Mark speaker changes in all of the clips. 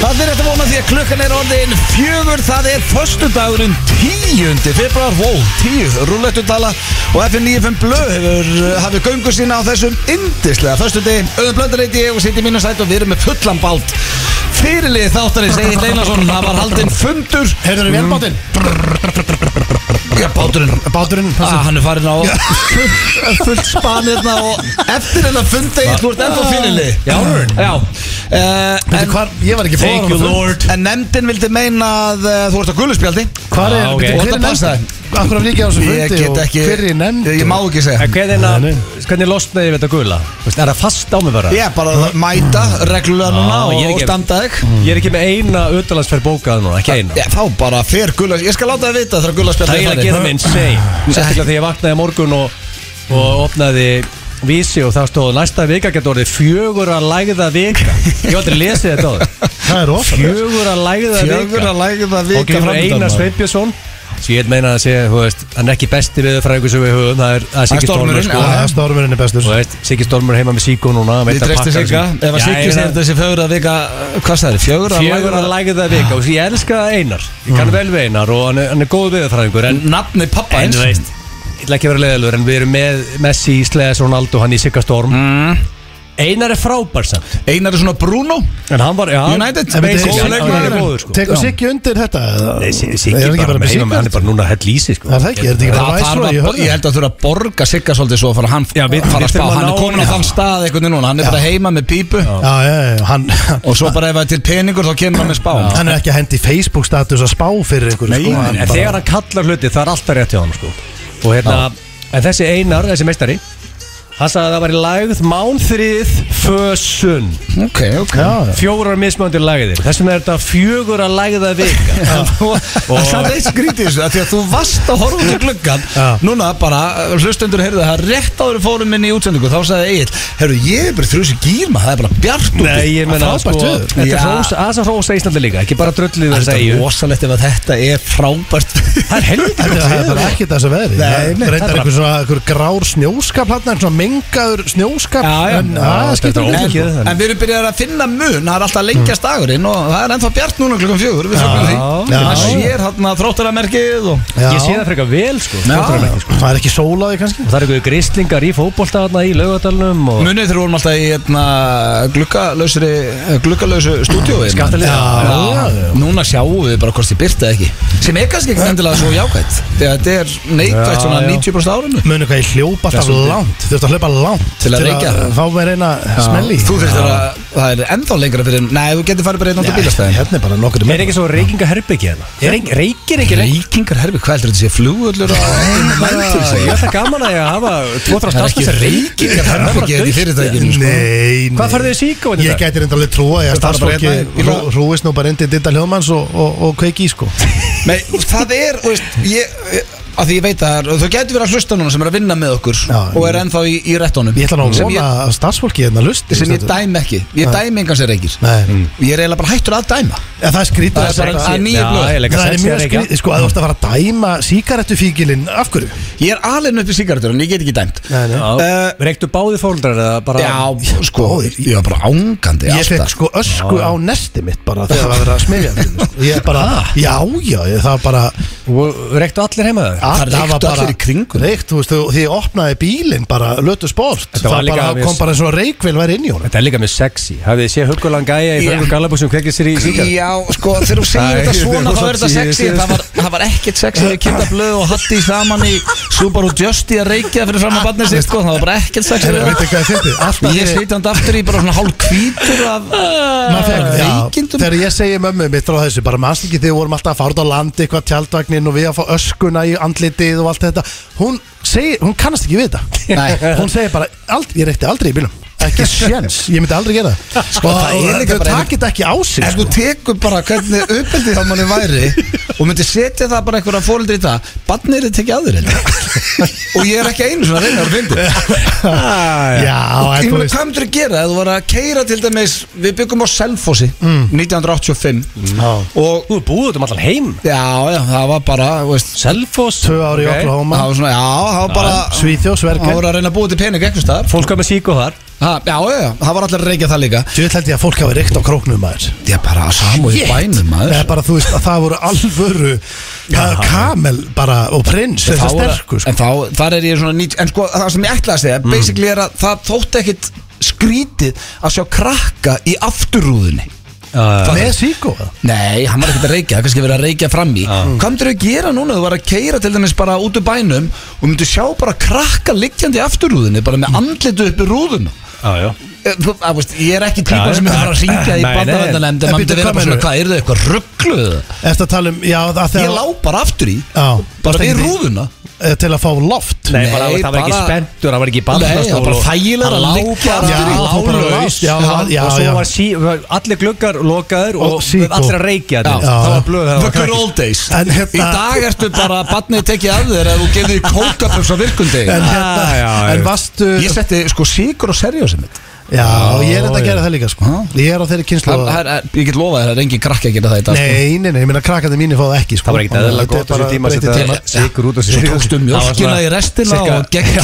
Speaker 1: að því að klukkan er orðin fjögur Það er föstudagurinn tíundi februar Vó, tíu, rúlettutala Og FN95 Blö hefur eh, hafið göngu sína á þessum indislega Föstudegi, auðvitað blöndareiti og sitt í mínu sætt og við erum með fullan bált Fyrirlið þáttarins, Egil Einarsson, það var haldinn fundur
Speaker 2: Heyrður þið velbátinn?
Speaker 1: Já, báturinn
Speaker 2: Báturinn
Speaker 1: Ah, hann er farin á
Speaker 2: Fullt spanirna og
Speaker 1: hérna Eftir hennar fundi, þú ert ennþá fyrirlið
Speaker 2: Já, alveg.
Speaker 1: Já Eh, en-
Speaker 2: Veitu hvar, ég var ekki
Speaker 3: Thank you
Speaker 2: fóður
Speaker 3: Lord
Speaker 1: En nefndin vildi meina að uh, þú ert á guluspjaldi
Speaker 2: Hvar er,
Speaker 3: Ah, ok.
Speaker 2: veitu,
Speaker 1: Þú
Speaker 2: hver
Speaker 1: ert að
Speaker 2: er
Speaker 1: passa
Speaker 2: nefndin? Akkur af líka á þessu
Speaker 1: Ég
Speaker 2: fundi
Speaker 1: get
Speaker 2: og
Speaker 1: ekki
Speaker 2: hver er nefndin?
Speaker 1: Ég má ekki segja
Speaker 3: En hvernig,
Speaker 2: Nei,
Speaker 3: na,
Speaker 2: nei.
Speaker 3: hvernig losnaði við þetta gula? Þú veist, Er það fast á mig bara?
Speaker 1: Ég er bara að mæta reglulega núna
Speaker 3: Já,
Speaker 1: og,
Speaker 3: ég er
Speaker 1: og
Speaker 3: ekki-
Speaker 1: standa þig
Speaker 3: Ég er ekki með eina utanlandsferð bókað núna, ekki eina
Speaker 1: Já, Þá bara fer gulaspjaldi Ég skal láta það vita þegar
Speaker 3: Það
Speaker 1: gulaspjaldi
Speaker 3: er að gera minn, seg Sérstaklega þegar ég vaknaði í morgun og, og opnaði vísi og það stóð næsta vika getur orðið fjögur að lægða vika Ég hef aldrei lesið þetta á það
Speaker 2: Það er ofan
Speaker 3: Fjögur að lægða vika
Speaker 1: Fjögur að lægja það
Speaker 3: og
Speaker 1: vika
Speaker 3: kemur
Speaker 1: framöndan,
Speaker 3: Einar
Speaker 1: maður.
Speaker 3: Sveipjason sem ég vil meina að sé, þú veist, hann er ekki besti við fræðingu sem við höfum, það er, það er
Speaker 1: Það er
Speaker 3: Siggi Stormur
Speaker 1: stormurinn,
Speaker 3: sko,
Speaker 1: já.
Speaker 2: Það er stórmurinn er bestur
Speaker 3: þú veist, Siggi Stormur heima með Siggo núna hann
Speaker 1: Við
Speaker 3: veit að
Speaker 1: treystum
Speaker 3: pakka
Speaker 1: Sigga
Speaker 3: þessu.
Speaker 1: Ef að
Speaker 3: Já,
Speaker 1: Siggi
Speaker 3: ég
Speaker 1: segir
Speaker 3: meina,
Speaker 1: þessi fjögur að vika uh, Hvað það er? Fjögur að
Speaker 3: fjögur að
Speaker 1: lægja
Speaker 3: lægja það vika og ég elska það Einar, ég kann vel við Einar og hann er, hann er góð viðfræðingur en,
Speaker 1: Nafni pappa
Speaker 3: en
Speaker 1: eins
Speaker 3: þú veist, ég ætla ekki að vera leiðalur en við erum með Messi, Sles, Ronaldo, hann í Sigga Storm
Speaker 1: Mm.
Speaker 3: Einar er frábær samt
Speaker 1: Einar er svona Bruno
Speaker 3: en hann var, já,
Speaker 1: United.
Speaker 3: en veit,
Speaker 1: En
Speaker 3: góð
Speaker 1: veitir,
Speaker 3: leikmaður, hann er
Speaker 1: Siggi-
Speaker 3: góður sko
Speaker 2: Tekur Siggi undir þetta? eða?
Speaker 3: Nei, Sig-
Speaker 2: Er
Speaker 3: Siggi
Speaker 2: hann ekki
Speaker 3: bara
Speaker 2: bara
Speaker 3: með
Speaker 2: með
Speaker 3: heima, hann er
Speaker 2: Sigga?
Speaker 3: bara núna hell lýsi sko
Speaker 2: Það er það ekki, er þetta ekki
Speaker 1: Það
Speaker 2: bara
Speaker 1: þarf að,
Speaker 2: væsra í
Speaker 1: ég
Speaker 2: hörðu?
Speaker 1: held að þurfa að borga Sigga svolítið svo að fara hann
Speaker 3: Já, við-
Speaker 1: fara
Speaker 3: við
Speaker 1: að spá
Speaker 3: þurfum að
Speaker 1: Hann
Speaker 3: ná
Speaker 1: er komin á
Speaker 3: honum.
Speaker 1: þann stað einhvern veginn núna Hann er bara heima með pípu
Speaker 2: Já, já, já, já, hann,
Speaker 1: Og svo bara ef það er til peningur þá kemur hann með spá
Speaker 2: hann er ekki að hendi Facebook status að spá fyrir ykkur
Speaker 1: Nei,
Speaker 2: sko,
Speaker 1: nei,
Speaker 2: hann
Speaker 3: En
Speaker 2: bara-
Speaker 3: þegar hann kallar hluti það er alltaf rétt hjá hann sko. Og hérna, en þessi Einar, þessi meistari Hann sagði að það var í lægð Mánþrið Fösun
Speaker 1: Ok, ok
Speaker 2: Já, já.
Speaker 3: Fjórar mismöndir lægðir Þess vegna er þetta fjögur að lægða vika
Speaker 1: og það er eitt skrítið í þessu af því að þú varst að horfa út í gluggan
Speaker 2: Já.
Speaker 1: núna bara uh, hlustendur heyrðu það rétt áður en við fórum inn í útsendingu þá sagði Egil heyrðu ég er bara þrjus í gýrma það er bara bjart úti
Speaker 3: Nei, ég menna
Speaker 2: Frábært
Speaker 3: sko
Speaker 2: veður.
Speaker 3: Þetta
Speaker 1: Já.
Speaker 3: er hrós, aðsa hrósa Íslandi líka Ekki bara drullið þess
Speaker 1: þetta
Speaker 3: að
Speaker 1: er
Speaker 3: ég
Speaker 1: rosalegt ef að þetta er frábært
Speaker 3: Það er helviti
Speaker 2: Þetta
Speaker 3: gott
Speaker 2: það er
Speaker 3: veður.
Speaker 2: bara ekkert þessu veðri
Speaker 1: Nei,
Speaker 2: Það
Speaker 1: nei,
Speaker 2: Reyndar
Speaker 3: það er
Speaker 2: einhver svona einhver grár snjóskap hérna, svona mengaður snjóskap
Speaker 3: Já, já.
Speaker 2: en
Speaker 3: Já,
Speaker 2: það
Speaker 3: þetta
Speaker 2: skiptir
Speaker 3: er
Speaker 2: ekki
Speaker 3: ógeð.
Speaker 2: máli.
Speaker 1: en, en við erum byrjað að finna mun það er alltaf lengjast dagurinn og það er ennþá bjart núna klukkan fjögur við fögnum því
Speaker 3: Já.
Speaker 1: það sér hann að þróttaramerkið og
Speaker 2: Já.
Speaker 3: Ég sé það frekar vel sko
Speaker 1: Já.
Speaker 3: þróttarar ekki, sko.
Speaker 2: Það er ekki sól á því kannski
Speaker 3: Og það er einhverju grislingar í fótbolta þarna í laugadalunum og
Speaker 1: munið þegar við vorum alltaf í hérna, glukkalausri glukkalausu stúdíói hérna.
Speaker 3: Skattalið.
Speaker 1: Já,
Speaker 2: Já,
Speaker 1: já, já. Núna sjáum við bara hvort þið byrta ekki sem er kannski ekki endilega svo jákvæmt þegar þetta er neikvægt
Speaker 3: Já,
Speaker 1: svona
Speaker 3: já.
Speaker 1: 90% árinu
Speaker 2: Munu hvað ég hljópa alltaf
Speaker 1: Þessum-
Speaker 2: langt Þú ert að hljópa langt
Speaker 1: Til að reykja það.
Speaker 2: Fá mér eina smelli
Speaker 1: Þú þurftir að, það er ennþá lengra fyrir Nei, þú getur farið bara einn ánda bílastæðin
Speaker 2: Hérna er bara nokkur
Speaker 3: Er ekki svo reykinga herbyggja hérna? Er ekki- Reykir ekki lengur?
Speaker 1: Reykingar herfi, hvað heldur þetta sé flugullur á
Speaker 3: Já, Ég
Speaker 1: Það
Speaker 3: ætla gaman að ég hafa tvo þrjá
Speaker 1: er
Speaker 3: stafsins
Speaker 1: ekki reykingar herfi ekki í fyrirtækinu sko.
Speaker 2: Nei, nei
Speaker 3: Hvað farið þið í síkó hérna í
Speaker 2: Ég
Speaker 3: dag?
Speaker 2: gæti reynda alveg trúa Ég að
Speaker 1: Þú þarf bara
Speaker 2: starfsfólki
Speaker 1: hérna í-
Speaker 2: hrú- hrúist nú bara indi Dinda hljóðmanns og, og, og kveiki í sko
Speaker 1: Nei, það er, þú veist, ég að því ég veit að þau getur verið að hlusta núna sem er að vinna með okkur
Speaker 2: Já,
Speaker 1: og er ennþá í, í rettónum
Speaker 2: Ég ætla nú að
Speaker 1: sem,
Speaker 2: vona
Speaker 1: ég-
Speaker 2: að starfsfólki hérna lusti
Speaker 1: sem ég dæmi ekki ég dæmi engan sér reykir
Speaker 2: Nei
Speaker 1: ég er eiginlega bara hættur að dæma
Speaker 2: En Það er skrítið
Speaker 1: Það er
Speaker 2: að
Speaker 1: bara-
Speaker 2: segja-
Speaker 1: að nýju blöð.
Speaker 2: Það er mjög skrítið, sko, að þú ert að fara að dæma síkarettufíkilinn, af hverju?
Speaker 1: Ég er alveg upp í sigaretur en ég get ekki dæmt
Speaker 2: Nei, nei.
Speaker 1: Eh,
Speaker 3: Reyktu báði fóldrar eða bara
Speaker 1: Já, sko, ég var bara ángandi
Speaker 2: Ég fekk
Speaker 1: alltaf
Speaker 2: sko ösku á nesti mitt bara þegar það var verið að smilja og sko. ég bara,
Speaker 1: Ah.
Speaker 2: já, já, ég, það var bara
Speaker 3: Og Reyktu allir heima það?
Speaker 2: að-
Speaker 1: reyktu
Speaker 2: var bara-
Speaker 1: allir í kringum.
Speaker 2: Reykt, þú veist, þú- því ég opnaði bílinn bara, lötu sport,
Speaker 3: Þetta
Speaker 2: það
Speaker 3: var líka
Speaker 2: bara
Speaker 3: að mér-
Speaker 2: kom bara eins og reykvél væri inn í honum
Speaker 3: Þetta er líka mjög sexy Hafið þið séð huggulan gæja í
Speaker 1: Já.
Speaker 3: Frankur Gallabú sem kvekir sér í síkar?
Speaker 1: Já, sko, þegar þú segir
Speaker 3: Nei,
Speaker 1: þetta svona
Speaker 3: ég-
Speaker 1: þá er þetta
Speaker 3: ég-
Speaker 1: sexy
Speaker 3: ég-
Speaker 1: Það var, það var ekkert sexy við kinda blöð og hatti saman í Subaru Justy að reykja fyrir fram að barnið sitt sko, það var bara ekkert sexy við
Speaker 2: Veitu hvað ég fyndi? Alltaf
Speaker 1: það Ég
Speaker 2: þegar-
Speaker 1: seti hann aftur í bara svona hálf kvítur af
Speaker 2: maður fekk- já,
Speaker 1: veikindum.
Speaker 2: Þegar ég segi mömmu mitt frá þessu bara mannst ekki þegar við vorum alltaf að fara út á landi eitthvað tjaldvagnin og við að fá öskuna í andlitið og allt þetta hún, segir, hún kannast ekki við þetta
Speaker 1: Nei.
Speaker 2: hún segir bara, ald, ég reykti aldrei í bílum ekki séns, ég myndi aldrei gera það
Speaker 1: Sko,
Speaker 2: og
Speaker 1: það er
Speaker 2: og
Speaker 1: líka
Speaker 2: þau
Speaker 1: bara-
Speaker 2: takit ekki á sig
Speaker 1: Ef
Speaker 2: sko.
Speaker 1: þú tekur bara hvernig uppeldið þá manni væri og myndir setja það bara einhverja fóreldri í það barnið er þetta ekki aður og ég er ekki einu svona reynar að finna
Speaker 2: já, en
Speaker 1: Ég
Speaker 2: þú
Speaker 1: meina,
Speaker 2: veist
Speaker 1: hvað myndir að gera? Ef Þú var að keira til dæmis Við byggum á Selfossi 1985
Speaker 2: Mm. Já.
Speaker 1: Og
Speaker 3: Þú er búið út um allan heim
Speaker 1: já, já, það var bara þú veist,
Speaker 3: Selfoss
Speaker 2: tvö ári í
Speaker 3: ok.
Speaker 2: Oklahoma
Speaker 1: Það var svona, já, það var bara
Speaker 2: Svíþjó,
Speaker 1: Það
Speaker 2: Sverger
Speaker 1: voru að reyna að búa til pening eitthvað staðar
Speaker 3: Fólk var með síkó þar
Speaker 1: Ha, já, já, já, það var allir að reykja það líka
Speaker 2: Þú veit held ég að fólk hafi reykt á króknum maður
Speaker 1: Ég er bara að samu í
Speaker 2: Shit.
Speaker 1: bænum maður
Speaker 2: Það er bara, þú veist, að það voru alvöru það er Kamel bara og prins
Speaker 1: En
Speaker 2: Þetta
Speaker 1: þá er-
Speaker 2: sterkur, sko
Speaker 1: En þá, þar er ég svona nýtt En sko, það sem ég ætla að segja Basically er að það þótti ekkit skrítið Að sjá krakka í afturrúðunni
Speaker 3: Já,
Speaker 2: Með síkó eða?
Speaker 1: Nei, hann var ekkert að reykja, það er kannski verið að reykja fram í Hvað myndir þau að gera núna? Þú var að keira til dæmis bara út úr bænum Og myndir sjá bara krakka liggjandi í afturrúðunni Bara með andlitu upp í rúðuna
Speaker 3: já, já
Speaker 1: Eh, Þú, að, veist, ég er ekki
Speaker 3: Já,
Speaker 1: típan sem er
Speaker 3: já.
Speaker 1: bara að ringja í
Speaker 3: Nei, nei.
Speaker 1: bandavendanemnd
Speaker 2: En
Speaker 1: en maður
Speaker 2: býttu,
Speaker 1: myndi vera
Speaker 2: hvað
Speaker 1: bara svona, hvað,
Speaker 2: meinarðu?
Speaker 1: er þau eitthvað ruggluð?
Speaker 2: Eftir að tala um, já, það
Speaker 1: Ég
Speaker 2: þegar
Speaker 1: lá bara aftur í,
Speaker 2: Já.
Speaker 1: bara við rúðuna
Speaker 2: eh, Til að fá loft
Speaker 3: Nei,
Speaker 1: Nei,
Speaker 3: bara, það var ekki
Speaker 1: bara-
Speaker 3: spendur, það var ekki
Speaker 1: Nei, það var
Speaker 3: bandastól
Speaker 1: bara þægilegra að liggja
Speaker 3: Já,
Speaker 2: aftur í.
Speaker 3: það var bara laus
Speaker 2: Já,
Speaker 3: Og
Speaker 2: já, já.
Speaker 3: svo var sí, var allir gluggar lokaður og,
Speaker 2: Og síkó.
Speaker 3: allir að reykja
Speaker 1: Já.
Speaker 3: þetta Það var blöð, það
Speaker 1: The
Speaker 3: var
Speaker 1: good
Speaker 3: krakki.
Speaker 1: old days
Speaker 2: En hérna-
Speaker 1: Í dag ertu bara, barnið tekið af þér að þú gefði því kókapöps á virkundi
Speaker 2: En, hérna,
Speaker 3: Ah, já, já.
Speaker 2: en vastu
Speaker 1: Ég setti sko sigur og serjósi mitt
Speaker 2: Já, ég er þetta að gera það líka, sko
Speaker 1: Já.
Speaker 2: Ég er á þeirri kynslu
Speaker 1: það, það er, er- Ég get lofað þér að það er engin krakki að gera það í dag sko.
Speaker 2: Nei, nei, nei, ég meina krakkandi mínu fá það ekki, sko
Speaker 3: Það var ekkert eðlilega
Speaker 2: Þetta er
Speaker 3: gott á þessum
Speaker 2: bara
Speaker 3: tíma að
Speaker 2: breytti
Speaker 3: setja
Speaker 2: tíma.
Speaker 3: sykur út og
Speaker 1: Svo
Speaker 3: sykur-
Speaker 1: tókstu
Speaker 3: Það var
Speaker 1: mjólkina
Speaker 3: svona
Speaker 1: í restina
Speaker 3: cirka-
Speaker 1: og gekk.
Speaker 3: Já,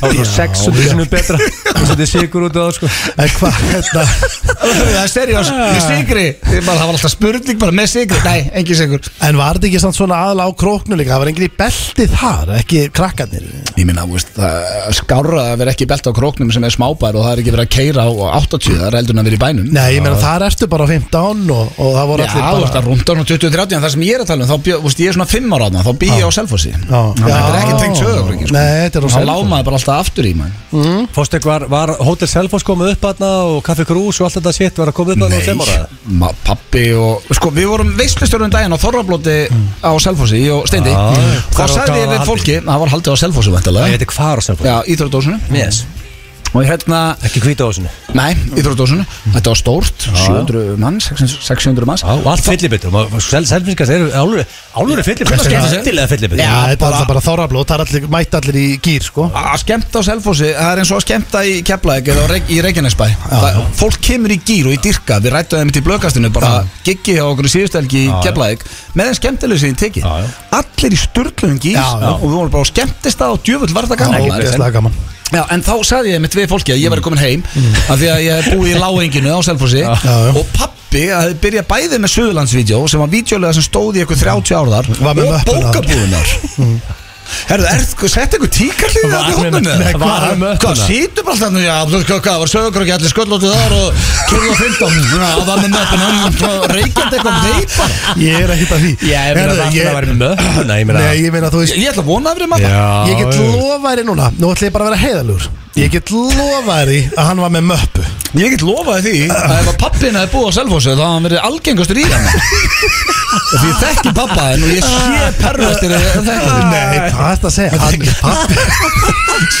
Speaker 3: Það var
Speaker 2: Já,
Speaker 3: svo 600
Speaker 2: já.
Speaker 3: sinum betra og setja sigur út á það sko
Speaker 2: En hvað, hérna
Speaker 1: Það er serjós með sigri Ég bara, Það var alltaf spurning bara með sigri Nei, engin sigur
Speaker 2: En var þetta ekki samt svona aðla á króknu líka Það var enginn í belti þar, ekki krakkarnir
Speaker 1: Ég minna, veist, það skárra að vera ekki belt á króknum sem er smábær og það er ekki verið að keira á 80 það er heldur en að vera í bænum
Speaker 2: Nei, ég meina þar ertu bara 15 og, og það voru
Speaker 1: Já,
Speaker 2: allir
Speaker 1: þú
Speaker 2: bara
Speaker 1: veist að rúndan og 20-30 en það sem ég er að tala um, þá bjó, þú veist, ég er svona 5 ára þarna, þá bý ég á Selfossi Þannig að þetta er ekki tengt sögur
Speaker 2: Nei, þetta er á
Speaker 1: þá
Speaker 2: Selfossi.
Speaker 1: lámaði bara alltaf aftur í mann
Speaker 3: Fórstek var, var Hotel Selfoss komið upp aðna og Kaffi Krús og allt þetta shit var að komið upp aðna og þeim ára
Speaker 1: ma- pappi og sko, við vorum veistlustjórnum daginn á Þorrablóti á Selfossi, ég og Steindi
Speaker 3: Já,
Speaker 1: þá
Speaker 3: hvar var-
Speaker 1: sagði
Speaker 3: hvað
Speaker 1: ég
Speaker 3: var
Speaker 1: við
Speaker 3: haldið?
Speaker 1: fólki, það var haldið á Selfossi
Speaker 3: Ég
Speaker 1: væntanlega,
Speaker 3: veit ekki hvað er á Selfoss
Speaker 1: já, íþróttdósinu
Speaker 3: Yes.
Speaker 1: og hérna,
Speaker 3: Ekki hvita á þessinu
Speaker 1: nei, íþróttdósinu þetta var stórt, 700 manns 600 manns
Speaker 3: Og allt fyllibittur Selfinskast eru álur fyllibittur
Speaker 1: Þetta er
Speaker 3: Skemmtilega
Speaker 2: Já,
Speaker 3: fyllibittur
Speaker 2: þetta er
Speaker 1: bara-
Speaker 2: alltaf bara þorrablót, það er allir, mætt allir í gýr, sko
Speaker 1: að skemmta á Selfossi, það er eins og að skemmta í Keflæk eða á Reyk- í Reykjanesbæ Það- fólk kemur í gýr og í dyrka við rættuðum þeim í blöðkastinu, bara giggi á okkur í síðustelgi í
Speaker 3: Já, já.
Speaker 1: Keflæk með þeim skemmtilegu sem þið tekið
Speaker 3: Já, já.
Speaker 1: allir í sturglunum gýr
Speaker 2: Já, já.
Speaker 1: og við vorum bara á skemmtistað og djöfull var það
Speaker 2: Það
Speaker 1: gaman
Speaker 2: var
Speaker 1: maður.
Speaker 2: ógeðslega gaman
Speaker 1: Já, en þá sagði ég mitt við fólki að ég væri komin heim af því að ég hef búið í láenginu á Selfossi
Speaker 2: já.
Speaker 1: og pappi að þið byrja bæði með Suðurlandsvídeó sem var vídeolega sem stóð í eitthvað 30 ár þar
Speaker 2: Var með
Speaker 1: og
Speaker 2: möppuna.
Speaker 1: bókabúðunar Herðu, er það sett eitthvað tíkarlið
Speaker 3: Var
Speaker 1: það í
Speaker 3: með-
Speaker 1: hópinu?
Speaker 3: Nei, hvað
Speaker 1: Hvað-
Speaker 3: er með möppuna?
Speaker 1: Hvað, sýtum bara alltaf, já, þú veist hvað, hvað, var sögur ekki allir sköllótið þar og 2015, já, það var með möppuna, reykjandi eitthvað veipar
Speaker 2: Ég er ekkert að því
Speaker 3: Ég meina
Speaker 2: Herðu,
Speaker 3: það alltaf að vera með möðuna Ég meina
Speaker 2: Nei, ég meina, þú veist
Speaker 1: Ég ætla að vona að vera maður
Speaker 3: Já,
Speaker 2: Ég get
Speaker 3: já.
Speaker 2: lofaðri núna, nú ætlum ég bara að vera heiðalur Ég get lofaðri að hann var með möppu
Speaker 1: Ég get lofaði því að ef að pappin hefði búið á Selfossu þá hafði hann verið algengastur í hann Því ég þekki pappa en ég sé pervastir ef ég þekki því
Speaker 2: Nei, hvað er þetta að segja? Hann, pappi,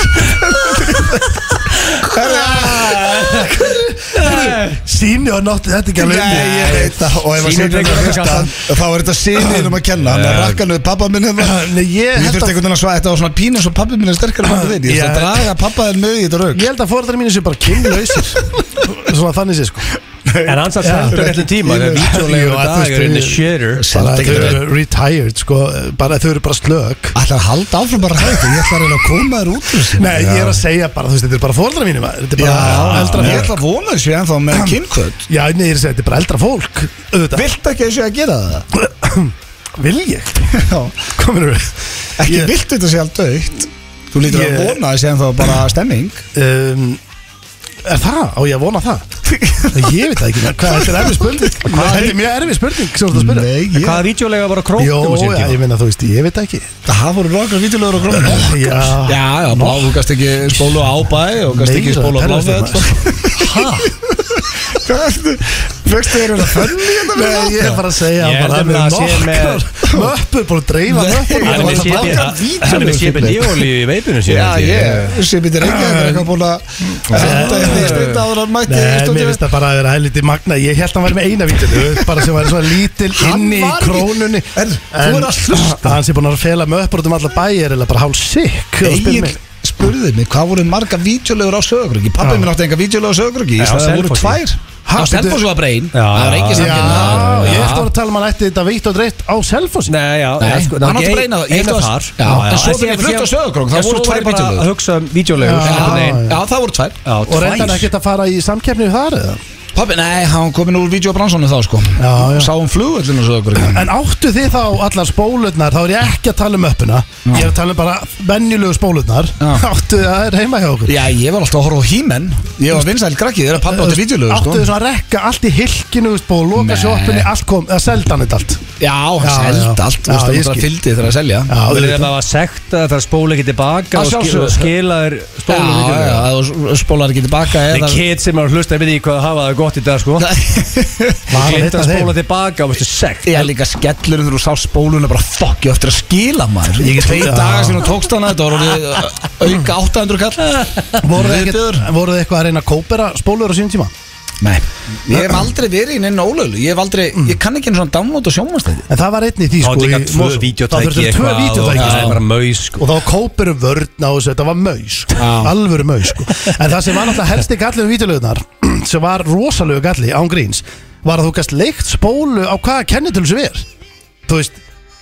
Speaker 2: síni og nátti þetta ekki alveg um
Speaker 1: Nei,
Speaker 2: mig.
Speaker 1: ég veit það og ef að
Speaker 3: Sýnir
Speaker 1: Sigurður er að
Speaker 3: dregur
Speaker 1: hlusta
Speaker 3: kassan.
Speaker 1: þá er þetta sinniðum að kenna hann er rakkanuð pappa minn hérna
Speaker 2: Nei, ég
Speaker 1: Ég
Speaker 2: held
Speaker 1: þurfti
Speaker 2: að-
Speaker 1: einhvern veginn að svæða þetta var svona pínu svo pappi minn er sterkar en pappi þinn Ég þurfti að
Speaker 2: Já.
Speaker 1: draga pappa þinn með í þetta rauk
Speaker 2: Ég held að fóreldrar mínu séu bara kynlausir Svona þannig sé sko
Speaker 3: En hans að seldur réttum tíma Það er
Speaker 2: Ég- Jú,
Speaker 3: vítjulegur
Speaker 2: að þú veist,
Speaker 3: dag er in the
Speaker 2: ég-
Speaker 3: shitter
Speaker 2: Bara
Speaker 1: Seldu
Speaker 2: þau
Speaker 1: ekki
Speaker 2: eru retired sko bara, Þau eru bara slök
Speaker 1: Ætlar að halda áfram bara hægt Ég ætla að reyna að koma þér út úr þessu.
Speaker 2: Nei, ég er að segja bara, þú veist, þetta er bara fóreldrar mínu maður. Þetta er
Speaker 1: Já,
Speaker 2: bara eldra
Speaker 1: ég
Speaker 2: fólk
Speaker 1: ætla að vona þessu en þá með kynkvöld
Speaker 2: Já, nei, ég er að segja, þetta er bara eldra fólk Auðvitað,
Speaker 1: Vilt ekki þessu að gera það?
Speaker 2: vil ég Kominu við
Speaker 1: Ekki
Speaker 2: Ég-
Speaker 1: vilt þetta sé allt dögt Þú lítur
Speaker 2: Ég-
Speaker 1: að vona þessi en þá bara stemming
Speaker 2: um, Er það? Á ég að vona það? ég veit það ekki Hvað, þetta er erfið spurning Þetta er mjög erfið spurning sem þú ert að spyrja.
Speaker 1: Nei, ég
Speaker 3: Hvaða vítjulega var að
Speaker 2: Jó,
Speaker 3: krókum á sínum
Speaker 2: já,
Speaker 3: tíma?
Speaker 2: ég meina, þú veist, ég veit það ekki
Speaker 1: Það voru nokkra vítjulegur og grónum
Speaker 2: Já,
Speaker 1: Já, já, blá, þú gast ekki spólu á ábæ og gast ekki
Speaker 2: Meira
Speaker 1: spólu á sko.
Speaker 2: perrast
Speaker 1: bláfell
Speaker 2: en
Speaker 1: Fyrstu þeir eru það fönni hérna með
Speaker 2: Nei,
Speaker 1: það?
Speaker 2: ég er bara að segja
Speaker 3: Ég
Speaker 2: bara, það
Speaker 3: held nefnilega að
Speaker 2: eru
Speaker 3: sé með-
Speaker 2: nokkrar Möppur, búin að dreifa möppur
Speaker 3: Hann er með sépi- hann er með sépi lífólíu í veipinu síðan
Speaker 1: Já,
Speaker 3: held ég.
Speaker 1: ég, sem ég er ekki að vera eitthvað búin að senda hérna í stund áður hann mætti í
Speaker 2: Nei, mér
Speaker 1: stundinu
Speaker 2: finnst það bara að vera helviti magna Ég held að hann væri með eina vítil Bara sem væri svona lítil
Speaker 1: Hann
Speaker 2: inni í
Speaker 1: var ekki-
Speaker 2: krónunni
Speaker 1: En þú er að hlusta.
Speaker 2: Hann sem búin að fela möppur út um alla bæ er eiginlega bara hálf sikk
Speaker 1: Egil spurði mig hvað voru marga vídeolegur á söguröki pappi minn átti enga vídeolegur á söguröki
Speaker 3: Já,
Speaker 1: ég sagði það voru
Speaker 3: Selfossi.
Speaker 1: tvær
Speaker 4: Á
Speaker 2: Ha,
Speaker 4: Selfoss var brein
Speaker 3: Já.
Speaker 4: Það var engin
Speaker 2: Já,
Speaker 4: samkynhneigð.
Speaker 2: ég ætti að vera að tala um hann ætti þetta veitt og dreitt á Selfossi
Speaker 3: Nei, já,
Speaker 4: Nei,
Speaker 3: já, sko,
Speaker 1: hann átti
Speaker 3: ég-
Speaker 1: bara eina-
Speaker 3: ég
Speaker 1: eitt
Speaker 3: var
Speaker 1: var-
Speaker 3: þar.
Speaker 1: Já, en svo þegar
Speaker 3: síðan-
Speaker 1: ég flutti á Sauðárkrók, þá
Speaker 3: Já,
Speaker 1: voru
Speaker 3: svo
Speaker 1: tvær
Speaker 3: var ég bara
Speaker 1: vídeólegur.
Speaker 3: að hugsa um vídeolegu
Speaker 2: Já.
Speaker 1: já, já, það voru tvær
Speaker 3: Já,
Speaker 2: Og reyndan ekkert að fara í samkeppni við þar eða?
Speaker 1: pappi, nei, hann kom inn úr vídeobransunum þá sko
Speaker 2: Já, já.
Speaker 1: sáum flugullinu á söguröki
Speaker 2: En áttu þið þá allar spólurnar Þá er ég ekki að tala um öppuna Ég er að tala um bara venjulegu spólurnar
Speaker 1: Já.
Speaker 2: Áttu þið að það er heima hjá okkur
Speaker 1: já, ég var alltaf að horfa á hímen ég var vinsæl grakki þegar pappi átti vídeolegur
Speaker 2: Áttu
Speaker 1: sko
Speaker 2: þið svona að rekka allt í hilkinu veist, Búið að loka
Speaker 1: Nei.
Speaker 2: sjoppunni Allt kom, eða seldan þetta allt
Speaker 1: já, hann
Speaker 2: Já, já.
Speaker 1: seldi allt,
Speaker 2: Já,
Speaker 1: þú veist,
Speaker 2: ég
Speaker 1: hann bara
Speaker 2: skil.
Speaker 1: fylgdi þegar að selja
Speaker 2: Já,
Speaker 3: Það er
Speaker 2: auðvitað.
Speaker 3: það að sekta það að spóla ekki tilbaka
Speaker 1: Að
Speaker 3: og skila,
Speaker 1: sjálfsögðu.
Speaker 3: og skila þér
Speaker 1: Já,
Speaker 3: stólu
Speaker 1: já,
Speaker 3: vídeolegu
Speaker 1: þú spólar ekki tilbaka
Speaker 3: Það
Speaker 1: eða
Speaker 3: er kid sem er að hlusta, ég veit ekki hvað að hafa það gott í dag sko
Speaker 2: Var hann
Speaker 3: Glemt
Speaker 2: einn
Speaker 3: að
Speaker 2: af þeim?
Speaker 3: spóla tilbaka og veistu sekt
Speaker 1: Ég er líka skellurinn þegar þú sá spóluna bara fuck, ég á eftir að skila maður Ég er tvei
Speaker 2: Já.
Speaker 1: daga sinni og tókst hana þetta var orðið uh, auka 800 kall
Speaker 2: Voruð þið ekkert- voruð þið eitthvað að reyna að kópera spólur á sínum tíma
Speaker 1: Nei, ég hef aldrei verið í neina ólölu Ég hef aldrei, ég kann ekki einu svona download og sjómanstæði
Speaker 2: En það var einn í því
Speaker 3: Það
Speaker 2: sko
Speaker 3: er líka
Speaker 2: í
Speaker 3: tvö
Speaker 2: Mosó. Það
Speaker 3: videotæki
Speaker 2: þurfti tvö
Speaker 3: eitthvað og
Speaker 2: vídeotæki
Speaker 3: það
Speaker 2: sko.
Speaker 3: er bara maus sko
Speaker 2: og þá kópir um vörn á þessu, þetta var maus sko.
Speaker 1: Já.
Speaker 2: alvöru maus sko. en það sem var náttúrulega helsti gallið um vídeolöðunar sem var rosalegu galli án gríns var að þú gæst leikt spólu á hvaða kennitölu sem er þú veist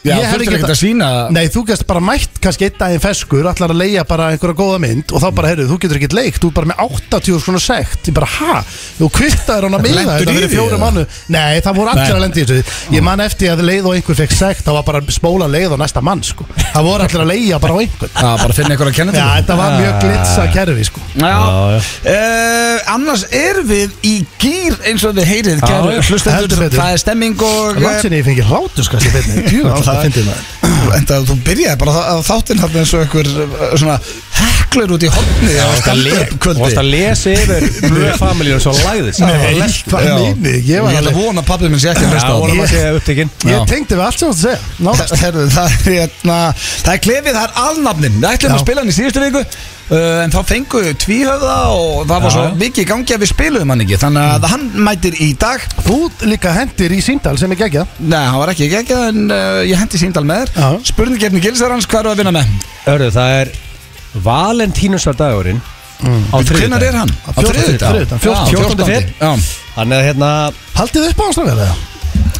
Speaker 1: Já,
Speaker 2: ég hefði
Speaker 1: þurftir
Speaker 2: getað-
Speaker 1: ekki að sína
Speaker 2: Nei, þú gæst bara mætt kannski einn daginn feskur ætlar að leia bara einhverja góða mynd og þá bara, heyrðu, þú getur ekkert leikt, þú er bara með 80 svona sekt, ég bara, ha, þú kvittar hann að miða
Speaker 1: Lentur
Speaker 2: þetta
Speaker 1: í
Speaker 2: fyrir
Speaker 1: því,
Speaker 2: fjórum
Speaker 1: eða?
Speaker 2: mannu Nei, það voru allir
Speaker 1: Nei.
Speaker 2: að lendi í þessu Ég man eftir að leið og einhver fekk sekt, þá var bara spóla leið og næsta mann, sko Það voru allir að leia bara á einhvern
Speaker 1: Já, bara finna ykkur að kenna
Speaker 2: Já, þetta var mjög glitsa kerfi, sko
Speaker 3: Já, já.
Speaker 1: Uh, annars erum við í gýr eins og þið heyrið kæru
Speaker 3: já.
Speaker 1: hlustendur,
Speaker 2: Heldur betur.
Speaker 1: það er stemming og eh,
Speaker 2: Landsinni ég fengi hlátur, sko, þessi beinni Tjúr,
Speaker 1: Já,
Speaker 2: það
Speaker 1: það-
Speaker 2: finnir maður
Speaker 1: En það þú byrjaði bara að þáttinn hann eins og einhver eh, svona heklur út í horni á
Speaker 3: Og það le-
Speaker 1: stand-up kvöldi.
Speaker 3: og það lesi yfir Blue Family og svo lagðist
Speaker 2: Nei, hvað
Speaker 1: Já.
Speaker 2: meini, ég
Speaker 1: Ég ætla
Speaker 2: var
Speaker 1: að
Speaker 2: alveg
Speaker 1: vona að pappi minn sé ekki að
Speaker 3: Já,
Speaker 1: hlusta á
Speaker 3: vorum
Speaker 1: það
Speaker 3: að segja upptekinn
Speaker 1: Já.
Speaker 2: Ég tengdi við allt sem þú átt að segja, nánast
Speaker 1: Herru, það er hérna Það er klefið, það er alnafnin Við ætlum
Speaker 2: Já.
Speaker 1: að spila hann í síðustu viku uh, En þá fengu við tvíhöfða Og það var
Speaker 3: Já.
Speaker 1: svo mikið í gangi að við spiluðum hann ekki Þannig að hann mætir í dag
Speaker 2: Þú líka hendir í síndal sem er geggjað
Speaker 1: Nei, hann var ekki ekki En uh, ég hendi síndal með
Speaker 2: Já.
Speaker 1: þér Spurningkefni gilsar hans, hvað eru að vinna með?
Speaker 3: Hörðu, það er Valentínusardagurinn
Speaker 2: Mm.
Speaker 3: á
Speaker 1: Hvenær
Speaker 3: þriðjudaginn.
Speaker 1: er hann?
Speaker 2: Á fjórtán- þriðjudag, fjórtán-
Speaker 1: fjórtánda.
Speaker 3: fjórtándi.
Speaker 1: Já.
Speaker 3: Þannig að hérna
Speaker 2: Haldið þið upp á hans náttúrulega það?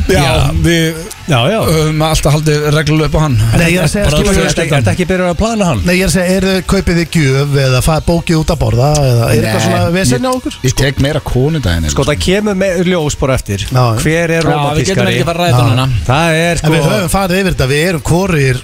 Speaker 1: Já,
Speaker 3: Já.
Speaker 1: við
Speaker 3: Já, já
Speaker 1: höfum alltaf haldið reglulega upp á hann
Speaker 2: Nei, ég er að segja,
Speaker 3: Bara þú
Speaker 2: skilur
Speaker 3: veist,
Speaker 2: við-
Speaker 3: ertu ekki- ertu ekki byrjað að plana hann?
Speaker 2: Nei, ég er að segja, er þið kaupið þið gjöf eða fæ, bókið út að borða eða er eitthvað
Speaker 1: Nei,
Speaker 2: svona vesenni á
Speaker 1: ég-
Speaker 2: okkur?
Speaker 1: Ég tek meira konudaginn
Speaker 3: Sko það kemur með ljós bara eftir
Speaker 2: Já, já.
Speaker 3: Hver er romantískari
Speaker 1: að ræða þetta núna
Speaker 3: Það er
Speaker 2: En
Speaker 3: sko
Speaker 2: við höfum farið yfir þetta, við erum korir,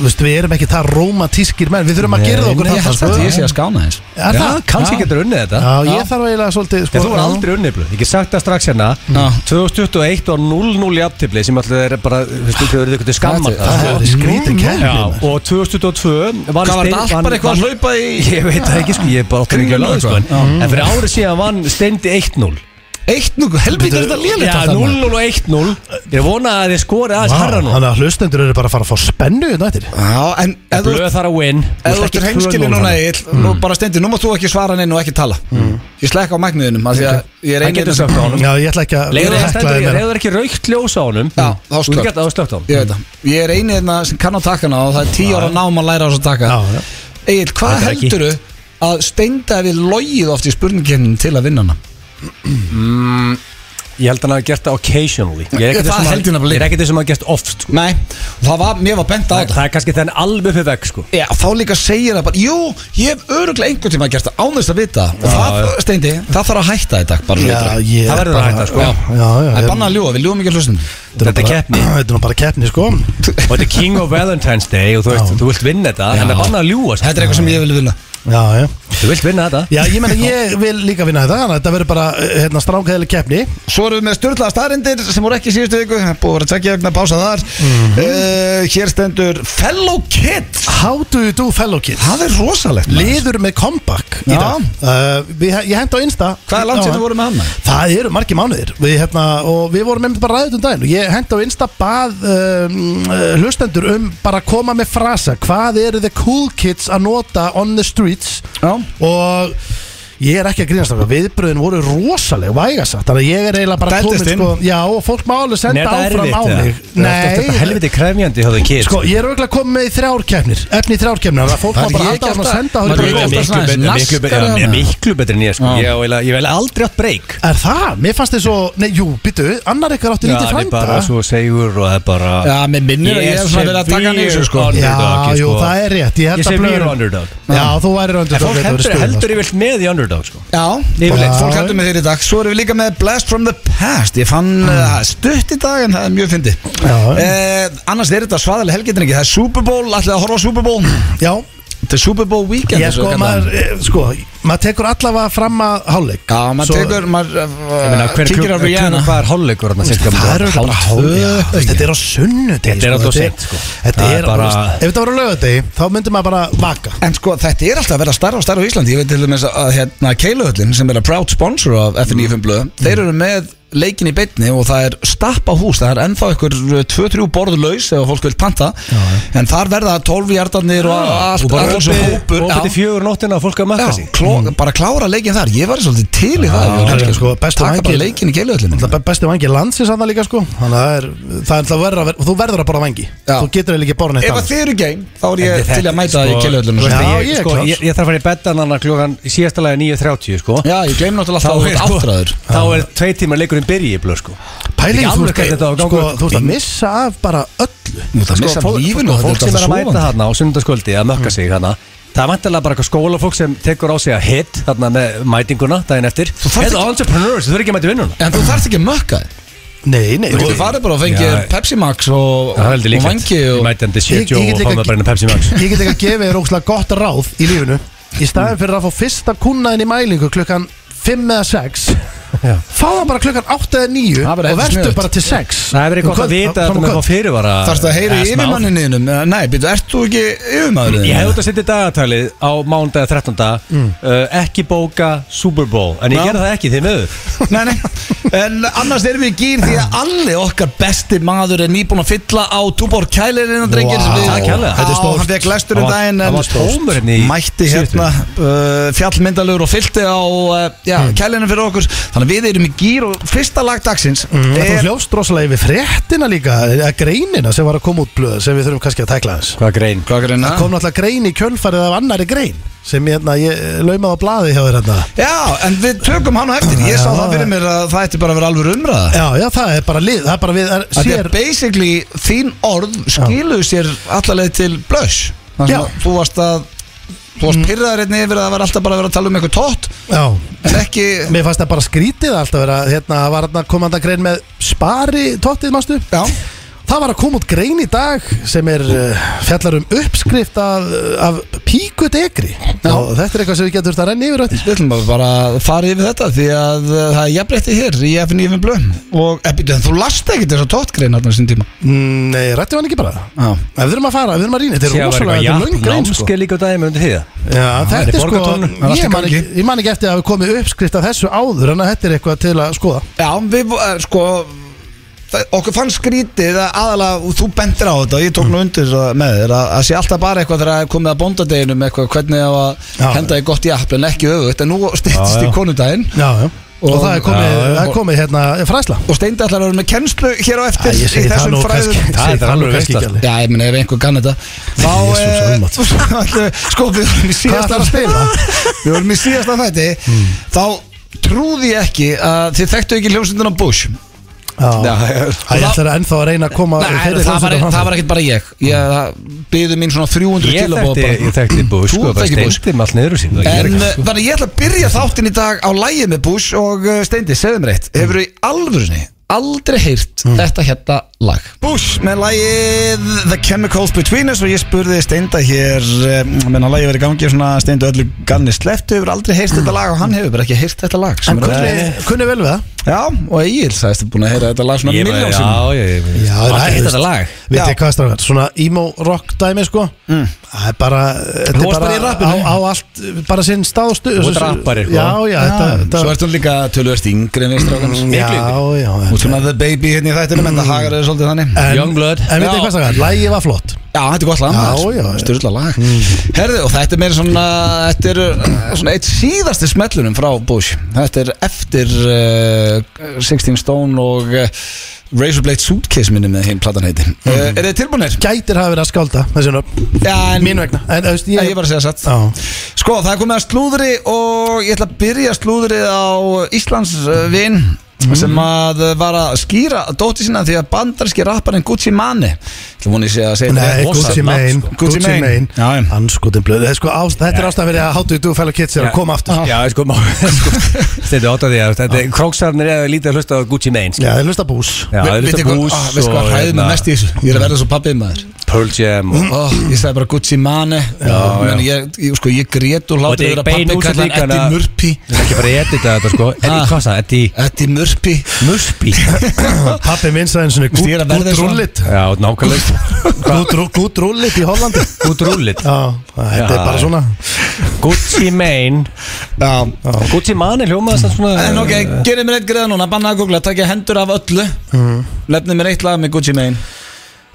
Speaker 2: veist, við erum ekki það romantískir menn, við þurfum að
Speaker 3: Nei,
Speaker 2: gera okkur
Speaker 1: Nei, ég
Speaker 2: þetta,
Speaker 1: held
Speaker 2: sko.
Speaker 1: að ég sé að skána þess
Speaker 2: Er
Speaker 3: Já,
Speaker 2: það?
Speaker 3: kannski getur unnið þetta
Speaker 2: Já, ég þarf eiginlega svolítið,
Speaker 3: Ég,
Speaker 2: sko.
Speaker 3: þú er aldrei unniblu, ég get sagt það strax hérna
Speaker 1: Já.
Speaker 3: 2021 og 0-0 í aftifli sem alltaf er bara, þú veist, þau eru eitthvað skammar
Speaker 1: Þetta-
Speaker 2: Það
Speaker 3: það.
Speaker 2: hefur verið skrítið
Speaker 3: Já,
Speaker 2: kæmur.
Speaker 3: og 2022 vann
Speaker 1: Hvað var þetta
Speaker 3: Stein-
Speaker 1: allt
Speaker 3: vann-
Speaker 1: bara eitthvað að
Speaker 3: vann-
Speaker 1: hlaupa í
Speaker 3: Ég veit það ekki, sko, ég er bara okkur ekki að
Speaker 1: Kringlunni
Speaker 3: lögðu sko, en- En fyrir árið síðan vann Steindi 1-0
Speaker 1: Eitt nú, helvítið er þetta lélitt
Speaker 3: Já, 0-0 og 1-0 Ég vona að þið skorið aðeins harra nú
Speaker 2: Þannig að hlustendur eru bara að fara að fá spennu þetta eftir.
Speaker 1: Já, en ef þú
Speaker 3: Blöð þarf að win
Speaker 1: Ef þú ertur heimskili núna Egill, nú bara stendi, nú mátt þú ekki svara neinn og ekki tala Ég slekka á magniðinum af Því að ég er hérna
Speaker 3: Það
Speaker 1: einir
Speaker 3: getur sagt á honum
Speaker 2: Já, ég ætla ekki að
Speaker 3: Leður
Speaker 2: vera
Speaker 3: það
Speaker 2: heklaðið
Speaker 3: stendur,
Speaker 2: með
Speaker 3: leður það ekki raukt ljós á honum
Speaker 1: Já, þá
Speaker 3: Þú
Speaker 1: slökkt.
Speaker 3: getur það slögt á honum
Speaker 1: Ég veit það, ég er einir hérna sem kann á takkana og það er tíu ára nám að læra á þess að taka
Speaker 2: Já, já.
Speaker 1: Egil, hvað
Speaker 3: Þetta er ekki.
Speaker 1: heldurðu að steinda við logið oft í spurningkefnin til að vinna hana?
Speaker 3: Ég held að hann hafi gert það occasionally Ég er
Speaker 1: Ég-
Speaker 3: ekkert
Speaker 1: það
Speaker 3: þessum
Speaker 1: held ég
Speaker 3: að
Speaker 1: nefnilega.
Speaker 3: Ég er ekkert þessum að hafi gert oft sko.
Speaker 1: Nei, það var, mér var bent á
Speaker 3: það,
Speaker 1: þetta
Speaker 3: er kannski þenn alveg fyrir vekk sko.
Speaker 1: Já, þá líka segir það bara, jú, ég hef öruglega einhvern tíma gert það án þess að vita það. Og það, Steindi, það þarf að hætta í dag bara svo
Speaker 2: Já,
Speaker 1: ytra.
Speaker 2: ég
Speaker 3: Það verður að
Speaker 2: bara-
Speaker 3: hætta, sko.
Speaker 2: Já, já, hérna. já.
Speaker 1: Það er bannað að ljúa, við ljúum ekki að hlustum
Speaker 2: nú
Speaker 3: Þetta er
Speaker 2: bara-
Speaker 3: keppni.
Speaker 2: Þetta er nú bara keppni, sko.
Speaker 3: Og þetta er King of Valentine's Day Og þú, veist,
Speaker 2: Já.
Speaker 3: þú vilt vinna þetta Þannig að banna að ljúa sko.
Speaker 1: Þetta er eitthvað sem ég vil vinna
Speaker 2: Já, já.
Speaker 3: Þú vilt vinna þetta
Speaker 2: Já, ég meina, ég vil líka vinna þetta, þannig að þetta verður bara, hérna, strángæðileg keppni.
Speaker 1: Svo erum við með störtlaða staðrindir sem voru ekki í síðustu viku Það er Búið að vera tvekja vegna pása þar
Speaker 2: Mhm.
Speaker 1: uh, Hér stendur Fellow Kid
Speaker 2: How do you do fellow kids?
Speaker 1: Það er rosalegt maður.
Speaker 2: Liður með comeback í
Speaker 1: Já.
Speaker 2: dag uh, við, Ég hend á Insta
Speaker 1: Hvað er langt sem við vorum með hann?
Speaker 2: Það eru margir mánuðir við, hérna, og við vorum einmitt bara ræðið um daginn og ég hendi á Insta bað um, uh, hlustendur um bara að koma með frasa hvað eru the cool kids að nota on the streets
Speaker 1: Já.
Speaker 2: og Ég er ekki að grínast okkar, viðbröðin voru rosaleg vægasa, þannig að ég er eiginlega bara
Speaker 1: Dældist
Speaker 2: kominn,
Speaker 1: inn.
Speaker 2: sko, Já, og fólk má alveg senda áfram á mig
Speaker 3: Nei
Speaker 2: Nei,
Speaker 3: Helviti krefjandi hjá þau kitt
Speaker 2: sko, ég er auðvitað komið með í þrjár keppnir Efni í þrjár keppnir, þannig að fólk má
Speaker 1: Það er
Speaker 2: bara
Speaker 1: ég
Speaker 2: halda
Speaker 1: ekki
Speaker 2: áfram að
Speaker 1: alltaf-
Speaker 2: senda á
Speaker 1: maður
Speaker 2: þetta
Speaker 1: er
Speaker 2: brot.
Speaker 1: ekki alltaf-
Speaker 3: Miklu,
Speaker 1: svona aðeins
Speaker 3: miklu, miklu,
Speaker 1: naskari
Speaker 3: ja,
Speaker 1: þarna.
Speaker 3: miklu betri en ég sko.
Speaker 1: Já.
Speaker 3: ég, á eiginlega- ég vel aldrei átt breyk
Speaker 2: Er það? Mér fannst þið svo, nei, jú, byttu, annar ykkar átti lítið
Speaker 3: er bara
Speaker 2: frænda
Speaker 3: svo segur og það er bara
Speaker 1: Já, mér minnir að ég hef svona verið að taka hann í þessu sko
Speaker 3: Já,
Speaker 2: Já,
Speaker 3: underdog,
Speaker 2: jú,
Speaker 3: sko.
Speaker 2: það er rétt, ég
Speaker 3: Ég
Speaker 2: held
Speaker 3: sé
Speaker 2: að
Speaker 3: mjög
Speaker 2: blöður
Speaker 3: underdog
Speaker 2: Já, þú væri
Speaker 3: En
Speaker 2: röndur
Speaker 3: Fólk heldur, heldur yfirlt með í underdog sko.
Speaker 1: Já,
Speaker 2: Yfirleitt.
Speaker 1: fólk heldur með þér í dag Svo erum við líka með Blast from the Past Ég fann uh, stutt í dag en það er mjög fyndi
Speaker 2: Mm. Já.
Speaker 1: Annars er þetta svaðalega helgitrin ekki Það er Super Bowl, allir að horfa á Super Bowl
Speaker 2: sko. Já,
Speaker 1: Þetta er Super Bowl weekend
Speaker 2: ég
Speaker 1: eins og
Speaker 2: sko,
Speaker 1: við kallum
Speaker 2: maður, eh, sko, maður tekur allavega fram að hálfleik
Speaker 1: það. Já, maður
Speaker 2: Svo-
Speaker 1: tekur, maður uh,
Speaker 3: Ég meina, hver-
Speaker 1: kíkir á
Speaker 3: hver-
Speaker 1: Rihanna
Speaker 3: hver- Hvað er hálfleikur þarna, cirka?
Speaker 2: Það er bara
Speaker 3: Hálf
Speaker 2: hálf
Speaker 3: tvö?
Speaker 2: já, þú veist, Þetta er á sunnudegi
Speaker 3: Þetta er
Speaker 2: sko,
Speaker 3: alltaf
Speaker 2: þetta
Speaker 3: seint, sko.
Speaker 2: Þetta
Speaker 3: Það
Speaker 2: er
Speaker 3: er bara-
Speaker 2: bara Ef þetta var á laugardegi Þá myndi maður bara vaka
Speaker 1: En sko, þetta er alltaf að vera starra og starra á Íslandi Ég veit til dæmis að hérna, Keiluhöllin sem er að proud sponsor af FNF blöð Þeir eru með leikin í beinni og það er stappa hús, það er ennþá ykkur 2-3 borðu laus ef fólk vil panta en þar verða 12 hjartarnir og allt,
Speaker 3: Og bara
Speaker 1: allt þessu hópur
Speaker 3: opið til
Speaker 1: Já,
Speaker 3: fjögur nóttina að fólk að
Speaker 1: já,
Speaker 3: makka sig
Speaker 1: kló, bara klára leikin þar, ég var svolítið til í það
Speaker 2: það er
Speaker 1: Helgi,
Speaker 2: sko, besta
Speaker 1: Taka
Speaker 2: vængir-
Speaker 1: bara leikin í Keiluhöllin
Speaker 2: Það er besti vangi landsins að það líka sko Þannig að það er Það er alltaf verður að ver- Þú verður að borða vangi
Speaker 1: Já.
Speaker 2: Þú getur eiginlega ekki borða neitt
Speaker 1: Ef að
Speaker 2: annað.
Speaker 1: þið eru geim, þá er ég
Speaker 3: Þetta-
Speaker 1: til að mæta það í
Speaker 3: sko,
Speaker 1: Keiluhöllin
Speaker 3: þú veist,
Speaker 2: Já,
Speaker 3: ég,
Speaker 2: ég er
Speaker 3: sko,
Speaker 2: klár.
Speaker 3: ég, ég þarf að fara í bettan annar klokkan í síðasta lagi 9.30 sko.
Speaker 1: Já, ég gleym náttúrulega alltaf að þú ert áttræður
Speaker 3: þá er tvei tímar leikurinn byrji í blöð sko.
Speaker 2: Pæling,
Speaker 3: Ekki
Speaker 2: þú
Speaker 3: alveg hvernig
Speaker 2: ert-
Speaker 3: þetta á að ganga
Speaker 2: sko,
Speaker 3: upp.
Speaker 2: þú ert að missa af bara öllu
Speaker 1: Nú, það missa
Speaker 3: fólk-
Speaker 1: lífinu
Speaker 3: sko, fólk
Speaker 1: þetta
Speaker 3: sem er að
Speaker 1: svo
Speaker 3: mæta þarna á sundarskvöldi að mökka sig þarna það er vantilega bara eitthvað skólafólk sem tekur á sig að hit þarna með mætinguna daginn eftir
Speaker 1: þarft
Speaker 3: eða entrepreneurs, þú verður ekki að mæta vinnuna
Speaker 1: En þú þarft ekki að mökka þig
Speaker 2: Nei, nei
Speaker 1: Þú getur farið bara og fengið
Speaker 3: Já.
Speaker 1: Pepsi Max og,
Speaker 3: það er heldur
Speaker 1: og
Speaker 3: líklegt,
Speaker 1: vangi
Speaker 3: ég
Speaker 1: og
Speaker 3: mæti hann til
Speaker 2: Ég- ég
Speaker 3: 70
Speaker 2: get
Speaker 3: og
Speaker 2: líka-
Speaker 3: fá mig bara inn að Pepsi Max
Speaker 2: Ég get ekki að gefa þér ógslag gott ráð í lífinu Í staðin fyrir að fá fyrsta kunnaðin í mælingu klukkan 5 eða 6
Speaker 3: Já.
Speaker 2: Fá það bara klukkan 8 eða 9
Speaker 1: Það
Speaker 2: Og
Speaker 1: verður heldur
Speaker 2: verður
Speaker 1: sniðugt.
Speaker 2: bara til 6
Speaker 3: það hefur gott að vita þetta með fá fyrirvara
Speaker 1: Þarfst að heyra
Speaker 3: eða
Speaker 1: í
Speaker 3: smá.
Speaker 1: yfirmanninniðinum Nei, býtu, ert þú ekki yfirmaðurinn?
Speaker 3: Ég hefði út að setja dagatalið á mánudag 13. Uh, ekki bóka Super Bowl En ég
Speaker 1: Já.
Speaker 3: gerði það ekki því miður
Speaker 1: Nei, nei, en annars erum við í gýr því að allir okkar besti maður er nýbúin að fylla á Túbor Kælirinn og drengir
Speaker 2: Vá.
Speaker 1: sem við-
Speaker 3: Takk hérlega.
Speaker 1: Þetta er stórt.
Speaker 2: Á,
Speaker 1: Hann fekk læstur um
Speaker 3: Það var-
Speaker 1: daginn
Speaker 3: það
Speaker 1: en
Speaker 3: var tómur hérna í
Speaker 1: mætti
Speaker 3: síðustu.
Speaker 1: hérna uh, fjallmyndalur og fyllti á uh, já, Kælirinn fyrir okkur Þannig að við erum í gýr og fyrsta lag dagsins
Speaker 2: Mm, Þú
Speaker 1: er
Speaker 2: hljófst rosalega yfir fréttina líka eða greinina sem var að koma út blöð sem við þurfum kannski að tækla þess
Speaker 3: Hvað grein?
Speaker 1: Hvað er hérna?
Speaker 2: kom náttúrulega grein í kjölfarið af annari grein sem ég, hérna, ég laumaði á blaði hjá þér hérna
Speaker 1: Já, en við tökum hann á eftir Ég sá það fyrir mér að það ætti bara að vera alveg umræða
Speaker 2: Já, já, það er bara lið, það er bara við er,
Speaker 1: Þetta er
Speaker 2: sér,
Speaker 1: basically þín orð skiluðu sér allaleg til blöss Þannig að
Speaker 2: Já.
Speaker 1: þú varst að Þú varst pyrraður einnig yfir að það var alltaf bara að vera að tala um eitthvað tótt
Speaker 2: Já,
Speaker 1: En ekki
Speaker 2: mér fannst það bara skrítið alltaf vera, hérna, það var hérna komanda grein með spari tóttið, mástu
Speaker 1: Já,
Speaker 2: Það var að koma út grein í dag sem er uh, fjallar um uppskrift af, af píkut egri og þetta er eitthvað sem við getum þurft að renna yfir á eftir.
Speaker 1: við ætlum að bara að fara yfir þetta Því að uh, það er jafnrétti hér í FNF blöð Og eh, býttu, en þú last ekki þess að tótt grein Þannig sem tíma
Speaker 2: Mm, Nei, rættum við hann ekki bara það?
Speaker 1: Já.
Speaker 2: Ef við erum að fara, ef við erum að rýna, þetta er rosalega, þetta er löng grein sko.
Speaker 3: Námskeið líka á daginn með undir því það
Speaker 2: Já,
Speaker 3: þetta
Speaker 2: þetta
Speaker 3: er
Speaker 2: er sko,
Speaker 3: borgartúnum,
Speaker 1: það er allt
Speaker 2: ég
Speaker 1: í
Speaker 2: man, ekki,
Speaker 1: gangi.
Speaker 2: ég man ekki eftir að hafa komið uppskrift af þessu áður en að þetta er eitthvað til að skoða
Speaker 1: Já, við, eh, sko það- Okkur fann skrítið að aðalega og þú bendir á þetta og ég tók
Speaker 2: Mm.
Speaker 1: nú undir það með þér að, að sé alltaf bara eitthvað þegar það er komið að bóndadeginum eitthvað hvernig á að
Speaker 2: Já.
Speaker 1: henda þig gott í appl en ekki öfugt en nú styrtist
Speaker 3: Já,
Speaker 1: í
Speaker 3: já.
Speaker 1: konudaginn
Speaker 2: Já, já Og, það er komið,
Speaker 3: Já, já.
Speaker 2: það er komið hérna fræsla
Speaker 1: og steindi allar að vera með kennslu hér á eftir
Speaker 2: Æ, ég segi
Speaker 1: í
Speaker 2: það
Speaker 1: þessum
Speaker 2: nú
Speaker 1: fræðum
Speaker 2: kannski-
Speaker 3: Það
Speaker 2: segi
Speaker 3: er alveg
Speaker 2: nú kannski
Speaker 3: veistla.
Speaker 2: ekki alveg.
Speaker 1: Já, ég meni ef einhver kann þetta Þá,
Speaker 2: Jesús,
Speaker 1: eh,
Speaker 2: almátt.
Speaker 1: ætlum við- sko við vorum í
Speaker 2: Hvað
Speaker 1: síðasta
Speaker 2: ætlarðu að spila? Mm.
Speaker 1: Við vorum í síðasta þætti Þá trúði ég ekki að þið þekktu ekki hljómsundin á Bush
Speaker 2: Já, Æ, ég ætlar ennþá að reyna að koma
Speaker 1: Nei,
Speaker 2: þeirri
Speaker 1: það var,
Speaker 2: hljómsveit á
Speaker 1: það var
Speaker 2: framfæri.
Speaker 1: ekkert bara ég Ég byði mín svona 300
Speaker 3: Ég
Speaker 1: kilobóð
Speaker 3: þekkti, ég þekkti Bush
Speaker 1: Þú
Speaker 3: sko, bara
Speaker 1: þekkir Bush.
Speaker 3: steindi með allt niður úr sín
Speaker 1: En uh, þannig ég ætla að byrja þáttinn í dag á lægið með Bush og uh, Steindi, segðu mér eitt Hefur þú í alvörunni aldrei heyrt þetta hérna lag? Bush með lægið The Chemicals Between Us og ég spurði Steinda hér um, menna lægið verið í gangi svona Steindi öllu ganni sleftu hefur aldrei heyrt þetta lag og hann hefur bara ekki heyrt þetta lag sem er
Speaker 2: En
Speaker 1: alveg-
Speaker 2: kunni, kunni vel við það
Speaker 1: Já, og Egil sagðist búin að heyra þetta lag svona
Speaker 3: Ég bara,
Speaker 1: miljón sem
Speaker 3: já, ég
Speaker 2: Já, það
Speaker 3: Allir
Speaker 2: er-
Speaker 3: hitt þetta lag
Speaker 2: Vitið
Speaker 1: Já.
Speaker 2: þið hvað strafgar, svona emo rock dæmi sko Það er bara, þetta
Speaker 3: varst bara í
Speaker 2: er
Speaker 3: rappinu.
Speaker 2: bara á, á allt, bara sinn stáð og stu
Speaker 3: Þú ert rappari, sko.
Speaker 2: Já, já, þetta, þetta
Speaker 1: Svo ertu líka tölvöst yngri en við strákan
Speaker 3: Mm,
Speaker 2: Já, já,
Speaker 1: Út svona the baby hérna í þættinum En það hagar þau svolítið þannig
Speaker 2: En-
Speaker 3: Youngblood.
Speaker 2: En veit
Speaker 1: Já.
Speaker 2: þið hvað það er? Lægið var flott
Speaker 1: Já, þetta er gott lag
Speaker 2: Já, já, já.
Speaker 1: Sturla lag Herðu, og þetta er meira svona Þetta er uh, svona eitt síðasti smellunum frá Bush Þetta er eftir uh, 16 Stone og uh, Razorblade Suitcase minni með hinn platan heiti mm. uh, Er þið tilbúinir?
Speaker 2: Gætir hafa verið að skálda þessi nöfn
Speaker 1: Já, en
Speaker 2: Mín vegna En þú veist
Speaker 1: Ég,
Speaker 2: ég
Speaker 1: ég var að segja satt
Speaker 2: Já
Speaker 1: Sko, það er komið að slúðri og ég ætla að byrja slúðrið á Íslands uh, vin sem að uh, var að skýra dótti sína því að bandarski rapparinn Gucci Mane Ég vona ég sé að segja
Speaker 2: Nei,
Speaker 1: rétt rosa
Speaker 2: Gucci
Speaker 1: nafn,
Speaker 2: Mane
Speaker 1: sko. Gucci Mane Já, já.
Speaker 2: Anskotin blöð Þetta er sko ást- þetta er ástæðan fyrir að hátu þú fæla kids er að koma aftur
Speaker 3: Já, sko, má- sko Þetta er átt að því að þetta Króksarnir er lítið að hlusta á Gucci Mane skilur.
Speaker 2: Já, þeir hlusta bús
Speaker 3: Já, það er
Speaker 1: Veitu
Speaker 3: hlusta
Speaker 1: hvað-
Speaker 3: bús hérna,
Speaker 1: ah, Veistu hvað hræði mig mest í þessu? Ég er að verða svo pappið maður
Speaker 3: Pearl Jam og
Speaker 1: oh, Ég sagði bara Gucci Mane
Speaker 3: já.
Speaker 1: Men ég, ég, sko, ég grét og
Speaker 3: Og þetta
Speaker 1: látið
Speaker 3: er
Speaker 1: þeirra
Speaker 3: bein
Speaker 1: pappið
Speaker 3: útsending,
Speaker 1: kallan
Speaker 3: hann
Speaker 1: Eddie
Speaker 3: að-
Speaker 1: Murphy
Speaker 3: Þetta er ekki bara að edita þetta sko Eddie,
Speaker 1: Ah.
Speaker 3: hvað það? Eddie
Speaker 1: Eddie Murphy
Speaker 3: Murphy
Speaker 2: Pappi minn sagði eins og
Speaker 1: Veist, ég er að verða
Speaker 2: Gút
Speaker 1: svona-
Speaker 2: rúllit
Speaker 3: Já, nákvæmlega
Speaker 2: Gút rúllit í Hollandi
Speaker 3: Good rúllit
Speaker 2: Já, þetta er
Speaker 3: Já.
Speaker 2: bara svona
Speaker 3: Gucci Mane
Speaker 1: Já
Speaker 3: Gucci Mane hljómaði þess svona
Speaker 1: En ok, gerið mér eitt greða núna, bannaði að googla, takk ég hendur af öllu Mhm. Lefnið mér eitt lag með Gucci Mane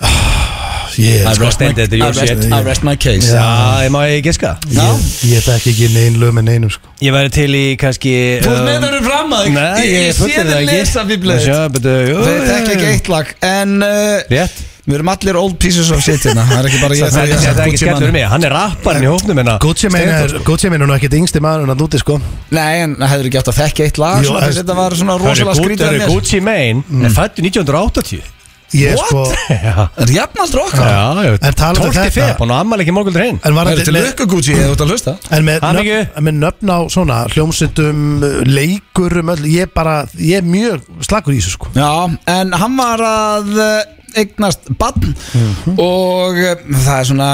Speaker 2: Ég
Speaker 3: I've
Speaker 2: sko
Speaker 3: lost my- Extended your
Speaker 1: I rest-
Speaker 3: shit.
Speaker 1: I rest my case
Speaker 3: Já, ég má ég giska
Speaker 1: Já.
Speaker 2: Ég þekki ekki nein lög með neinum sko
Speaker 3: Ég væri til í kannski
Speaker 1: Þú
Speaker 3: um,
Speaker 1: með verður fram að þig.
Speaker 3: Nei,
Speaker 1: Ég-
Speaker 3: ég
Speaker 1: Ég sé
Speaker 3: fullir það
Speaker 1: þið
Speaker 3: ekki.
Speaker 1: lesa bíblöð
Speaker 3: Sjá, betur, jú,
Speaker 1: Þeir tekja ekki eitt lag En uh,
Speaker 3: Rétt
Speaker 1: við erum allir old pieces of shit hérna Það er ekki bara ég
Speaker 3: Það
Speaker 1: þegar
Speaker 3: er
Speaker 1: ég
Speaker 3: það
Speaker 1: segi
Speaker 3: er ekki
Speaker 1: Gucci
Speaker 3: skellur
Speaker 1: Mane.
Speaker 3: mig Hann er rapparinn í hópnum hérna
Speaker 2: Gucci Mane er Gucci Mane er nú ekkert yngsti maður en að núti sko
Speaker 1: Nei, en hefur ekki átt að þekka eitt lag
Speaker 2: Jú,
Speaker 1: svona, þess að
Speaker 2: en-
Speaker 1: Þetta var svona
Speaker 3: Hörru,
Speaker 1: rosalega
Speaker 3: Gucci-
Speaker 1: skrítið Mm. af
Speaker 3: hörru,
Speaker 1: mér.
Speaker 3: Gucci Mane er fættu 1980
Speaker 2: Ég er
Speaker 1: What?
Speaker 2: sko
Speaker 3: Já,
Speaker 1: Er jafnaldra okkar
Speaker 3: já, já
Speaker 2: En talandi um
Speaker 3: 12.
Speaker 2: þetta-
Speaker 3: feb Hann á ammali ekki morguldur hinn
Speaker 2: En
Speaker 1: Það
Speaker 2: var
Speaker 1: er til
Speaker 2: þetta
Speaker 1: lukku Gucci eða þú ert að hlusta
Speaker 2: En með nöfn,
Speaker 3: Hamingju.
Speaker 2: en með nöfn á svona hljómsundum, leikurum, öll, ég bara, ég er mjög slagur í þessu sko
Speaker 1: Já, en hann var að eh, eignast barn
Speaker 3: Mhm.
Speaker 1: og eh, það er svona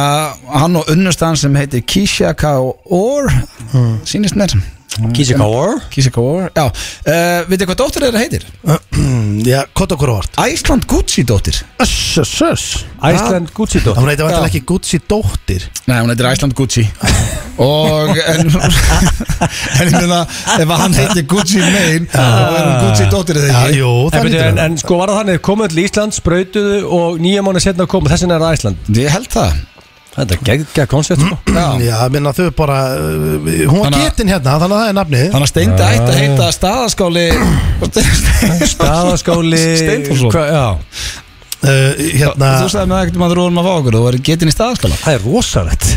Speaker 1: hann og unnustan sem heitir Kisha Kaur
Speaker 3: Mhm.
Speaker 1: sínist mér
Speaker 3: Kísi Kaur
Speaker 1: Kisha Kaur, já uh, Vitið hvað dóttir þeirra heitir?
Speaker 2: Já, kott okkur orð
Speaker 1: Æsland Gucci dóttir
Speaker 2: Öss, öss, öss
Speaker 3: Iceland Gucci dótt
Speaker 2: Hún heitir vantilega
Speaker 1: Já.
Speaker 2: ekki Gucci dóttir
Speaker 1: Nei, hún heitir Æsland Gucci og en, en ég meina ef hann heitir Gucci Mane þá er hún Gucci dóttir þegar
Speaker 2: Já, jú, það
Speaker 3: En,
Speaker 2: heitir
Speaker 3: byrju, en,
Speaker 2: hann
Speaker 3: en sko var það þannig, komu öll í Ísland, sprautuðu og nýja mánu setna komu, þess vegna er það Ísland
Speaker 1: Ég held það
Speaker 3: Þetta er geggja koncept sko
Speaker 1: Já.
Speaker 2: Já, minna þau bara uh, Hún var
Speaker 1: Þannig að-
Speaker 2: getin hérna, þannig að það er nafnið
Speaker 1: Þannig að steindi ætti að heita staðaskáli
Speaker 3: Staðaskáli
Speaker 1: Steinforsson
Speaker 3: hva- Já,
Speaker 2: uh, Hérna
Speaker 1: Þú sagði með ekkert um að þú róðum að fá okkur Þú væri getinn í staðaskála
Speaker 3: það er rosalegt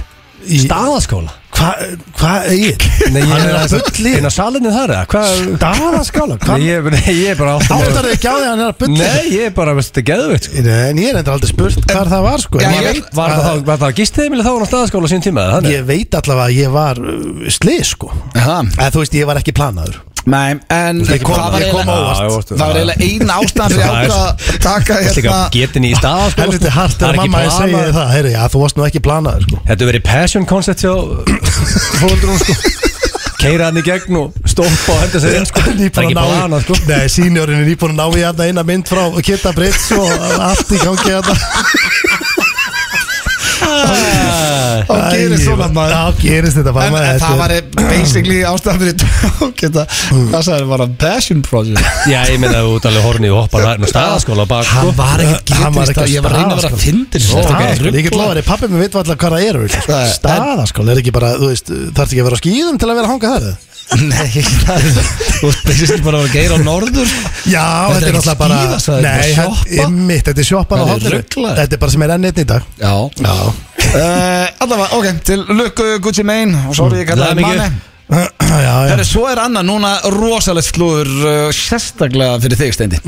Speaker 2: í-
Speaker 3: Staðaskála
Speaker 2: Hvað hva eigin?
Speaker 3: Nei, ég
Speaker 2: Hann er að
Speaker 3: fulli
Speaker 2: bulli
Speaker 3: Inn á salinni þar eða? Hvað?
Speaker 2: Daðaskála
Speaker 3: Nei, ég, nei, ég er bara áttum
Speaker 2: Áttar þau ekki á því að hann er að bulli
Speaker 3: Nei, ég er bara, veist, þetta er geðveikt sko.
Speaker 2: Nei, En ég er endur aldrei spurt hvar það var sko
Speaker 1: Já,
Speaker 2: En
Speaker 1: ég
Speaker 2: ég,
Speaker 1: veit-
Speaker 2: veit,
Speaker 3: Var það þá, var það gistiðimili þá var hann á staðaskála sín tíma eða þannig?
Speaker 2: ég veit allavega að ég var uh, slið sko
Speaker 1: Það
Speaker 2: En þú veist, ég var ekki planaður
Speaker 1: Nei, en
Speaker 2: Ég kom-
Speaker 1: það var
Speaker 2: ég kom
Speaker 1: eiginlega-
Speaker 2: á- óvart.
Speaker 1: Það var eiginlega eina ástæðan fyrir
Speaker 3: Já, það er-
Speaker 1: ákvað að taka
Speaker 3: Þetta
Speaker 1: hérna
Speaker 3: er getin í staðaskála
Speaker 2: Helviti
Speaker 3: sko.
Speaker 2: hart er
Speaker 3: Það er ekki
Speaker 2: mamma að segja
Speaker 3: planað.
Speaker 2: þér það Heyri, já, þú varst nú ekki planaður sko
Speaker 3: Þetta hefur verið passion concept hjá fólundrún sko Keira hann í gegn og stoppa og henda sér inn sko Það er
Speaker 2: Nýbúin að
Speaker 3: ekki
Speaker 2: ná í-
Speaker 3: bara sko
Speaker 2: Nei, sínjórinn er nýbúin að ná í hérna eina mynd frá Kitta Brits og allt í gangi hérna
Speaker 1: Þá gerist svona maður
Speaker 2: Já, gerist þetta bara
Speaker 1: En,
Speaker 2: maður
Speaker 1: en
Speaker 2: þetta
Speaker 1: það
Speaker 2: er-
Speaker 1: var basically ástæðan fyrir ok, það- Það sagði bara passion project
Speaker 3: Já, ég meina þú ert alveg horni og hoppar hann á staðaskóla og bara sko
Speaker 2: Hann var ekkert
Speaker 1: Hann var
Speaker 2: getist
Speaker 1: ekki á
Speaker 2: það, ég var að reyna að vera
Speaker 1: staðarskóla.
Speaker 2: sko. að fyndin
Speaker 1: Ó,
Speaker 3: ok.
Speaker 2: Staðaskóla, ég get lofa þér, pappi minn veit alltaf hvað það sko.
Speaker 1: Það
Speaker 2: er
Speaker 1: er-
Speaker 2: Staðaskóla, er ekki bara, þú veist, þarf ekki að vera á skýðum til að vera að hanga þar
Speaker 1: Nei, það er Þú veist, basically bara að geira á norður
Speaker 2: Já, þetta er
Speaker 1: ekki
Speaker 2: alltaf bara
Speaker 1: skíðasvæði, þetta er bara
Speaker 2: Nei, þetta
Speaker 1: sjoppa.
Speaker 2: er mitt, þetta er sjoppar á
Speaker 1: Það er
Speaker 2: hotninu
Speaker 1: ruglað.
Speaker 2: Þetta er bara sem er enn einn í dag
Speaker 1: Já
Speaker 2: Já,
Speaker 1: uh, Allavega, ok, til lukku Gucci Mane og Sorry, ég kallaði
Speaker 3: Hamingju.
Speaker 1: manni
Speaker 2: já, já
Speaker 1: Herri, svo er annað núna rosalegt slúður uh, sérstaklega fyrir þig, Steindi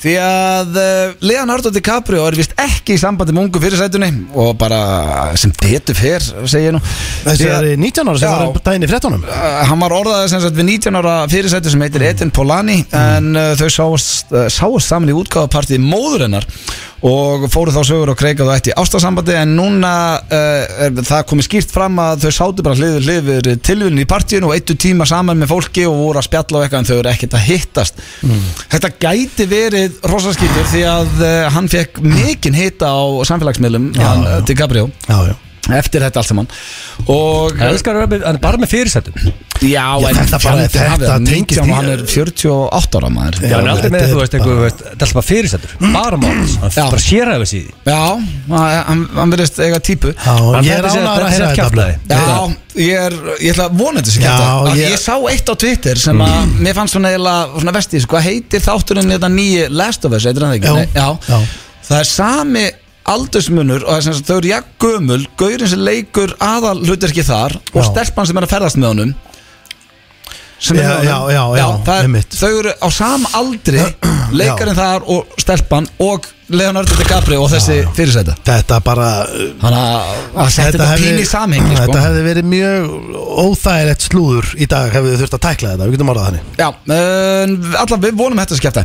Speaker 1: Því að uh, Leonardo DiCaprio er vist ekki í sambandi með ungu fyrirsætunni og bara sem betur fyrr, segi ég nú
Speaker 2: Þessi
Speaker 1: Því að-
Speaker 2: er í 19 ára sem
Speaker 1: Já.
Speaker 2: var daginn í 13
Speaker 1: Uh, hann var orðaðið sem sagt við 19 ára fyrirsættu sem heitir Etin Polani
Speaker 2: Mm.
Speaker 1: en uh, þau sáast, uh, sáast saman í útgáfapartið móður hennar og fóru þá sögur og kreikaðu ætti ástasambandi en núna uh, er- það komið skýrt fram að þau sátu bara hliður hliður tilvunni í partíinu og eittu tíma saman með fólki og voru að spjalla á eitthvað en þau eru ekkert að hittast
Speaker 2: Mm.
Speaker 1: þetta gæti verið eh, rosaskýtur því að uh, hann fekk mikinn hitta á samfélagsmiðlum, hann,
Speaker 2: já.
Speaker 1: DiCaprio
Speaker 2: Já, já
Speaker 1: eftir þetta allt saman og
Speaker 3: Elskar er hann er bara með fyrirsættum
Speaker 1: já, en
Speaker 2: þetta bara-
Speaker 1: fjandinn
Speaker 2: þetta
Speaker 1: hafi það, 19
Speaker 2: tengist
Speaker 1: og
Speaker 2: í-
Speaker 1: hann er 48 ára maður
Speaker 3: Já, hann er aldrei
Speaker 2: þetta
Speaker 3: með
Speaker 2: er
Speaker 3: þú veist einhver, veist, þetta er alltaf bara fyrirsættur Bara máls, hann
Speaker 1: Já.
Speaker 3: bara sérhæfis í því
Speaker 1: já hann, hann verðist eiga típu
Speaker 2: Já,
Speaker 3: Hann
Speaker 2: ég er
Speaker 3: þetta sé-
Speaker 2: ánægður að
Speaker 3: þetta sé
Speaker 2: heyra þetta
Speaker 3: kjaftæði.
Speaker 1: Já, ég er, ég ætla að vona þetta sem
Speaker 2: Já,
Speaker 1: kæfta ég...
Speaker 2: ég- Mm.
Speaker 1: ég sá eitt á Twitter sem að mér fannst svona eða svona vestis, hvað heitir þátturinn þetta nýja Last of Us, heitir hann það ekki?
Speaker 2: Já,
Speaker 1: Nei, já.
Speaker 2: já.
Speaker 1: Það er sami aldursmunur og það er sem sagt, þau eru jafn gömul gaurinn sem leikur aðal hlutirki þar og
Speaker 2: Já.
Speaker 1: stelpan sem er að ferðast með honum sem er
Speaker 2: Já,
Speaker 1: með honum
Speaker 2: já, já, já,
Speaker 1: það er,
Speaker 2: einmitt.
Speaker 1: Þau eru á sama aldri leikarinn þar og stelpan og Leonardo DiCaprio og þessi fyrirsæta
Speaker 2: Þetta bara uh,
Speaker 1: Þannig að- að setja þetta
Speaker 2: hefði-
Speaker 1: pín í samhengi sko.
Speaker 2: Þetta hefði verið mjög óþægilegt slúður Í dag hefði þurft að tækla þetta Við getum orðað þannig
Speaker 1: Já, en allan við vonum að þetta skipta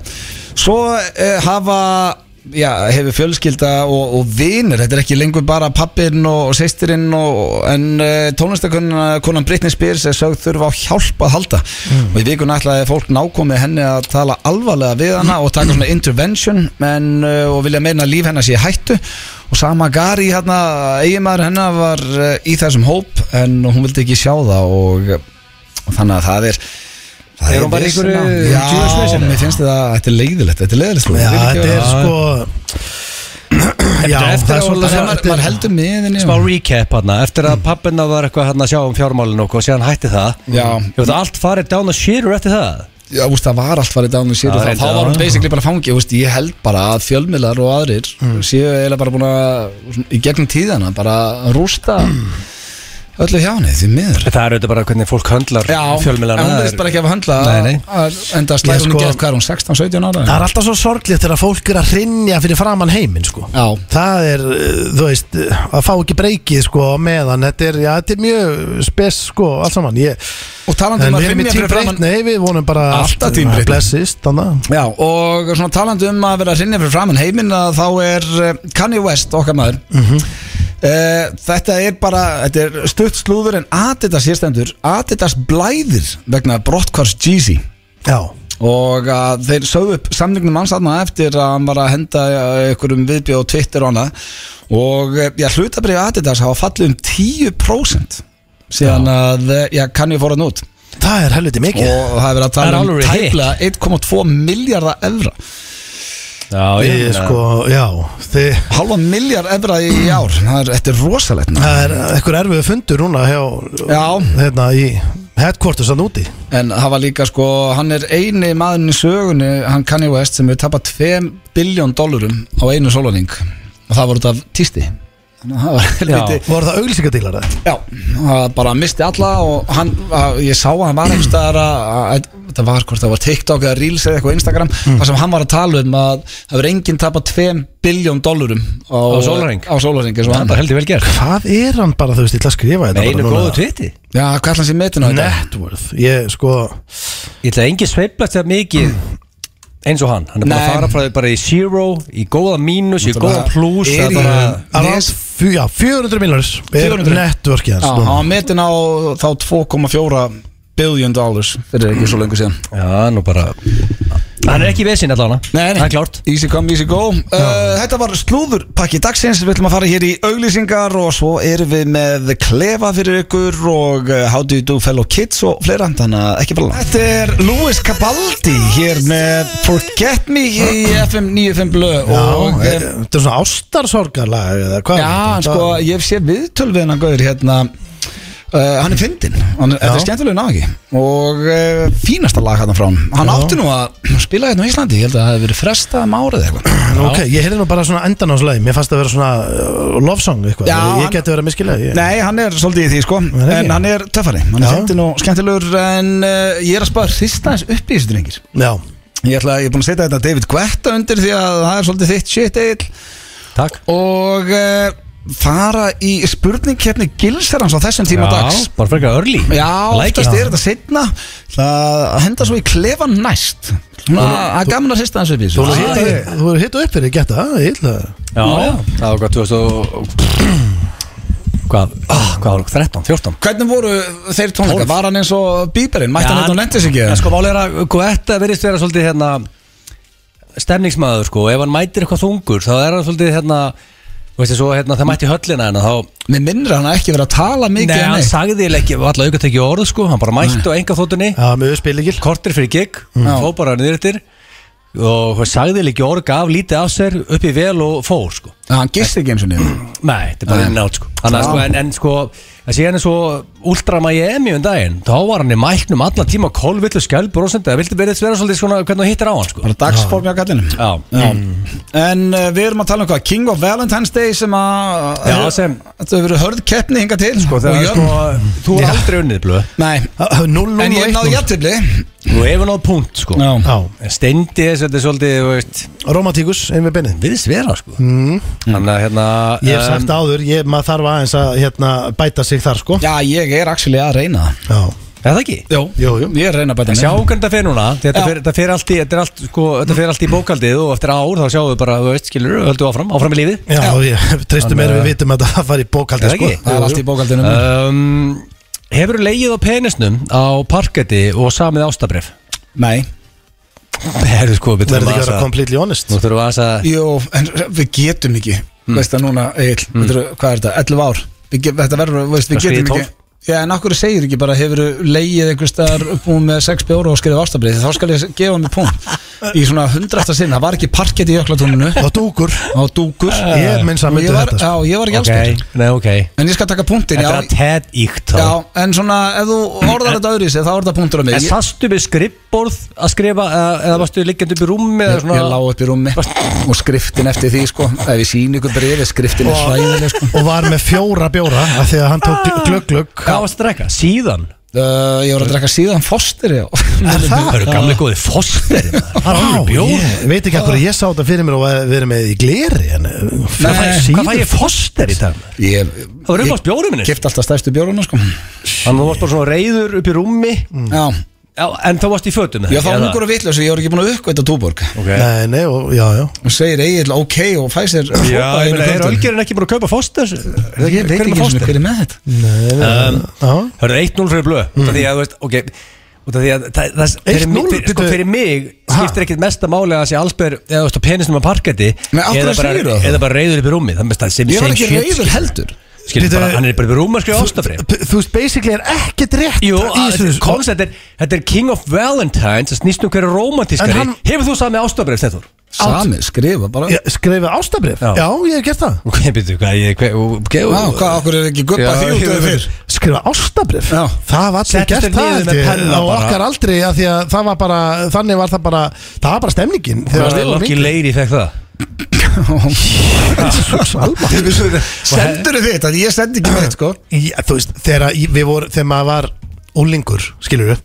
Speaker 1: Svo uh, hafa Já, hefur fjölskylda og, og vinur Þetta er ekki lengur bara pappirinn og, og seistirinn og, En uh, tónlistakonan Britney Spears er sögð þurfa á hjálp að halda Og í vikun ætlaði fólk nákomið henni að tala alvarlega við hana Og taka svona intervention en, uh, Og vilja meina að líf hennar sé í hættu Og sama Gari, hérna, eiginmaður hennar var uh, í þessum hóp En hún vildi ekki sjá það Og, og þannig að það er Það
Speaker 3: Er hún bara í
Speaker 1: vesen
Speaker 3: einhverju
Speaker 1: að- Já,
Speaker 3: djöfisvesinu?
Speaker 1: mér finnst þetta, þetta er leiðilegt Þetta er leiðilegt sko
Speaker 2: Já,
Speaker 1: Ég vil ekki
Speaker 2: þetta er
Speaker 1: vera-
Speaker 3: já.
Speaker 2: sko Já,
Speaker 3: er eftir
Speaker 2: það er
Speaker 3: að orða
Speaker 2: svolítið
Speaker 1: Það er maður-
Speaker 2: þetta er-
Speaker 1: maður heldur miðinni
Speaker 3: Smá recap hann, eftir að pappina var eitthvað hann að sjá um fjármálinu og hvað, síðan hætti það
Speaker 1: Já.
Speaker 3: Ég veit að allt farið down a shitter eftir það
Speaker 1: Já, úst, það var allt farið dánum sér
Speaker 3: Það
Speaker 1: og
Speaker 3: var
Speaker 1: það,
Speaker 3: reyndar,
Speaker 1: þá var
Speaker 3: já.
Speaker 1: hún basically bara fangi úst, Ég held bara að fjölmiðlar og aðrir séu eiginlega bara búin að svona, í gegnum tíðana bara rústa öllu hjá henni því miður
Speaker 3: Það er auðvitað bara hvernig fólk höndlar
Speaker 1: Já,
Speaker 3: fjölmiðlana
Speaker 1: en hún veist bara ekki að höndla
Speaker 3: Nei, nei.
Speaker 1: að- enda að slæða
Speaker 2: Ég
Speaker 1: hún
Speaker 2: sko-
Speaker 1: sko, gett hvað er hún, 16-17 ára?
Speaker 2: Það er alltaf svo sorglegt þegar fólk er að hrinja fyrir framann heiminn sko.
Speaker 1: Já.
Speaker 2: Það er, uh, þú veist, uh, að fá ekki breykið sko, á meðan Þetta er, já, þetta er mjög spes sko, allt saman ég,
Speaker 1: Og talandi
Speaker 2: En
Speaker 1: um að
Speaker 2: við erum í
Speaker 1: hrinja
Speaker 2: tím
Speaker 1: fyrir framann
Speaker 2: breytni, við vonum bara
Speaker 1: Alltaf Team Britney.
Speaker 2: Blessist, þannig
Speaker 1: Já, og svona talandi um að vera að rinja fyrir framann heiminn að þá er eh, Kanye West okkar maður mm
Speaker 3: Mhm.
Speaker 1: Þetta er bara, þetta er stutt slúður en Adidas hérstendur Adidas blæðir vegna brottkvars Jeezy
Speaker 2: Já,
Speaker 1: og að þeir sögðu upp samningnum hans aðna eftir að hann var að henda eh, einhverjum viðbjöð og Twitter og annað og eh, já, hlutabrið Adidas hafa fallið um 10% síðan að, eh, já, Kanye fór hann út
Speaker 2: það er helviti mikið
Speaker 1: og það hefur verið að
Speaker 3: Það er
Speaker 1: tala um
Speaker 3: alveg hitt.
Speaker 1: tæplega 1,2 miljardar evra
Speaker 3: Já,
Speaker 2: Ég, sko, já, þið
Speaker 1: halva miljard evra í í ár það er, þetta er rosalegt maður.
Speaker 2: Það er eitthvað erfið fundur núna hjá,
Speaker 1: Já.
Speaker 2: hérna í headquarters hann úti
Speaker 1: en það var líka sko, hann er eini maðurinn í sögunni, hann Kanye West sem hefur tapað 2 biljón dollurum á einu sólaning og það var út af tísti þannig að það var helviti
Speaker 2: Voru það auglýsingadílar það?
Speaker 1: Já, það bara misti alla og hann, að, ég sá að hann var einhvers staðar að, að, að það var hvort það var TikTok eða Reels eða eitthvað á Instagram
Speaker 3: Mm.
Speaker 1: þar sem hann var að tala um að það verður enginn tapað 2 biljón dollurum á,
Speaker 3: Á sólarhring?
Speaker 1: á sólarhring, eins og
Speaker 3: Það er
Speaker 1: hann
Speaker 3: bara heldur vel gert
Speaker 2: Hvað er hann bara, þú veist, ég ætla að skrifa þetta bara
Speaker 3: Með einu
Speaker 2: núna.
Speaker 3: góðu tviti
Speaker 1: Já, hvað ætla hann sér metin á þetta?
Speaker 2: Net worth, ég sko
Speaker 3: Ég ætla að engin sveiflast það mikið eins og hann, hann er bara
Speaker 1: Nei.
Speaker 3: að fara frá því bara í zero í góða mínus, í
Speaker 1: Náttúrulega
Speaker 3: góða plus
Speaker 1: er í-
Speaker 3: það er bara
Speaker 2: around,
Speaker 1: Nes-
Speaker 2: fjö, já, 400 miljonars er
Speaker 1: 400.
Speaker 2: networkið hans
Speaker 1: Já, hann
Speaker 2: núna.
Speaker 1: var metin á þá 2,4 billion dollars fyrir ekki svo lengur síðan
Speaker 3: Já, nú bara Hann er ekki í vesinn allavega Það er klárt
Speaker 1: Easy come, easy go uh, Þetta var slúðurpakki dagsins Við ætlum að fara hér í auglýsingar og svo erum við með klefa fyrir ykkur og uh, How do you do fellow kids og fleira, þannig að ekki falla Þetta er Louis Cabaldi hér með Forget Me í FM 95 Blö og eh,
Speaker 2: Já, e- þetta er svona ástarsorgarlag eða hvað?
Speaker 1: Já,
Speaker 2: er
Speaker 1: hann
Speaker 2: þetta?
Speaker 1: sko, ég sé viðtöl við hennan gauður hérna Uh, hann er fyndinn, hann- þetta er skemmtilega nági og uh, fínasta lag hann frá hann hann
Speaker 2: Já.
Speaker 1: átti nú að spila hérna á Íslandi ég held að það hefði verið frestað um árið eða eitthvað
Speaker 2: Nú, Ok, ég heyrði nú bara svona endan á slagi Mér fannst það að vera svona uh, love song eitthvað
Speaker 1: Já,
Speaker 2: Ég
Speaker 1: hann-
Speaker 2: geti verið að miskila ég...
Speaker 1: Nei, hann er svolítið í því sko
Speaker 2: er ekki.
Speaker 1: En hann er töffari, hann er
Speaker 2: Já.
Speaker 1: fyndin og skemmtilegur En uh, ég er að spara hrista eins upp í þessu drengir
Speaker 2: Já,
Speaker 1: Ég ætla ég er búin að setja þetta David Guetta undir Því að það er svolítið þitt shit eil
Speaker 3: Takk
Speaker 1: Og uh, fara í spurningkeppni Gilserans á þessum tíma dags
Speaker 3: bara frekar örli
Speaker 1: Já,
Speaker 3: Like
Speaker 1: oftast
Speaker 3: it.
Speaker 1: er þetta setna Það að henda svo í klefan næst Svona, Það er gaman að hrista eins upp í
Speaker 2: þú
Speaker 1: þessu
Speaker 3: Ah, ég-
Speaker 2: hefur hitt upp fyrir, ég geta það, ég ætla það
Speaker 3: Já, já Það var hvað, 2000 og Hvað, ah, hvað var það? 13, 14
Speaker 1: Hvernig voru þeir tónleika? Var hann eins og bíberinn? Mætti hann
Speaker 3: Já,
Speaker 1: eitthvað nefndis ekki?
Speaker 3: En sko, máli er að Guetta verðist vera svolítið hérna stemningsmaður sko Ef hann mætir eitthvað þungur þá er hann svolítið hérna Þú veist, svo hérna, það mætti í höllina en þá
Speaker 1: Mér minnir hann að ekki vera að tala mikið um
Speaker 3: Nei,
Speaker 1: en
Speaker 3: hann
Speaker 1: neitt.
Speaker 3: sagði eiginlega ekki, var alltaf auðvitað ekki orð sko, hann bara mætti á enga þóttunni
Speaker 2: Já, mjög spilíkil
Speaker 3: kortir fyrir gig, mm. fór bara niður eftir og hann sagði eiginlega ekki orð, gaf lítið af sér upp í vel og fór sko.
Speaker 1: Hann gist ekki eins og niður
Speaker 3: Nei, þetta er bara
Speaker 1: Nei.
Speaker 3: inn átt sko. Þannig að
Speaker 1: Já.
Speaker 3: sko, en, en sko, að síðan er svo ultrama í EMI um daginn, þá var hann í mæknum allan tíma kólvillu skjálbrósandi, það vildi verið vera svolítið svona hvernig þú hittir á hann sko.
Speaker 1: Bara dagsformi á gallinu
Speaker 3: Já,
Speaker 1: Já. En uh, við erum að tala um hvað King of Valentine's Day sem að
Speaker 3: Já, sem-
Speaker 1: Þetta hefur verið hörð keppni hinga til sko,
Speaker 3: og
Speaker 1: þegar,
Speaker 3: sko, þú er
Speaker 2: Já.
Speaker 3: aldrei unnið blöð,
Speaker 1: Nei,
Speaker 2: Ah,
Speaker 1: en
Speaker 2: 0-0
Speaker 1: ég náði jættibli
Speaker 3: þú hefur náð punkt sko.
Speaker 2: Já,
Speaker 3: En steindi þess, þetta er svolítið, þú veist,
Speaker 2: romantíkus, einn við bennið
Speaker 3: viðs vera sko. Þannig að hérna
Speaker 2: Mm. Ég hef sagt áður, ég, maður þarf aðeins að hérna, bæta sig þar sko
Speaker 1: Já, ég er actually að reyna það
Speaker 2: Já,
Speaker 3: Er það ekki?
Speaker 1: Jó,
Speaker 2: Jú, jú.
Speaker 1: ég er að reyna að bæta
Speaker 3: En
Speaker 1: mig.
Speaker 3: sjá hvernig þetta fer núna Þetta
Speaker 1: Já.
Speaker 3: fer, þetta fer allt í, þetta er allt, sko, þetta fer allt í bókaldið og eftir ár þá sjáum við bara, þú veist, skilur, höldum áfram, áfram í lífið
Speaker 2: já, ég tristum
Speaker 3: Þannig
Speaker 2: meira
Speaker 3: að-
Speaker 2: við vitum að það fari í bókaldi
Speaker 3: Er það
Speaker 2: sko
Speaker 3: ekki?
Speaker 1: Það er allt í bókaldinu uh,
Speaker 3: um, Hefur þú leigið á penisnum á parketti og samið ástabref?
Speaker 1: Nei,
Speaker 3: Herðu sko, við
Speaker 2: Verður ekki
Speaker 3: þurfum
Speaker 2: að
Speaker 3: aðeins
Speaker 2: vera
Speaker 3: að
Speaker 2: completely honest
Speaker 3: Nú þurfum aðeins að
Speaker 1: jú, en við getum ekki Veist það núna, Egil, mm. hvað er þetta, 11 ár við, ge- Þetta verður, veist, við
Speaker 3: Það skriði
Speaker 1: getum
Speaker 3: 12.
Speaker 1: ekki Já, en akkur segir ekki bara hefur leigið einhvers staðar búin með 6 bjóra og skriðið ástabrið þá skal ég gefa mig punkt í svona hundrasta sinn, það var ekki parkett í jöklatúninu
Speaker 2: Og dúkur,
Speaker 1: á dúkur
Speaker 2: Ég minn samt
Speaker 1: Og ég
Speaker 2: myndi
Speaker 1: var-
Speaker 2: þetta, sko.
Speaker 1: Já, ég var ekki
Speaker 3: Ok,
Speaker 1: allspil
Speaker 3: nei ok
Speaker 1: En ég skal taka punktin,
Speaker 3: Þetta
Speaker 1: já
Speaker 3: er að ted íkt þá
Speaker 1: Já, en svona, ef þú orðar þetta öðru í sig, þá er þetta punktur á mig
Speaker 3: En
Speaker 1: Ég,
Speaker 3: sastu við skrippborð að skrifa eða, eða varstu liggjandi upp í rúmi eða
Speaker 1: ég,
Speaker 3: svona
Speaker 1: ég lá upp í rúmi og skriftin eftir því, sko Ef ég sín ykkur brefi, skriftin er hlæðileg, sko
Speaker 2: og var með fjóra bjóra af því að hann tók glögglögg
Speaker 3: Hvað varstu að drekka? Síðan
Speaker 1: uh, Ég var að drekka síðan fostir, já
Speaker 2: Er það?
Speaker 3: Það eru gamli góði foster
Speaker 2: Vá,
Speaker 3: Hvað
Speaker 2: ég veit ekki hvað ég sá þetta fyrir mér og var- verið með í gleri en uh, Nei,
Speaker 1: Nei,
Speaker 3: fæ ég foster í dag?
Speaker 1: Ég,
Speaker 3: Það var upp á
Speaker 1: ég
Speaker 3: spjórum minni
Speaker 1: kipti alltaf stærstu bjóruna, sko
Speaker 3: Þannig að þú varst bara svona reyður upp í rúmi
Speaker 2: Mm.
Speaker 1: Já,
Speaker 3: Já, En þá varst í fötum
Speaker 1: ég var þá ungur og vitlaus og ég var ekki búin að uppgöta túborg
Speaker 3: Ok
Speaker 2: Nei, nei, og, já, já
Speaker 1: Og segir Egil, ok, og fæsir
Speaker 3: Já, ég meina, er Ölgerinn ekki búin að kaupa Foster?
Speaker 1: Ég veit ekki einu sinni hver er með þetta
Speaker 2: Nei, nei,
Speaker 3: Um,
Speaker 2: já.
Speaker 3: Það eru 1-0 fyrir blöð mm. Því að, þú veist, ok Út af því að það, það, fyrir,
Speaker 2: 1-0,
Speaker 3: mig, fyrir, sko,
Speaker 2: bíddu.
Speaker 3: fyrir mig skiptir ekkit mesta máli að það sé allsber eða þú veist á penisnum að parketti
Speaker 1: Nei, af hverju
Speaker 3: eða bara,
Speaker 1: segirðu það þá?
Speaker 3: eða bara reyður upp í rúmi það er sem
Speaker 1: Ég var
Speaker 3: sem
Speaker 1: ekki
Speaker 3: shit
Speaker 1: reyður heldur
Speaker 3: skilur,
Speaker 2: Bíddu.
Speaker 3: bara, hann er bara upp í rúmi að skrifa ástafri
Speaker 2: P- Þú veist, basically er ekkert rétt
Speaker 3: Jú,
Speaker 2: í þessu-
Speaker 3: koncept er þetta er King of Valentines það snýst um hverju
Speaker 2: En
Speaker 3: romantískari
Speaker 2: hann-
Speaker 3: Hefur þú samið ástafrið, Stethur?
Speaker 1: Sami, skrifa bara
Speaker 2: Já, Skrifa ástabrif
Speaker 3: Já.
Speaker 2: Já, ég hef gert það
Speaker 3: Ok, byrju, hvað ég hvað- ok,
Speaker 1: Já, hvað, okkur er ekki guppa
Speaker 3: Já,
Speaker 1: því út
Speaker 3: ég-
Speaker 1: eða fyrr
Speaker 2: skrifa ástabrif
Speaker 1: Já.
Speaker 2: það var allir
Speaker 3: Settist
Speaker 2: gert
Speaker 3: þér
Speaker 2: það
Speaker 3: niður
Speaker 2: held
Speaker 3: með
Speaker 2: ég,
Speaker 3: penna
Speaker 2: á
Speaker 3: bara.
Speaker 2: okkar aldrei að því að það var bara þannig var það bara það var bara stemningin þegar við vorum
Speaker 3: Lucky
Speaker 2: yngri.
Speaker 3: Lady fekk það
Speaker 2: Jesus, alveg.
Speaker 1: Sendur þitt, að ég sendi ekki með sko
Speaker 2: Já, þú veist þegar að við voru þegar maður var úlingur skilur við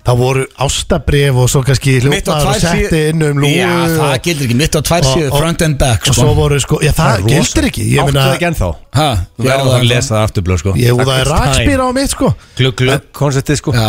Speaker 2: þá voru ástabrif og svo kannski hljópaður og setti inn um lúgu
Speaker 1: Já, það
Speaker 2: og,
Speaker 1: gildir ekki, mitt á tvær
Speaker 2: Og-
Speaker 1: síður,
Speaker 2: og-
Speaker 1: front and back
Speaker 2: og svo
Speaker 1: sko
Speaker 2: voru sko já, það gildir ekki ég
Speaker 3: Áttu
Speaker 2: meina
Speaker 3: það ekki ennþá
Speaker 1: Hæ,
Speaker 3: Þú verður að lesa það aftur blöð sko
Speaker 2: ég úðaði rakspýra á mitt sko
Speaker 3: Glugg, glugg, konceptið sko
Speaker 1: Já,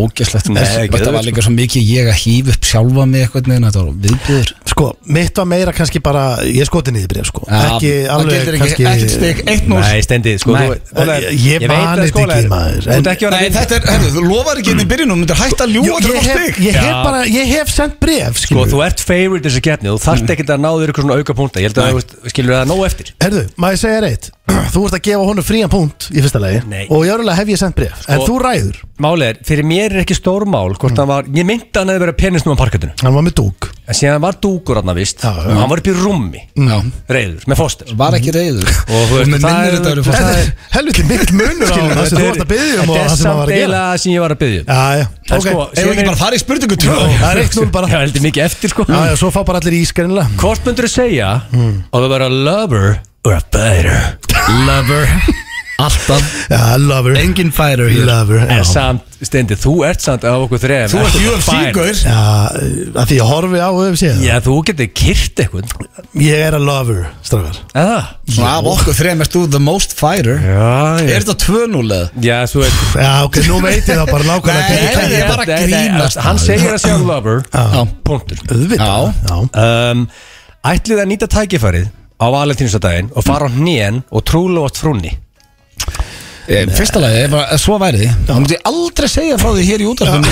Speaker 1: ógæslegt
Speaker 3: Nei,
Speaker 1: Þetta
Speaker 3: ekki
Speaker 1: var
Speaker 3: auðvitað.
Speaker 1: líka svo mikið ég að hýf upp sjálfa mig eitthvað neina, þetta var viðbjöður
Speaker 2: sko mitt var meira kannski bara ég skoti niður bref sko ekki alveg
Speaker 1: kannski
Speaker 2: kannski
Speaker 1: Ekkert steg, eitt núl
Speaker 3: Nei, stendi, sko
Speaker 1: Nei.
Speaker 3: þú- þú-
Speaker 2: Ég- ég
Speaker 3: veit
Speaker 2: man
Speaker 3: að,
Speaker 2: þetta
Speaker 3: sko,
Speaker 2: ekki,
Speaker 3: er-
Speaker 2: maður,
Speaker 3: Þú
Speaker 2: en-
Speaker 3: ert ekki að
Speaker 1: Nei,
Speaker 3: vera
Speaker 1: þetta er, herru, þú lofar ekki inn í byrjunum Myndir hætta að
Speaker 2: Jú,
Speaker 1: ljúa
Speaker 2: ég
Speaker 1: þetta á
Speaker 2: hef,
Speaker 1: steg
Speaker 2: ég hef
Speaker 3: Já.
Speaker 2: bara, ég hef sendt bref
Speaker 3: Sko,
Speaker 2: skilur
Speaker 3: þú ert favorite í þessu keppni Þú þarft ekkert að náður ykkur svona auka púnta Ég held að þú veist, skilur það nóg eftir
Speaker 2: Herðu, maður segja reitt Þú ert að gefa honum frían punkt í fyrsta lagi
Speaker 3: Nei. Sko-
Speaker 2: Og jörulega hef ég sendt bref En þú ræður
Speaker 3: Málið er, fyrir mér er ekki stór mál Hvort hann var, ég myndi að hann hefði verið penis nú á parkettinu
Speaker 2: Hann var með dúk
Speaker 3: En síðan hann var dúkur hann að vist
Speaker 2: Já, já.
Speaker 3: Og hann var upp í rúmi,
Speaker 1: Já,
Speaker 3: reyður, með foster
Speaker 1: var ekki reyður
Speaker 3: Og þú veist,
Speaker 1: Mér
Speaker 3: það
Speaker 1: minnir
Speaker 3: er-
Speaker 1: þetta að vera
Speaker 2: Þetta
Speaker 3: það
Speaker 1: fórst.
Speaker 2: er helviti mitt munur á það sem þú varst að byggja um og
Speaker 3: Þetta
Speaker 2: það sem
Speaker 3: er
Speaker 2: hann
Speaker 3: samt
Speaker 2: var að
Speaker 3: eila
Speaker 2: gera
Speaker 3: sem ég var að byggja um
Speaker 2: Já, já,
Speaker 3: En
Speaker 2: ok
Speaker 3: sko,
Speaker 1: Eigum við ekki bara að fara í spurningu tvo?
Speaker 2: Það er eitt núl
Speaker 3: Ég
Speaker 2: bara
Speaker 3: heldur mikið eftir sko
Speaker 2: Já, já, svo fá bara allir í ískrinlega
Speaker 3: Hvort myndur þú segja að þú verður a lover or a fighter
Speaker 1: Lover Alltaf
Speaker 2: Já, lover
Speaker 1: Engin fighter hér
Speaker 2: Lover,
Speaker 3: En
Speaker 2: já
Speaker 3: samt, Steindi, þú ert samt af okkur þrejum
Speaker 1: Þú ert
Speaker 3: ertu
Speaker 1: UFC
Speaker 3: fighter.
Speaker 1: gaur
Speaker 2: Já, að því ég horfi á öfum síðan
Speaker 3: Já, þú getur kyrt eitthvað
Speaker 2: Ég er að lover, strafgar
Speaker 3: Eða?
Speaker 1: Svona af okkur þrejum erst þú the most fighter
Speaker 3: Já,
Speaker 1: Er þetta 2-0 eða?
Speaker 3: Já, þú veit
Speaker 2: Já, ok, nú veit ég það bara nákvæmlega
Speaker 1: Nei,
Speaker 2: hvernig
Speaker 1: nei,
Speaker 2: kæmi.
Speaker 1: ég er bara að
Speaker 3: Nei, nei,
Speaker 1: grínast.
Speaker 3: Hann segir að segja lover
Speaker 1: Já
Speaker 3: Punktur
Speaker 2: Auðvitað
Speaker 1: Já.
Speaker 2: Já,
Speaker 3: um, Ætlið að
Speaker 1: Mm.
Speaker 3: nýta tækifærið á valentínsdaginn og fara á hnén og trúlóast frúnni
Speaker 1: Ég- Fyrsta lagi, ef að- ef svo væri því Þá myndi ég aldrei segja frá því hér í útarfum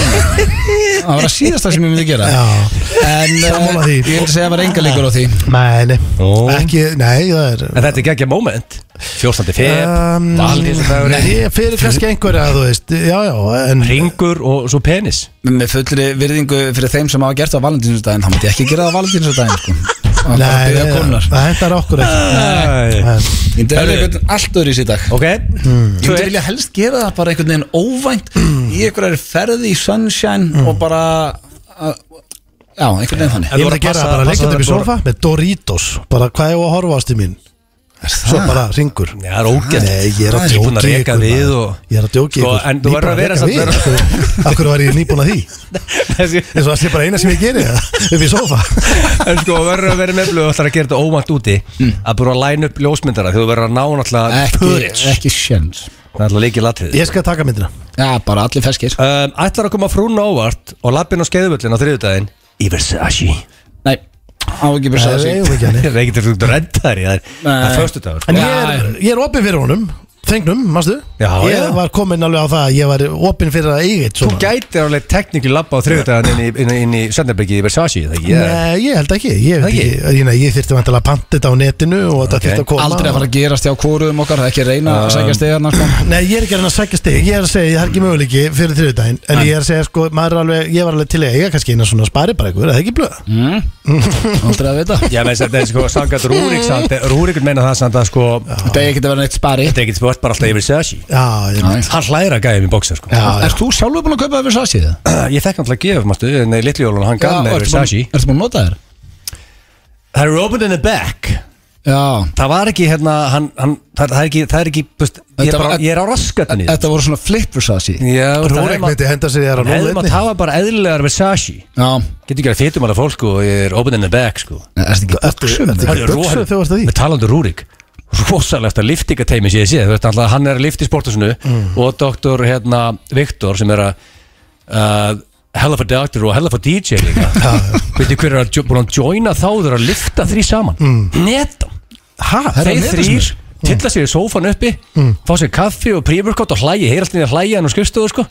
Speaker 1: Það var að síðasta sem ég myndi gera
Speaker 2: Já.
Speaker 1: En eh,
Speaker 2: Sammála því.
Speaker 1: ég myndi segja að vera enga líkur á því
Speaker 2: Nei, nei,
Speaker 3: Ó.
Speaker 2: ekki, nei, það er
Speaker 3: En þetta er geggja moment 14. feb,
Speaker 2: Um,
Speaker 3: valdísadagur
Speaker 2: Nei, ég fyrir kannski einhverja, þú veist Já, já, en
Speaker 3: Ringur og svo penis
Speaker 1: Með fullri virðingu fyrir þeim sem hafa gert það á valentínsdaginn Þá myndi ég ekki gera það á valentínsdaginn sko. Það var bara að
Speaker 2: Nei,
Speaker 1: biðja
Speaker 2: það
Speaker 1: konurnar.
Speaker 2: það hentar okkur
Speaker 3: Ah.
Speaker 2: ekki
Speaker 3: Æ.
Speaker 2: En-
Speaker 1: Ég myndi
Speaker 3: Herðu.
Speaker 1: vera einhvern allt öðru í sér dag
Speaker 3: Ok,
Speaker 1: Ég myndi vilja helst gera það bara einhvern veginn óvænt Í einhverjar ferði í sunshine Og bara að- Já, einhvern veginn þannig
Speaker 2: Ég myndi
Speaker 3: voru að
Speaker 2: að gera
Speaker 3: passa-
Speaker 2: bara
Speaker 3: passa
Speaker 2: lengjandi upp í
Speaker 3: þarna
Speaker 2: sofa með Doritos Bara hvað ég á að horfa ástu mín Svo bara ringur
Speaker 3: Ah. Já, það er ógætt
Speaker 2: Nei, ég er að
Speaker 3: Það er
Speaker 2: djóki
Speaker 3: búin að reka við og-
Speaker 2: Ég er að djóki
Speaker 3: Sko,
Speaker 2: ykkur
Speaker 3: en þú verður að vera samt-
Speaker 2: samt Akkur var ég nýbúin að því
Speaker 3: En
Speaker 2: Eins og það sé bara eina sem ég geri það Upp í sofa
Speaker 3: sko, verður að vera meðblöð og ætlar að gera þetta óvænt úti að búin að læna upp ljósmyndara þegar þú verður að ná náttúrulega purits
Speaker 1: Ekki, ekki sjens
Speaker 3: Það er alltaf leikið latrið
Speaker 2: Ég skal taka myndina
Speaker 1: Já, bara allir feskir
Speaker 3: um, Ætlar að koma frún ávart og lappin á skeiðvöllin á þriðudaginn Í Versace
Speaker 1: Nei, á ekki byrja
Speaker 2: Það
Speaker 1: að
Speaker 2: er
Speaker 1: segja
Speaker 2: eigum ekki
Speaker 3: Það
Speaker 2: henni
Speaker 3: er ekkert að þú reddar í það er- Það
Speaker 1: Nei.
Speaker 3: er föstudagur sko.
Speaker 1: Já,
Speaker 2: En ég er, ég er opinn fyrir honum Þengnum, mástu?
Speaker 3: Já,
Speaker 2: ég
Speaker 3: já.
Speaker 2: var kominn alveg á það að Ég var opinn fyrir að eiga eitt
Speaker 3: Þú
Speaker 2: svona
Speaker 3: gætir alveg teknikli lappa á þriðudaginn inn í, inn, í- inn í Söndarbyggi í Versace það ekki? Eða-
Speaker 2: Nei, ég held ekki Ég,
Speaker 3: Það
Speaker 2: veit
Speaker 3: ekki?
Speaker 2: ekki. ég, ég þyrfti vantilega að panta þetta á netinu Og þetta
Speaker 3: Ok.
Speaker 2: þyrfti að koma
Speaker 1: Aldrei að fara að gerast hjá kóruðum okkar Ekki reyna að segja stegarna sko.
Speaker 2: Nei, ég er ekki að reyna að sækja stig Ég er að segja, ég er ekki möguleiki fyrir þriðudaginn En ég er að segja, sko, maður er alveg Ég var alveg til í að eiga kannski eina svona spari bara einhver Það er ekki blöð
Speaker 1: Mm. Aldrei að vita
Speaker 3: Já, menn þetta er sko sangat Rúrik samt Rúrik meina það samt að sko Þetta
Speaker 1: Þetta er ekki að vera neitt spari
Speaker 3: er ekkert sport bara alltaf yfir Sashi
Speaker 2: Já, ég
Speaker 1: Nei.
Speaker 2: veit
Speaker 3: Hann hlæra gæðum í bóksar sko
Speaker 2: Já, já.
Speaker 1: Erst þú sjálfur búin að kaupa það fyrir Sashi það?
Speaker 3: Ég þekk náttúrulega gef, mástu, nei, litli jólun, hann gaf með
Speaker 1: ertu
Speaker 3: yfir
Speaker 1: búin-
Speaker 3: Sashi
Speaker 1: ertu búin að nota þér?
Speaker 3: Það er open in the back
Speaker 1: Já
Speaker 3: Það var ekki hérna, hann, hann, það, það er ekki, það er ekki, búst, ég,
Speaker 1: Þetta
Speaker 3: er bara,
Speaker 1: var-
Speaker 3: ég er á raskatunni
Speaker 1: Þetta voru svona flip fyrir Sashi
Speaker 3: Já,
Speaker 2: Rúrik myndi henda sér í aðra
Speaker 3: Hefði
Speaker 2: núll
Speaker 3: maður
Speaker 2: einni.
Speaker 3: tafa bara eðlilegar Versace
Speaker 1: Já
Speaker 3: Getur ekki að fytum alveg fólk sko, og ég er open in the back sko
Speaker 1: Erst ekki
Speaker 2: Ertu-
Speaker 1: buxum?
Speaker 2: ertu-
Speaker 1: eða?
Speaker 3: Herru,
Speaker 2: buxur
Speaker 3: Rúrik-
Speaker 2: þegar varstu því?
Speaker 3: Með talandi um Rúrik Rosalegt að liftingateimi sé ég sé Þú veist alltaf að hann er að lifta í sportasunu Og doktor hérna Viktor sem er að uh, Hella for doctor og hella for DJ líka Veitir hver er að jo- búin að joina þá Þú er að lifta þrý saman mm. Netum
Speaker 2: Ha,
Speaker 1: Herra,
Speaker 3: Þeir
Speaker 1: netum
Speaker 3: þrýr
Speaker 1: sem
Speaker 3: Tilla sér í sófan uppi Fá sér kaffi og prífurkott og hlægi Heyr alltaf niður hlægi hann og skrifstofu sko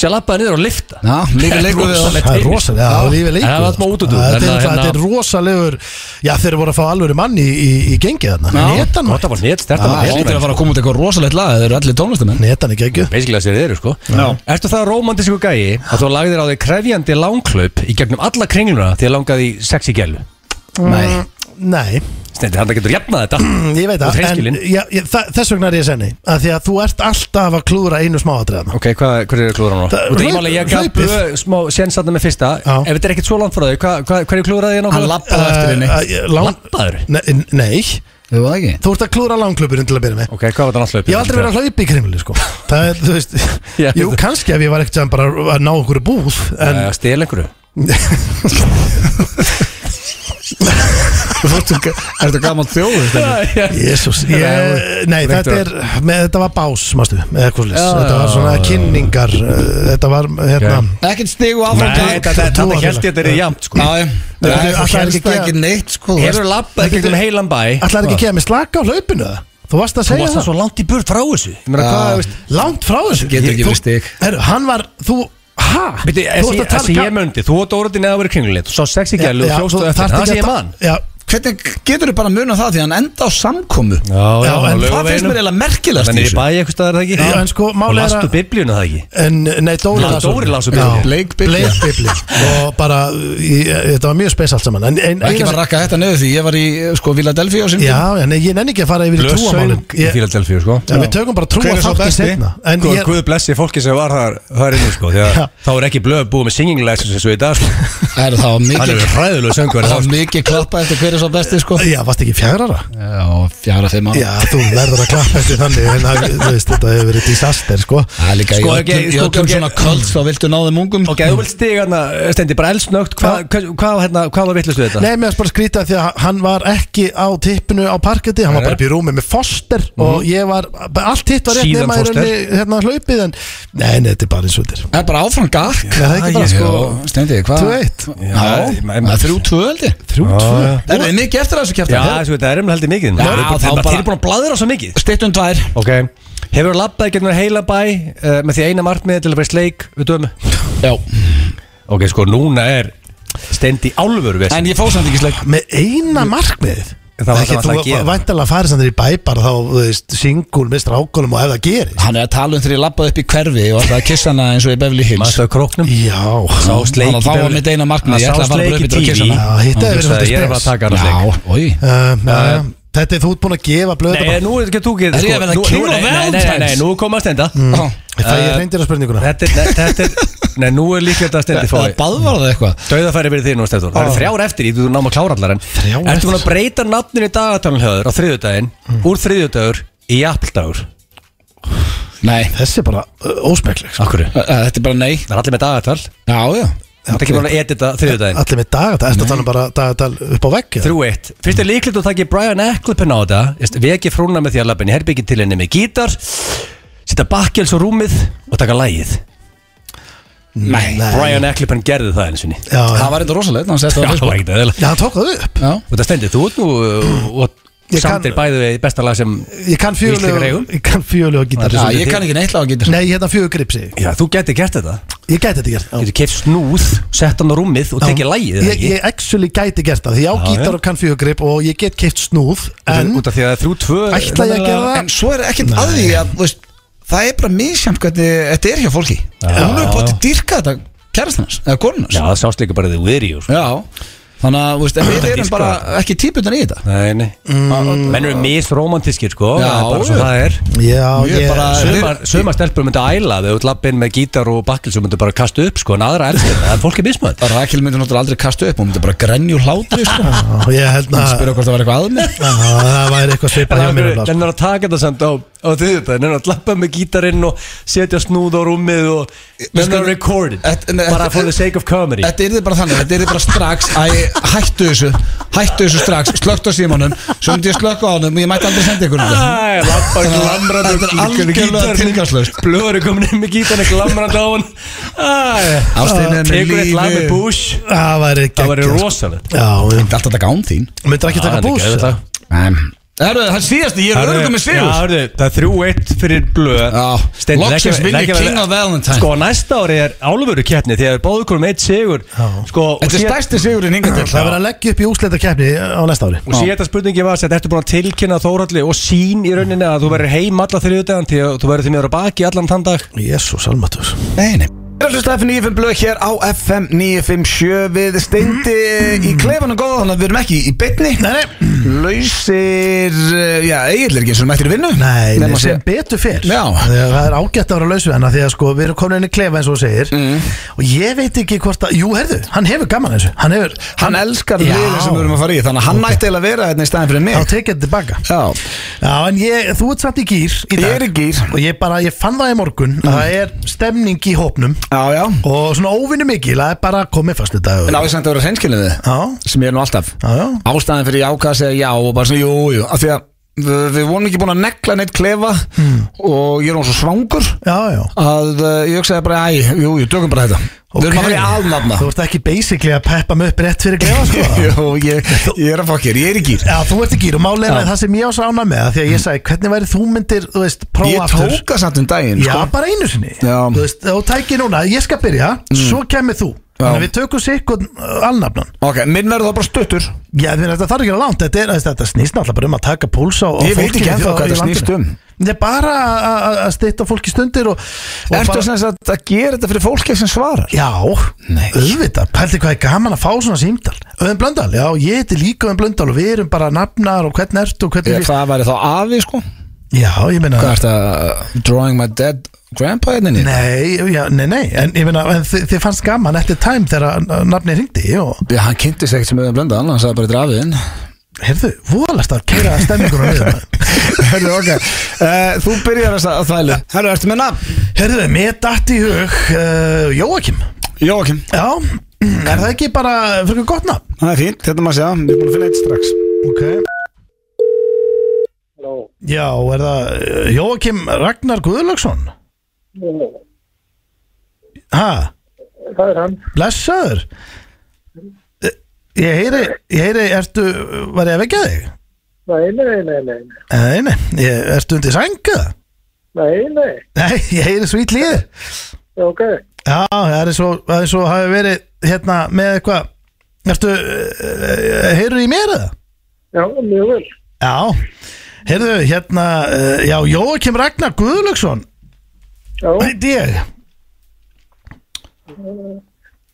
Speaker 3: Sér lappaði niður og lifta
Speaker 1: Já, líka leikur við
Speaker 3: rosalegt.
Speaker 1: það
Speaker 2: Það er rosalega, já, lífið leikur
Speaker 3: Það var smá útúrdúr,
Speaker 2: Það er-
Speaker 3: en að
Speaker 2: Þetta
Speaker 3: hérna-
Speaker 2: þetta er rosalegur Já, þeir eru voru að fá alvöru mann í, í, í gengið þarna
Speaker 1: Já.
Speaker 2: Netan,
Speaker 3: Þetta var neitt, þetta var
Speaker 1: Það
Speaker 3: neitt
Speaker 1: hlýtur að fara að koma út eitthvað rosalegt lag Það eru allir tónlistamenn
Speaker 2: netan ekki ekki
Speaker 3: basically að sér eru sko
Speaker 1: Já.
Speaker 3: Ertu það romantísku gæi að þú lagðir á þig krefjandi langklaup í gegnum alla kringluna því að langaði í sexy gælu
Speaker 1: Nei
Speaker 2: Nei,
Speaker 3: Snendi, hann getur jafnað þetta
Speaker 2: ég veit
Speaker 3: Og
Speaker 2: það en,
Speaker 3: hreinskilinn.
Speaker 2: já, ég, þa- Þess vegna er ég að segja nei að Því að þú ert alltaf að klúra einu smáatriðana
Speaker 3: Ok, hvað, hver er klúran á?
Speaker 2: Það-
Speaker 3: Þú veit, ég máli, ég gaf
Speaker 2: hlaupið.
Speaker 3: bö- smá sénsatna með fyrsta
Speaker 2: Já.
Speaker 3: Ef þetta er ekkert svo langt frá þau, hvað, hvað, hverju klúraði ég
Speaker 1: Hann
Speaker 3: nákvæmlega? Eh,
Speaker 1: lappaði eftir henni
Speaker 2: Eh,
Speaker 3: Labbaður?
Speaker 2: Nei, nei
Speaker 1: Þú var það ekki?
Speaker 2: Þú ert að klúra langkluburinn til að byrja með
Speaker 3: Ok, hvað var það náttúrulega?
Speaker 2: Ég hef aldrei verið að hlaupa í krimli sko Það er, þú veist
Speaker 3: Já,
Speaker 2: Jú,
Speaker 3: þetta-
Speaker 2: kannski ef ég var ekkert sem bara að ná okkur búð En
Speaker 3: Að stela Eh, einhverju
Speaker 1: Þú fórstu- Ertu gammal þjóður? Steini?
Speaker 2: Jésús Nei,
Speaker 3: Viktor.
Speaker 2: þetta er með, Þetta var bás, mástu Eða hvað slis
Speaker 3: Já,
Speaker 2: Þetta var
Speaker 3: já,
Speaker 2: svona
Speaker 3: já.
Speaker 2: kynningar eh, Þetta var, hérna
Speaker 3: Ok.
Speaker 1: Ekkert stig og
Speaker 3: Nei,
Speaker 1: áfram
Speaker 3: þetta- þetta þetta held ég að þetta er jafnt sko
Speaker 1: Já, já.
Speaker 2: Nei,
Speaker 1: Það
Speaker 2: þú
Speaker 1: er
Speaker 2: ætlar
Speaker 1: helst
Speaker 2: ekki að-
Speaker 1: ekki neitt sko
Speaker 3: Hefur labbað í gegnum heilan bæ
Speaker 2: Ætlaði ekki að gefa mig slaka á hlaupinu eða? Þú varst að
Speaker 3: Þú
Speaker 2: segja
Speaker 3: varst það
Speaker 2: það
Speaker 3: svo langt í burt frá þessu Ég meina,
Speaker 1: Já.
Speaker 3: hvað, veist
Speaker 2: Langt frá þessu
Speaker 1: Getur ekki
Speaker 2: Þú-
Speaker 1: verið stig.
Speaker 2: Herru, Hann var, þú Hæ?
Speaker 3: Bíddu, þessi- Þessi ég möndi, þú og Dóruði neða að vera kringleitt Svo sexy gælu og hljóstu eftir Það sé ég mann
Speaker 2: Já,
Speaker 1: Hvernig getur þið bara að muna það því hann enda á samkomu
Speaker 2: já, en
Speaker 3: á
Speaker 1: Það finnst
Speaker 3: Laugaveginum.
Speaker 1: mér eiginlega merkilegast í
Speaker 3: Þannig er í
Speaker 1: þessu.
Speaker 3: bæ eitthvað staðar það ekki
Speaker 2: Já, en sko, málið
Speaker 3: Og
Speaker 2: er að-
Speaker 3: lastu biblíuna það ekki
Speaker 2: En, nei, Dóri
Speaker 3: Nei, Dóri las úr Biblíu.
Speaker 2: Já.
Speaker 1: Bleik Biblíu.
Speaker 2: Bleik Biblíu. Og bara, ég, þetta var mjög spes allt saman En, en
Speaker 1: Og Ekki
Speaker 2: eina-
Speaker 1: bara rakka þetta niður því ég var í sko Vila Delfi á sinni
Speaker 2: Já, já, nei, ég nenni ekki að fara yfir í trúamálin
Speaker 3: Blöðsöng í
Speaker 2: Ég-
Speaker 3: Fíladelfíu sko
Speaker 2: En við tökum bara trúa þátt í setna En
Speaker 3: Guð,
Speaker 2: ég,
Speaker 3: Guð blessi fólki sem var þar, þar inni sko Því að
Speaker 2: Já.
Speaker 3: þá er ekki blöð búið með singing lessons eins og í dag sko
Speaker 1: Það er það var
Speaker 3: Hann
Speaker 1: mikið
Speaker 3: er hræðulegu söngur
Speaker 1: Það var mikið klappa eftir hver er svo besti sko
Speaker 2: já, varst ekki fjagrara?
Speaker 1: Já, fjara þeim ára
Speaker 2: Já, þú verður að klappa eftir þannig En það, þú veist, þetta hefur verið disaster, sko
Speaker 1: Það er líka í
Speaker 3: Sko,
Speaker 1: öllum-
Speaker 3: ekki-
Speaker 1: í
Speaker 3: sko,
Speaker 1: öllum
Speaker 3: ekki-
Speaker 1: svona kvöld þá viltu ná þeim ungum sko.
Speaker 3: Ok, þú vilt stiga hérna, Stendi, bara elsnögt Hvað hvað- hvað, hérna, hvað var vittlustu þetta?
Speaker 2: Nei, mér varst bara að skrýta því að hann var ekki á tippinu á parketti Hann var bara upp í rúmi með Foster Og ég var, allt hitt var rétt
Speaker 3: Mhm. Síðan
Speaker 2: nema í
Speaker 3: Foster.
Speaker 2: rauninni hérna hlaupið En, nei, nei, þetta er bara eins og þetta
Speaker 1: Það er bara áfram gakk
Speaker 2: Nei, það er ekki bara, sko,
Speaker 1: Stendi,
Speaker 3: Ah.
Speaker 1: hvað?
Speaker 2: 2-1.
Speaker 1: Já, það er þrjú tvö heldig
Speaker 2: Þrjú, tvö
Speaker 3: Ah,
Speaker 1: Er þið mikið eftir að þessu
Speaker 3: Já,
Speaker 1: kjæftan?
Speaker 3: þessu þetta er emla heldur mikið
Speaker 1: Já,
Speaker 3: Þeir
Speaker 1: þá
Speaker 3: eru
Speaker 1: bara-
Speaker 3: búin að bladra svo mikið
Speaker 1: Stittum tvær
Speaker 3: Ok, Hefur labbað gegnum heila bæ uh, með því eina markmiði til að vera sleik við dömu?
Speaker 5: Já
Speaker 3: Ok, sko, núna er stendi álfur við
Speaker 5: En ég fóð samt ekki sleik
Speaker 2: Með eina markmið
Speaker 3: En það var
Speaker 2: Ekki
Speaker 3: alltaf að
Speaker 2: þú
Speaker 3: gera.
Speaker 2: væntalega farið sem þér í bæ bara þá, þú veist, singul með strákunum og ef það gerir
Speaker 5: Hann er að tala um þegar ég lappaði upp í hverfi og alltaf að kissa hana eins og í Beverly Hills
Speaker 3: Maður á króknum
Speaker 2: Já
Speaker 3: Sá sleik
Speaker 5: Þannig að þá var mitt eina markmið, ég ætlaði að fara bara upp í til að kyssa hana.
Speaker 2: Já, hitt hefði verið svolítið
Speaker 3: Ég er bara að
Speaker 2: spes.
Speaker 3: taka hana sleik
Speaker 5: Já, oi
Speaker 2: Uh, uh, þetta er þú ert búin að gefa blöð
Speaker 3: Nei, nú er þetta ekki
Speaker 5: Er ég að verða
Speaker 3: nú-
Speaker 5: King
Speaker 3: nú-
Speaker 5: of
Speaker 3: nei, nei, nei, nei,
Speaker 5: Valentine's?
Speaker 3: nei, nú kom að stenda
Speaker 1: Mm.
Speaker 2: Það er reyndir að spurninguna
Speaker 3: Þetta er, nei, þetta er, nei, nú er líklegt að stendi
Speaker 5: Eða
Speaker 3: fói
Speaker 5: baðvar það eitthvað
Speaker 3: Dauðafæri fyrir þig nú, Stefán Það eru þrjár eftir, ég þú náma að klára allar en
Speaker 2: Þrjár
Speaker 3: Ertu búin að breyta nafninu í dagatalun höður á þriðjudaginn Úr þriðjudagur í jafndagur
Speaker 5: Nei,
Speaker 2: Þessi er bara uh, óspekleg sko.
Speaker 3: Akkur Það
Speaker 5: Ö- ö, þetta er bara nei
Speaker 3: er allir með dagatal Það
Speaker 5: Já, já
Speaker 3: er ekki búin að edita þriðjudaginn
Speaker 2: Allir með dagatæl, þetta tala um bara dagatæl upp á vegg eða?
Speaker 3: Þrjú eitt Fyrst er líklegt að taki Brian Ecclepin á þetta Veist, Veki frúna með því að lappin í herbyggi til henni með gítar Sitta bakkjáls á rúmið og taka lægið
Speaker 5: Nei
Speaker 2: Nei.
Speaker 3: Brian Ecclepin gerði það eins og ný
Speaker 2: Já,
Speaker 5: Það
Speaker 2: já.
Speaker 5: var eitthvað rosalegt, hann setti það
Speaker 3: Já,
Speaker 5: á
Speaker 3: það var
Speaker 5: Facebook
Speaker 3: ekkert eðalega
Speaker 2: já, hann tók það upp
Speaker 5: Já,
Speaker 3: Og það stendur þú út nú uh, og
Speaker 2: Ég kann-
Speaker 3: samt er bæðið við besta lag sem
Speaker 2: Ég kann
Speaker 3: Íslendingar
Speaker 2: fjögulega
Speaker 3: eigum.
Speaker 2: Ég kann fjögulega gítar
Speaker 5: já ég
Speaker 3: svolítið þig.
Speaker 5: kann ekki neitt laga getur
Speaker 2: Nei, hérna fjögur gripsi
Speaker 3: Já, þú geti gert þetta
Speaker 2: Ég gæti þetta gert já.
Speaker 3: Getur keift snúð, sett hann á rúmið og tekið lægið eða
Speaker 2: Ég,
Speaker 3: ekki?
Speaker 2: ég actually gæti gert það Því ég á
Speaker 3: Já, já.
Speaker 2: gítar og kann fjögur grip Og ég get keift snúð En
Speaker 3: Út af því að það er þrjú tvö
Speaker 2: ætla ég að gera það
Speaker 1: En svo er ekkert að því að þú veist, Það er bara misjæmt hvernig þetta er hjá fólki Hún er bótið dýrka þetta kærast hans Eða konun
Speaker 3: Já,
Speaker 1: hans
Speaker 3: það sást líka bara sko. þið við erum
Speaker 1: Já Þannig að þú veist, en við
Speaker 3: Þetta
Speaker 1: erum
Speaker 3: dýrka
Speaker 1: bara
Speaker 3: þetta.
Speaker 1: ekki típutin í þetta
Speaker 3: Nei, nei Menn eru misromantískir, sko
Speaker 1: Já,
Speaker 3: Það er bara svo
Speaker 1: já.
Speaker 3: það er
Speaker 2: Mm. Já,
Speaker 1: Ég er
Speaker 2: ég
Speaker 1: bara-
Speaker 3: Sumar, sumar stelpur myndi að æla Þau út lappin með gítar og bakkil sem myndi bara kasta upp, sko En aðra elskir þetta, það er fólki mismönd
Speaker 1: Rakel myndi náttúrulega aldrei kasta upp Hún myndi bara grenja úr hlátri sko.
Speaker 2: Já, Ég held
Speaker 1: Hún
Speaker 2: að
Speaker 1: spyrja hvort það var eitthvað að mér
Speaker 2: Já, Það væri eitthvað svipað hjá mér nefnilega, sko.
Speaker 3: Nennar að taka þetta samt á, á því þetta Nennar að lappa með gítarinn og setja snúð á rúmið og Nennar
Speaker 1: skulum-
Speaker 3: að record it
Speaker 1: Þetta- nei,
Speaker 3: Bara
Speaker 1: þetta-
Speaker 3: for the sake of comedy
Speaker 1: Þetta er bara þannig, þetta er bara strax Æ, hættu þessu, hættu þessu strax Slökkt á símanum, svo myndi ég slökka á honum Og ég mætti aldrei senda ykkur þetta
Speaker 3: Æ, lappa glamrandi
Speaker 1: Þetta er algjörlega tilgangslaust.
Speaker 3: Blöður er komin inn með gítarinn glamrandi á hann
Speaker 1: Ástin
Speaker 3: Æ,
Speaker 1: er með
Speaker 3: tekur eitt lag með
Speaker 1: lífi.
Speaker 3: Bush
Speaker 2: Það væri
Speaker 3: Það væri
Speaker 2: geggjað, sko.
Speaker 3: rosalegt
Speaker 2: Já,
Speaker 1: Þetta er alltaf taka án þín
Speaker 2: ég myndir ekki taka bús eða?
Speaker 1: Herru, það er síðast, ég er örgum með
Speaker 3: Já,
Speaker 1: sigur
Speaker 3: hörðu, það er 3-1 fyrir blöð
Speaker 1: Já.
Speaker 3: Steindi,
Speaker 1: Loksins
Speaker 3: ekki-
Speaker 1: vinn ég
Speaker 3: ekki-
Speaker 1: King of Valentine.
Speaker 3: Sko, næsta ári er álfuru keppni Því að við báðum komum eitt sigur Sko, og
Speaker 1: Þetta er
Speaker 3: síðan-
Speaker 1: stærsti sigurinn hinga til
Speaker 2: Það verður að leggja upp í úsleitarkeppni á næsta ári
Speaker 3: Og síðan spurningi var að ertu búin að tilkynna Þóralli og sín í rauninni að þú verður heim alla þriðudagan því að þú verður því meður á baki allan þann dag
Speaker 2: Jésús, almatur
Speaker 1: Nei, nei Það er hlusta FM 95 blöð hér á FM 957 Við steindi í klefanum góða Þannig að við erum ekki í bytni Nei, nei Lausir, eh, já, eiginlega ekki eins og við erum eftir í vinnu
Speaker 2: Nei,
Speaker 1: Nema
Speaker 2: nei sem
Speaker 1: sé-
Speaker 2: betur fyrr
Speaker 1: Já.
Speaker 2: Þegar Það er ágætt að vera lausu hennar Því að sko, við erum komin inn í klefa eins og þú segir
Speaker 1: Mm.
Speaker 2: Og ég veit ekki hvort að Jú, herðu, hann hefur gaman þessu Hann hefur
Speaker 1: Hann elskar
Speaker 2: Já.
Speaker 1: liðin sem við erum að fara í Þannig að hann
Speaker 2: Ok.
Speaker 1: ætti eiginlega að vera hérna í staðin fyrir
Speaker 2: Þá
Speaker 1: mig
Speaker 2: tekið þetta tilbaka
Speaker 1: Já,
Speaker 2: Já, en ég, þú ert samt í gýr í
Speaker 1: ég
Speaker 2: dag
Speaker 1: er í gýr
Speaker 2: Og ég bara, ég fann það í morgun að Það er stemning í hópnum
Speaker 1: Já, já
Speaker 2: Og svona óvinni mikil Það er bara komið fastu dag
Speaker 1: En á ég samt að vera hreinskilinu þið
Speaker 2: Já,
Speaker 1: Sem ég er nú alltaf
Speaker 2: já, já
Speaker 1: ástæðan fyrir ég ákvað að segja já og bara svona jú, jú, af því að við, við vorum ekki búin að negla neitt klefa
Speaker 2: Hmm.
Speaker 1: og ég er hún svo svangur
Speaker 2: Já, já
Speaker 1: að uh, ég hugsaði bara, æ, jú, jú, tökum bara þetta við erum að fara í alnafna
Speaker 2: Þú ert ekki basically að peppa mig upp rétt fyrir klefa sko
Speaker 1: Jú, ég, ég er að fokk hér, ég er í gýr
Speaker 2: Já, þú ert ekki í málega það sem ég á sána með það, Því að ég sagði, hvernig væri þú myndir, þú veist, prófa
Speaker 1: Ég
Speaker 2: aftur
Speaker 1: tóka samt um daginn
Speaker 2: Já,
Speaker 1: sko.
Speaker 2: bara einu sinni
Speaker 1: Já. Mm.
Speaker 2: Þú veist, og tæki núna, ég skal byrja Svo kemur þú Þannig að við tökum sikkur alnafnan
Speaker 1: Ok, minn verður það bara stuttur
Speaker 2: Já, því að þetta þarf ekki að langt Þetta, er, þú veist, þetta snýst náttúrulega bara um að taka púls á, á
Speaker 1: Ég veit
Speaker 2: fólki
Speaker 1: ekki
Speaker 2: í-
Speaker 1: ennþá hvað
Speaker 2: á- í
Speaker 1: þetta
Speaker 2: landinu.
Speaker 1: snýst um.
Speaker 2: Þetta er bara að- að- að steytta fólki stundir og, og
Speaker 1: Ertu
Speaker 2: bara-
Speaker 1: sem sagt að gera þetta fyrir fólki sem svarar?
Speaker 2: Já,
Speaker 1: Nei.
Speaker 2: auðvitað, pælti hvað er gaman að fá svona símdal Öðum Blöndal, já, ég heiti líka Öðum Blöndal og við erum bara nafnar og hvernig ertu og hvernig
Speaker 1: Ég, hvað væri þá afi, sko?
Speaker 2: Já, ég meina
Speaker 1: Hvað ertu að uh, drawing my dead grandpa hérna inn í?
Speaker 2: Nei, já, nei, nei, en ég meina, en þið, þið fannst gaman eftir time þegar uh, nafnið ringdi og
Speaker 1: Já, hann kynnti sig ekkert sem auðan blöndan, hann sagði bara þetta er afiðinn
Speaker 2: heyrðu, voðalast að keira stemningur á niður
Speaker 1: Herru, ok uh, Þú byrjar þess að þvælu Herru, ertu með nafn?
Speaker 2: Heyrðu, mér datt í hug uh, Jóakim
Speaker 1: Jóakim
Speaker 2: Já, er það ekki bara fyrir gott nafn?
Speaker 1: Það er fínt, hérna þetta maður sé að Við erum búin að finna eitt strax
Speaker 2: Ok Já, er það uh, Jóakim Ragnar Guðlöksson? Ha?
Speaker 6: Það er hann.
Speaker 2: Blessaður Eh, Ég heyri, ég heyri, ertu, var ég að vekja þig?
Speaker 6: Nei, nei, nei, nei.
Speaker 2: Nei, nei, ég, ertu undir sænga?
Speaker 6: Nei, nei,
Speaker 2: Nei, ég heyri svo ítli í þér
Speaker 6: já, ok.
Speaker 2: Já, það er svo, það er svo hafi verið hérna með eitthvað Ertu, uh, heyrðu í mér eða?
Speaker 6: Já, mjög vel.
Speaker 2: Já, heyrðu, hérna, uh, já, Jóakim Ragnar Guðlöksson
Speaker 6: Já,
Speaker 2: Heiti ég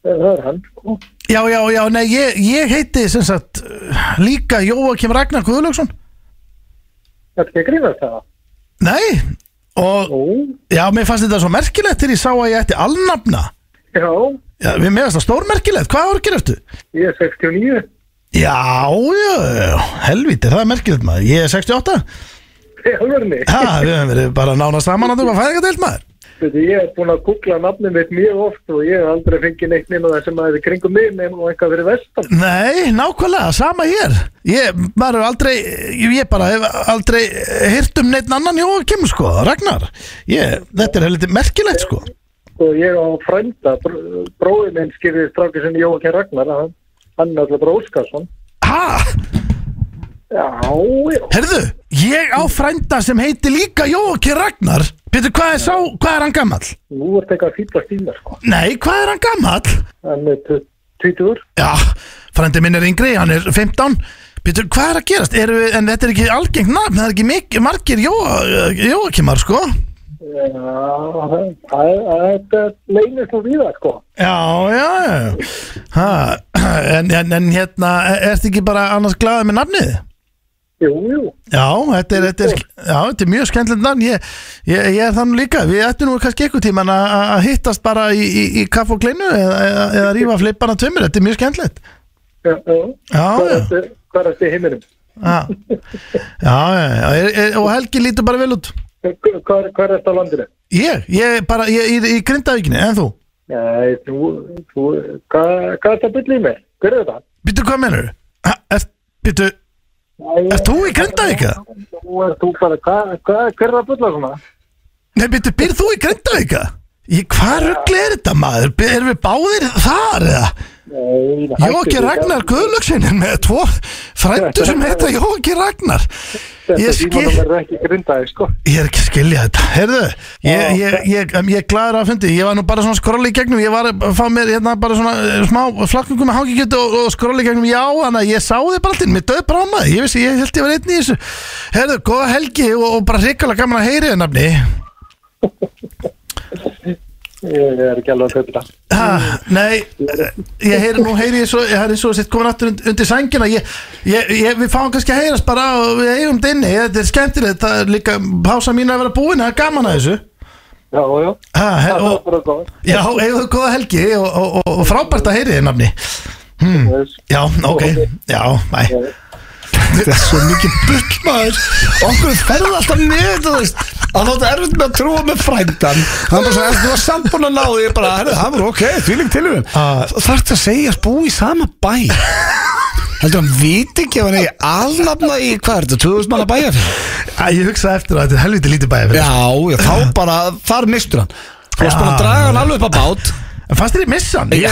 Speaker 6: það er hann, sko.
Speaker 2: Já, já, já, nei, ég, ég heiti sem sagt uh, líka Jóakim Ragnar Guðlöksson
Speaker 6: Það er ekki að grífast það.
Speaker 2: Nei, og
Speaker 6: Jú,
Speaker 2: já, mér fannst þetta svo merkilegt til ég sá að ég ætti alnafna
Speaker 6: já,
Speaker 2: Já, við meðast það stórmerkilegt, hvað orkir eftir?
Speaker 6: ég er 69.
Speaker 2: Já, já, já, helvíti, það er merkilegt maður Ég er 68
Speaker 6: Það er alveg
Speaker 2: Ha, við höfum verið bara nánast saman að þú var fæðingadeild maður
Speaker 6: Þetta ég er búin að googla nafnum mitt mjög oft og ég hef aldrei fengið neitt nema það sem að þið kringum mig nema og eitthvað fyrir vestan.
Speaker 2: Nei, nákvæmlega, sama hér Ég, maður hefur aldrei, ég ég bara hef aldrei heyrt um neitt annan Jóakim, sko, Ragnar ég, Þetta er helviti merkilegt, sko
Speaker 6: Og ég á frænda, br- bróðir minn skýrði strákið sem Jóakin Ragnar, hann, hann er alltaf Bróskarsson.
Speaker 2: Ha,
Speaker 6: Já, já,
Speaker 2: herðu, ég á frænda sem heiti líka Jóakim Ragnar Pétur, hvað er sá, hvað er hann gamall?
Speaker 6: nú er þetta eitthvað að fýta stíma, sko.
Speaker 2: Nei, hvað er hann gamall?
Speaker 6: Hann er 20
Speaker 2: Já, frændi minn er yngri, hann er 15 Býtur, hvað er að gerast? Eru, við- en þetta er ekki algengt nafn, það er ekki mikið, margir Jóa- Jóakimar, sko
Speaker 6: Já, það- það- þetta leynir svo víða, sko.
Speaker 2: Já, já, já ha, en, en, en hérna, er- ertu ekki bara annars glaðið með nafnið?
Speaker 6: Jú, jú.
Speaker 2: Já, þetta er, þetta er, já, þetta er mjög skemmtilegt nafn, ég, ég, ég er þannig líka Við ættum nú kannski eitthvað tíman að að hittast bara í, í, í kaff og kleinu eða, eða, eða rífa flippana tömur, þetta er mjög skemmtilegt
Speaker 6: Já, já.
Speaker 2: Já,
Speaker 6: Hvað er
Speaker 2: já,
Speaker 6: þetta- Hvað er þetta í heiminum?
Speaker 2: já, já, já, já. Er, er, og Helgi lítur bara vel út
Speaker 6: Hva- Hvað er- hvað er þetta á landinu?
Speaker 2: Ég, ég bara, ég í, í grindavíkinni, en þú?
Speaker 6: Nei, þú, þú, hvað hva er þetta byll í mig? Hver er þetta?
Speaker 2: Býttu, hvað menur? Býttu, ert þú í Grindavík? eða?
Speaker 6: Nú er þú bara, hvað, hva, hver er það bylla svona?
Speaker 2: Nei, býttu, byrð þú í Grindavík? eða? Í hvað ruggli er þetta maður? Be- Erum við báðir þar eða?
Speaker 6: Nei, hættu
Speaker 2: Jóki
Speaker 6: því,
Speaker 2: Ragnar Guðlöksin er með tvo frændu sem heita Jóki Ragnar
Speaker 6: Þetta
Speaker 2: Ég
Speaker 6: ég
Speaker 2: skil,
Speaker 6: símanum er ekki grindaði, sko.
Speaker 2: ég er ekki að skilja þetta Herðu, ég,
Speaker 6: Já.
Speaker 2: ég, ég, em, ég er glaður að fundi Ég var nú bara svona skrolla í gegnum Ég var að fá mér hérna bara svona eh, smá flakkungum með hangikjötu og, og skrolla í gegnum Já, þannig að ég sá þið bara alltaf, mér döði brámaði Ég vissi, ég held ég var einn í þessu Herðu, góða helgi og, og bara hrikalega gaman að heyri þér nafni
Speaker 6: Ég er ekki alveg að kaupa það.
Speaker 2: Ha, nei, eh, ég heyri nú heyri ég svo, ég heyri svo sitt komin aftur und- undir sængina ég, ég, ég, við fáum kannski að heyrast bara og við eigum dinni, þetta er skemmtilegt það er líka pása mín að vera búin það er gaman að þessu
Speaker 6: Já, já.
Speaker 2: ha, he,
Speaker 6: Það er
Speaker 2: og,
Speaker 6: bara góð.
Speaker 2: já, eigum þú góða helgi og, og, og, og frábært að heyri þið nafni Mm. já, ok, já, næ
Speaker 1: Þetta er svo mikið bull maður Okkur ferði alltaf með þetta þú veist Að þáttu erfitt með að trúa með frændan Hann bara svo erfitt með að sambúna náði Ég bara, herru, það var ok, þvílík tilhugum
Speaker 2: Ah.
Speaker 1: Þarftu að segja að bú í sama bæ Heldur hann viti ekki að hann eigi alnafna í Hvað er þetta, 2000 manna bæja
Speaker 2: Æ, ég hugsaði eftir að þetta er helviti lítið bæði fyrir
Speaker 1: Já, já, þá bara, þar mistur hann Þú varst bara að draga hann alveg upp á bát
Speaker 2: en fannst þér í missan?
Speaker 1: Já,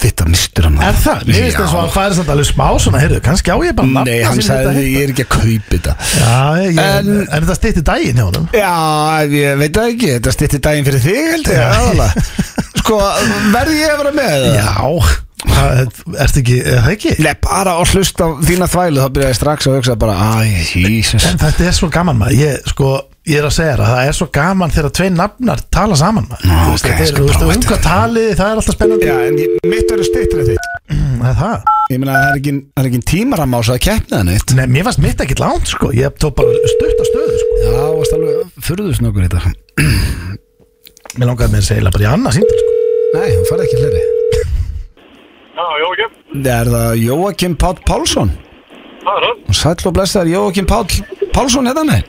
Speaker 1: þetta mistur hann
Speaker 2: er það? Mér finnst þess að hann færi samt alveg smá svona, heyrðu, kannski á ég bara nafna
Speaker 1: Nei, hann
Speaker 2: sem þetta
Speaker 1: sagði,
Speaker 2: heitir.
Speaker 1: ég er ekki að kaupa þetta
Speaker 2: Já, ég, en,
Speaker 1: En-
Speaker 2: en þetta stýtti daginn hjá honum
Speaker 1: Já, ég veit það ekki, þetta stýtti daginn fyrir þig held ég, aðalega Sko, verði ég að vera með það?
Speaker 2: Já, það ertu ekki, er það ekki?
Speaker 1: Nei, bara að hlusta á þína þvælu, þá byrjaði ég strax að hugsa bara, æ, Jesus
Speaker 2: En þetta er svo gaman maður, ég, sko, ég er að segja þér að það er svo gaman þegar tvei nafnar tala saman maður
Speaker 1: Nú,
Speaker 2: Þú veist,
Speaker 1: ok, ég
Speaker 2: þetta er,
Speaker 1: skal
Speaker 2: þú veist,
Speaker 1: prófa
Speaker 2: um
Speaker 1: þetta.
Speaker 2: hvað talið, það er alltaf spennandi
Speaker 1: Já, en ég, mitt eru stýttir en þitt
Speaker 2: mm, er Það,
Speaker 1: Ég meina, það er ekki, það er ekki tímaram á svo að keppna það neitt
Speaker 2: nei, mér fannst mitt ekkit langt, sko, ég tók bara stutt á stöðu, sko
Speaker 1: Já, varst alveg furðus nokkur í þetta
Speaker 2: Mér langaði mér að segja eiginlega bara í annað síndar, sko
Speaker 1: Nei, hún farið ekki fleiri
Speaker 6: Já, já, já.
Speaker 1: Er það Jóakim Páll Pálsson?
Speaker 6: Það er hann.
Speaker 1: Sæll og blessaður Jóakim Páll Pálsson hérna megin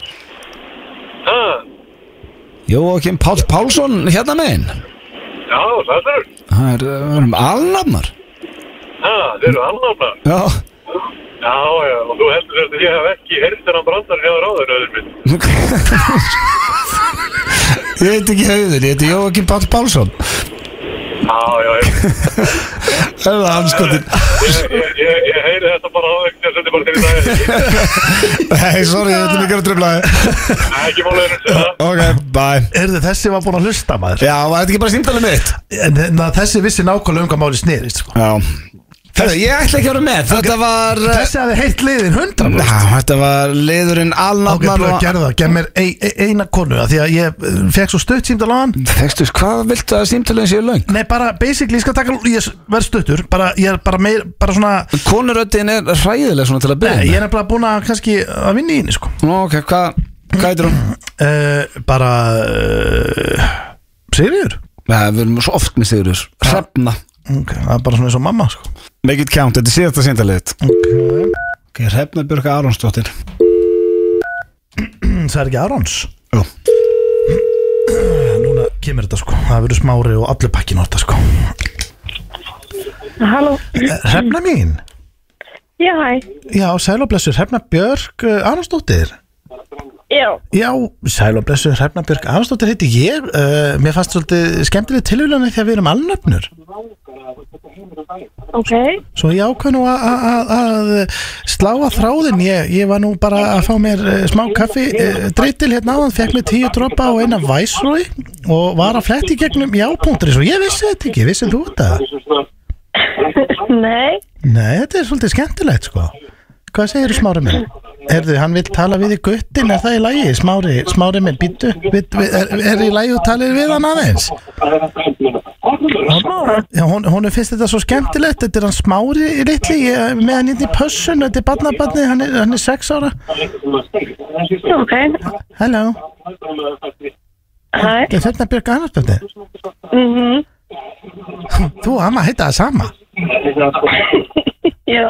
Speaker 1: Jóakim Páll Pálsson hérna megin
Speaker 6: Já, það er.
Speaker 1: Það er, við erum alnafnar
Speaker 6: Það eru alnafna.
Speaker 1: Já,
Speaker 6: Já, já, og þú heldur þetta ég hef ekki heyrt þennan brandar hjá ráður, öður minn.
Speaker 1: ég heiti ekki auður, ég heiti Jóakim Páll Pálsson
Speaker 6: Já, já, já.
Speaker 1: Það er það anskotin
Speaker 6: ég, ég, ég heyri þetta bara á einhvern
Speaker 7: þetta sönduboltin í dag
Speaker 1: Nei, sorry, ég ætlum ekki að dröfla
Speaker 7: Það er ekki málega um þetta
Speaker 1: Ok, bye
Speaker 2: Erðu þessi var búin að hlusta maður
Speaker 1: Já, var þetta ekki bara símtalið mitt?
Speaker 2: En na, þessi vissi nákvæmlega um hvað máli snerist sko.
Speaker 1: Já Þetta, ég ætla ekki að vera með Þetta var eh,
Speaker 2: Þessi hafi heilt liðin hundra
Speaker 1: Já, þetta var liðurinn
Speaker 2: Ok,
Speaker 1: alnafnan
Speaker 2: blöð að gera það, gef mér ein, e, eina konu af Því að ég fekk svo stutt símdala á hann
Speaker 1: Fekstu, hvað viltu að símtalið séu löng?
Speaker 2: Nei, bara basically, ég skal taka Ég verð stuttur, bara, ég er bara meir Bara svona,
Speaker 1: Konuröddin er hræðileg svona til að byrja
Speaker 2: nei, ég er nefnilega búin að kannski að vinna í henni, sko
Speaker 1: Nú, ok, hvað, hvað heitir hún?
Speaker 2: uh, Bara uh, Sigriður
Speaker 1: Nei, við erum svo oft með Sigurður Hrefna
Speaker 2: Ok, það er bara svona eins og mamma, sko
Speaker 1: Make it count, þetta er síðasta símtalið
Speaker 2: Ok,
Speaker 1: Ok, Hrefna Björka Aronsdóttir
Speaker 2: Mm, það er ekki Arons
Speaker 1: Jú.
Speaker 2: Núna kemur þetta, sko Það verður smári og allir pakkin á þetta, sko Eh,
Speaker 8: Halló,
Speaker 2: Hrefna mín
Speaker 8: já hæ,
Speaker 2: Já, sæl og blessur, Hrefna Björk uh, Aronsdóttir
Speaker 8: já,
Speaker 2: Já, sæl og blessu, Hrefna Björk Afstóttir heiti ég, uh, mér fannst svolítið skemmtileg tilvílunni því að við erum alnöfnur
Speaker 8: ok,
Speaker 2: Svo ég ákvað nú að- að- að að slá að þráðin ég, ég var nú bara að fá mér uh, smá kaffi uh, dreitil hérna áðan, fekk mér tíu dropa og eina væsrói og var að fletti gegnum jápunktur og ég vissi þetta ekki, vissi þú þetta?
Speaker 8: nei,
Speaker 2: Nei, þetta er svolítið skemmtilegt sko Hvað segir smári minn? Herðu, hann vil tala við í guttin, er það í lagi? Smári, smári minn, býttu, er, er í lagi og talir við hann aðeins? Já, hún, hún finnst þetta svo skemmtilegt Þetta er hann smári í litli ég, með hann inn í pössun, þetta er barnabarni hann, er- hann er sex ára
Speaker 8: ok,
Speaker 2: Hello,
Speaker 8: hæ,
Speaker 2: þetta er þetta Björk Annarsbjörni
Speaker 8: mhm,
Speaker 2: Þú og amma heita það sama
Speaker 8: já,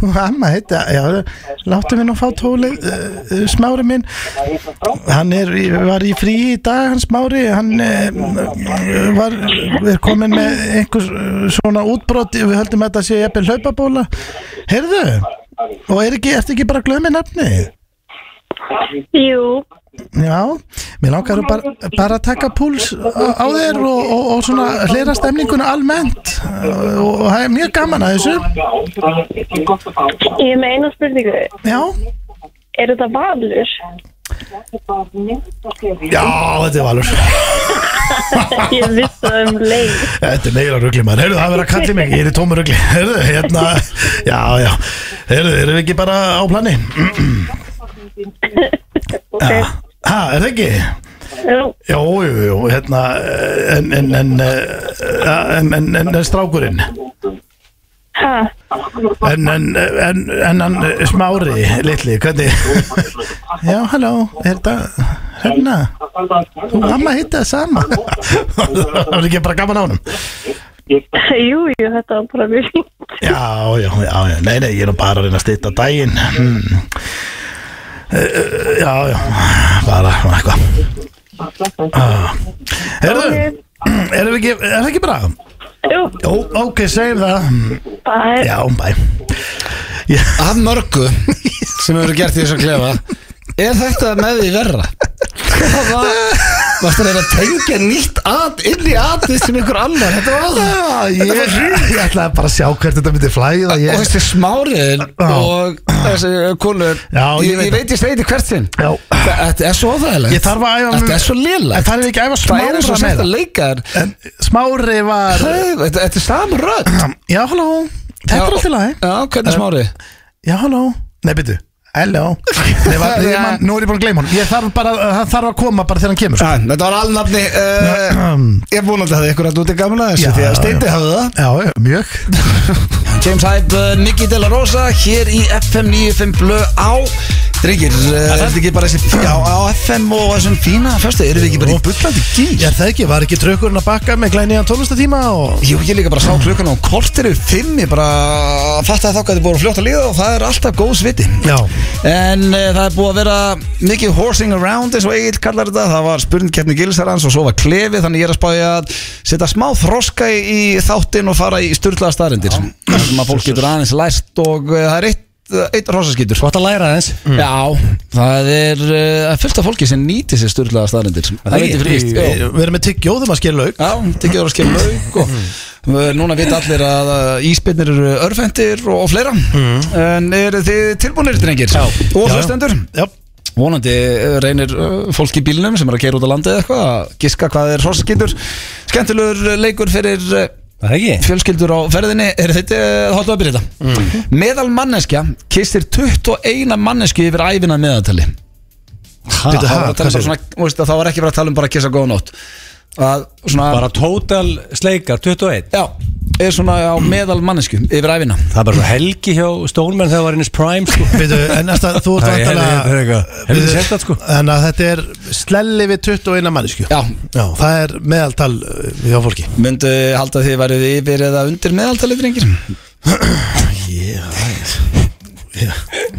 Speaker 2: Þú og amma heita, já, láttu mig nú fá tólið uh, uh, Smári minn Hann er, í- var í frí í dag hann smári, hann uh, var, er komin með einhvers uh, svona útbrot við höldum að þetta sé eppið hlaupabóla Heyrðu, og er ekki, ertu ekki bara að glömi nafnið?
Speaker 8: jú,
Speaker 2: Já, mér langar að bara, bara að taka púls á, á þér og, og, og svona hlera stemninguna almennt uh, og það er mjög gaman að þessu
Speaker 8: ég er með eina spurningu,
Speaker 2: Já,
Speaker 8: er þetta valur?
Speaker 2: já þetta er valur
Speaker 8: Ég vissi það um leið,
Speaker 2: Þetta er meira rugli maður, heyrðu það verður að kalli mig, ég er í tómu rugli Heyrðu, hérna, já, já Heyrðu, erum við ekki bara á plani?
Speaker 8: ok,
Speaker 2: Ah. Ha, er það ekki? Jó,
Speaker 8: já,
Speaker 2: jú, jú, hérna eh, en, en, en, eh, en, en, en, en strákurinn
Speaker 8: hæ,
Speaker 2: En, en, en, en hann eh, smári, litli, hvernig? Já, halló, er þetta, hérna, þú mamma hitta það sama. Það var ekki bara gaman á honum.
Speaker 8: jú, jú, þetta var bara mjög fínt,
Speaker 2: Já, já, já, já, nei, nei, ég er nú bara að reyna að stýta daginn. Hmm. Eh, eh, Já, já, bara, svona eitthvað. Ah. Heyrðu, erum við ekki, er það ekki bra?
Speaker 8: jú,
Speaker 2: Jó, ok, segjum það.
Speaker 8: bæ,
Speaker 2: Já, bæ.
Speaker 1: Af mörgu sem hefur verið gert í þessu klefa Er þetta með því verra? Hvað var Varstu að reyna að tengja nýtt at inn í atið sem ykkur annar Ah. Þetta var það
Speaker 2: Já, Ah, ég, ég ætlaði bara að sjá hvert þetta myndi flæða ég,
Speaker 1: Og þessi smáriðin
Speaker 2: Já.
Speaker 1: og þessi uh, konur
Speaker 2: Já, ég
Speaker 1: ég,
Speaker 2: veit
Speaker 1: ég veit ég steiti hvert sinn
Speaker 2: Já.
Speaker 1: Þetta er svo óþægilegt
Speaker 2: Ég þarf að æfa mig-
Speaker 1: Þetta er svo
Speaker 2: En
Speaker 1: lélegt
Speaker 2: það er ekki að æfa
Speaker 1: Það er eins og
Speaker 2: smára með
Speaker 1: sett að
Speaker 2: það
Speaker 1: leika þér
Speaker 2: En Smári var
Speaker 1: Þetta þetta er sama rödd
Speaker 2: Já, halló Þetta er
Speaker 1: Já,
Speaker 2: allt í lagi Eh,
Speaker 1: Já, hvernig smári?
Speaker 2: Já, halló Nei, byrju Halló Nei, var, ég, man, Nú er ég búin að gleyma hún Ég þarf bara uh, Það þarf að koma bara þegar hann kemur sko.
Speaker 1: Æ, Þetta var alnafni
Speaker 2: eh,
Speaker 1: uh, Ég vonandi að það ykkur að út er gamla þessu
Speaker 2: Já,
Speaker 1: Því að
Speaker 2: já.
Speaker 1: steiti hafði það
Speaker 2: Já, já, mjög
Speaker 1: James Hype, uh, Nicky De La Rosa hér í FM 95 Blö á Drengir, uh, er þetta ekki bara þessi já, á FM og þessum fína fyrstu, erum við ekki bara í bullandi gýr?
Speaker 2: Ég er það ekki Var ekki trökkurinn að bakka með glæniðan tónlistatíma og
Speaker 1: Jú, ég líka bara sá klukkan á kortir yfir fimm, ég bara fatt að þáka þetta búið að fljóta líða og það er alltaf góð sviti
Speaker 2: Já.
Speaker 1: En uh, það er búið að vera mikið horsing around eins og Egil kallar þetta, það var spurningkeppni gilsarans og svo var klefið, þannig ég er að spája að setja smá þroska í, í þáttinn og fara í styrlaða staðrindir sem að fólk getur aðeins læst og uh, það er eitt
Speaker 9: eitt rosaskýtur
Speaker 3: Gott að læra aðeins
Speaker 1: Mm. Já, það er uh, fullt af fólki sem nýti sér styrlaða staðlindir Það veit ég fyrir víst já.
Speaker 2: Við við erum með tyggjóðum að skilja lauk
Speaker 1: Já, tekið ára að skemmu lauk og uh, núna veit allir að uh, íspinnir eru örfendir og, og fleira En eru þið tilbúinir, drengir? Mm. Já Og
Speaker 2: Já.
Speaker 1: hlustendur?
Speaker 2: Já,
Speaker 1: Vonandi uh, reynir uh, fólk í bílnum sem er að keira út á landið eða eitthvað að giska hvað er hrosskytur Skemmtilegur uh, leikur fyrir uh,
Speaker 3: Það er ekki
Speaker 1: fjölskyldur á ferðinni er þetta eh, að holda að byrja þetta meðal manneskja kissir 21 mannesku yfir æfina að meðatali
Speaker 2: Bíddu,
Speaker 1: það var að tala um
Speaker 2: ha, hvað
Speaker 1: bara svona, þú veist, að það var ekki verið að tala um bara að kissa góða nótt að svona
Speaker 3: Bara total sleikar 21
Speaker 1: já er svona á meðal mannesku yfir æfina
Speaker 3: Það er bara svo helgi hjá Stoneman þegar það var innist prime sko
Speaker 2: Býtu, en næsta, þú ert
Speaker 3: Það er-
Speaker 2: vantala
Speaker 3: það er eitthvað. Helviti sérstakt, sko.
Speaker 2: En að þetta er slelli við 21 mannesku
Speaker 1: Já.
Speaker 2: það er meðaltal uh, hjá fólki
Speaker 1: myndu halda því að þið værið yfir eða undir meðaltali drengir
Speaker 2: Já,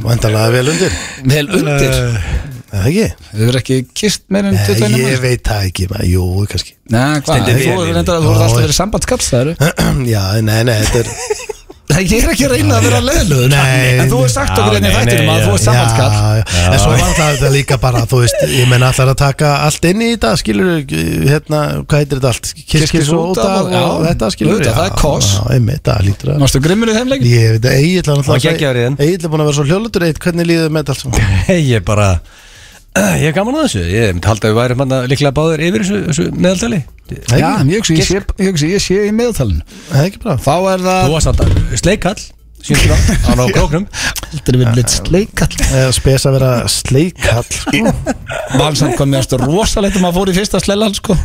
Speaker 2: vantala vel undir
Speaker 1: vel undir
Speaker 2: Eh, Það ekki?
Speaker 1: þau verið ekki kist meir en
Speaker 2: Nei,
Speaker 1: 21
Speaker 2: ég
Speaker 1: mannesku
Speaker 2: veit það ekki, maður, jú, kannski
Speaker 1: Nei, hvað,
Speaker 2: Stendur
Speaker 1: þú
Speaker 2: vel
Speaker 1: er
Speaker 2: yfir.
Speaker 1: reyndar að þú ert
Speaker 2: Já,
Speaker 1: alltaf
Speaker 2: ég-
Speaker 1: verið sambandskall það eru
Speaker 2: Já, nei, nei, þetta er
Speaker 1: Ég er ekki að reyna að vera leðlugur
Speaker 2: Nei,
Speaker 1: En þú hefur sagt okkur
Speaker 3: Já,
Speaker 1: einnig
Speaker 3: nei,
Speaker 1: þættinum
Speaker 3: nei,
Speaker 1: að
Speaker 3: já.
Speaker 1: þú er sambandskall
Speaker 2: já, já. En svo var það þetta líka bara, þú veist Ég menn allar að taka allt inn í þetta Skilur, hérna, hvað heitir þetta allt?
Speaker 1: Kiss, kiss,
Speaker 2: Kiskis og
Speaker 1: út af
Speaker 2: útaf
Speaker 1: og- já,
Speaker 2: og þetta skilur
Speaker 1: auðvitað, það er koss.
Speaker 2: Já, einmitt, það lítur að
Speaker 1: Mástu grimmur í þeim leik?
Speaker 2: Ég veit að Egil hann
Speaker 3: Og geggjaður í þeim.
Speaker 2: Egil er búin að vera svo hljóðlutur Egil, hvernig líður þér með þetta allt saman?
Speaker 3: Hei, ég bara Ég er gaman að þessu Ég myndi halda að við værum hann líklega báðir yfir þessu, þessu meðaltali
Speaker 1: Já, ég hugsi, ég sé, ég hugsi, ég sé í meðaltalinu
Speaker 2: Það er ekki bra
Speaker 1: Þá er það
Speaker 3: Þú var samt að sleikall Sýnst þú það? Hann á króknum
Speaker 1: Aldrei verið litt sleikall
Speaker 2: Eða spes að vera sleikall sko.
Speaker 1: Vansamt kom mér aftur rosalegt um að fór í fyrsta slellal sko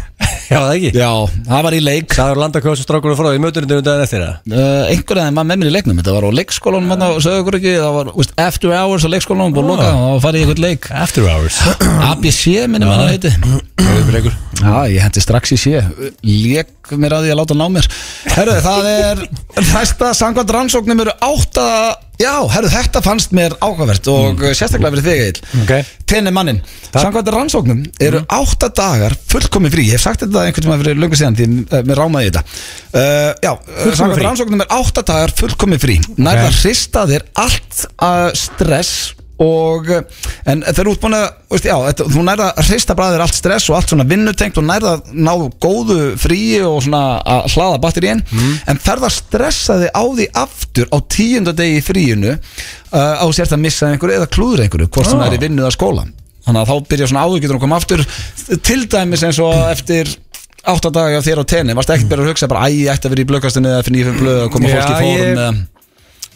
Speaker 3: Já, það ekki
Speaker 1: Já, það var í leik
Speaker 3: Það er landakjóðs og strákur og frá Í mötunum um daginn eftir það
Speaker 1: Uh, einhvern veginn maður með mér í leiknum þetta var á leikskólanum þarna og sögðu okkur ekki það var veist, after hours á leikskólanum búið að loka og það farið í einhvern leik
Speaker 3: Ah. After hours
Speaker 1: ABC minni manna heiti
Speaker 3: Leifur
Speaker 1: Já, ég hendi strax í sé Lék mér að því að láta ná mér Herru, það er Næsta sangvæmt rannsóknum eru átta Já, herru, þetta fannst mér ákvæmvert Og sérstaklega fyrir þig eil
Speaker 3: Mm. Ok. Mm.
Speaker 1: Tenni mannin Sangvæmt rannsóknum eru átta dagar fullkomi frí Ég hef sagt þetta einhvern veginn fyrir löngu síðan Því eh, mér rámaði í þetta uh, Já,
Speaker 3: frí.
Speaker 1: sangvæmt rannsóknum eru átta dagar fullkomi frí Nær
Speaker 3: Ok.
Speaker 1: það hrista þér allt uh, stress og uh, en þegar þú ert búin að veist, já, þetta, þú nærða að hrista bara þér allt stress og allt svona vinnutengt og nærða að ná góðu fríi og svona að hlaða batteríin
Speaker 3: Mm.
Speaker 1: en ferð að stressa þig á því aftur á tíunda degi í fríinu uh, á sérst að missa einhverju eða klúður einhverju hvort sem
Speaker 3: Ah.
Speaker 1: er í vinnu eða skóla þannig að þá byrja svona áhugjur að koma aftur til dæmis eins og eftir átta daga hjá þér á tenni, varst ekkert byrjað að hugsa bara æ, ég ætti að vera í blökastinu eða fyrir nýfum blöð að koma
Speaker 3: Já,
Speaker 1: fólki í
Speaker 3: ég-
Speaker 1: fórum eða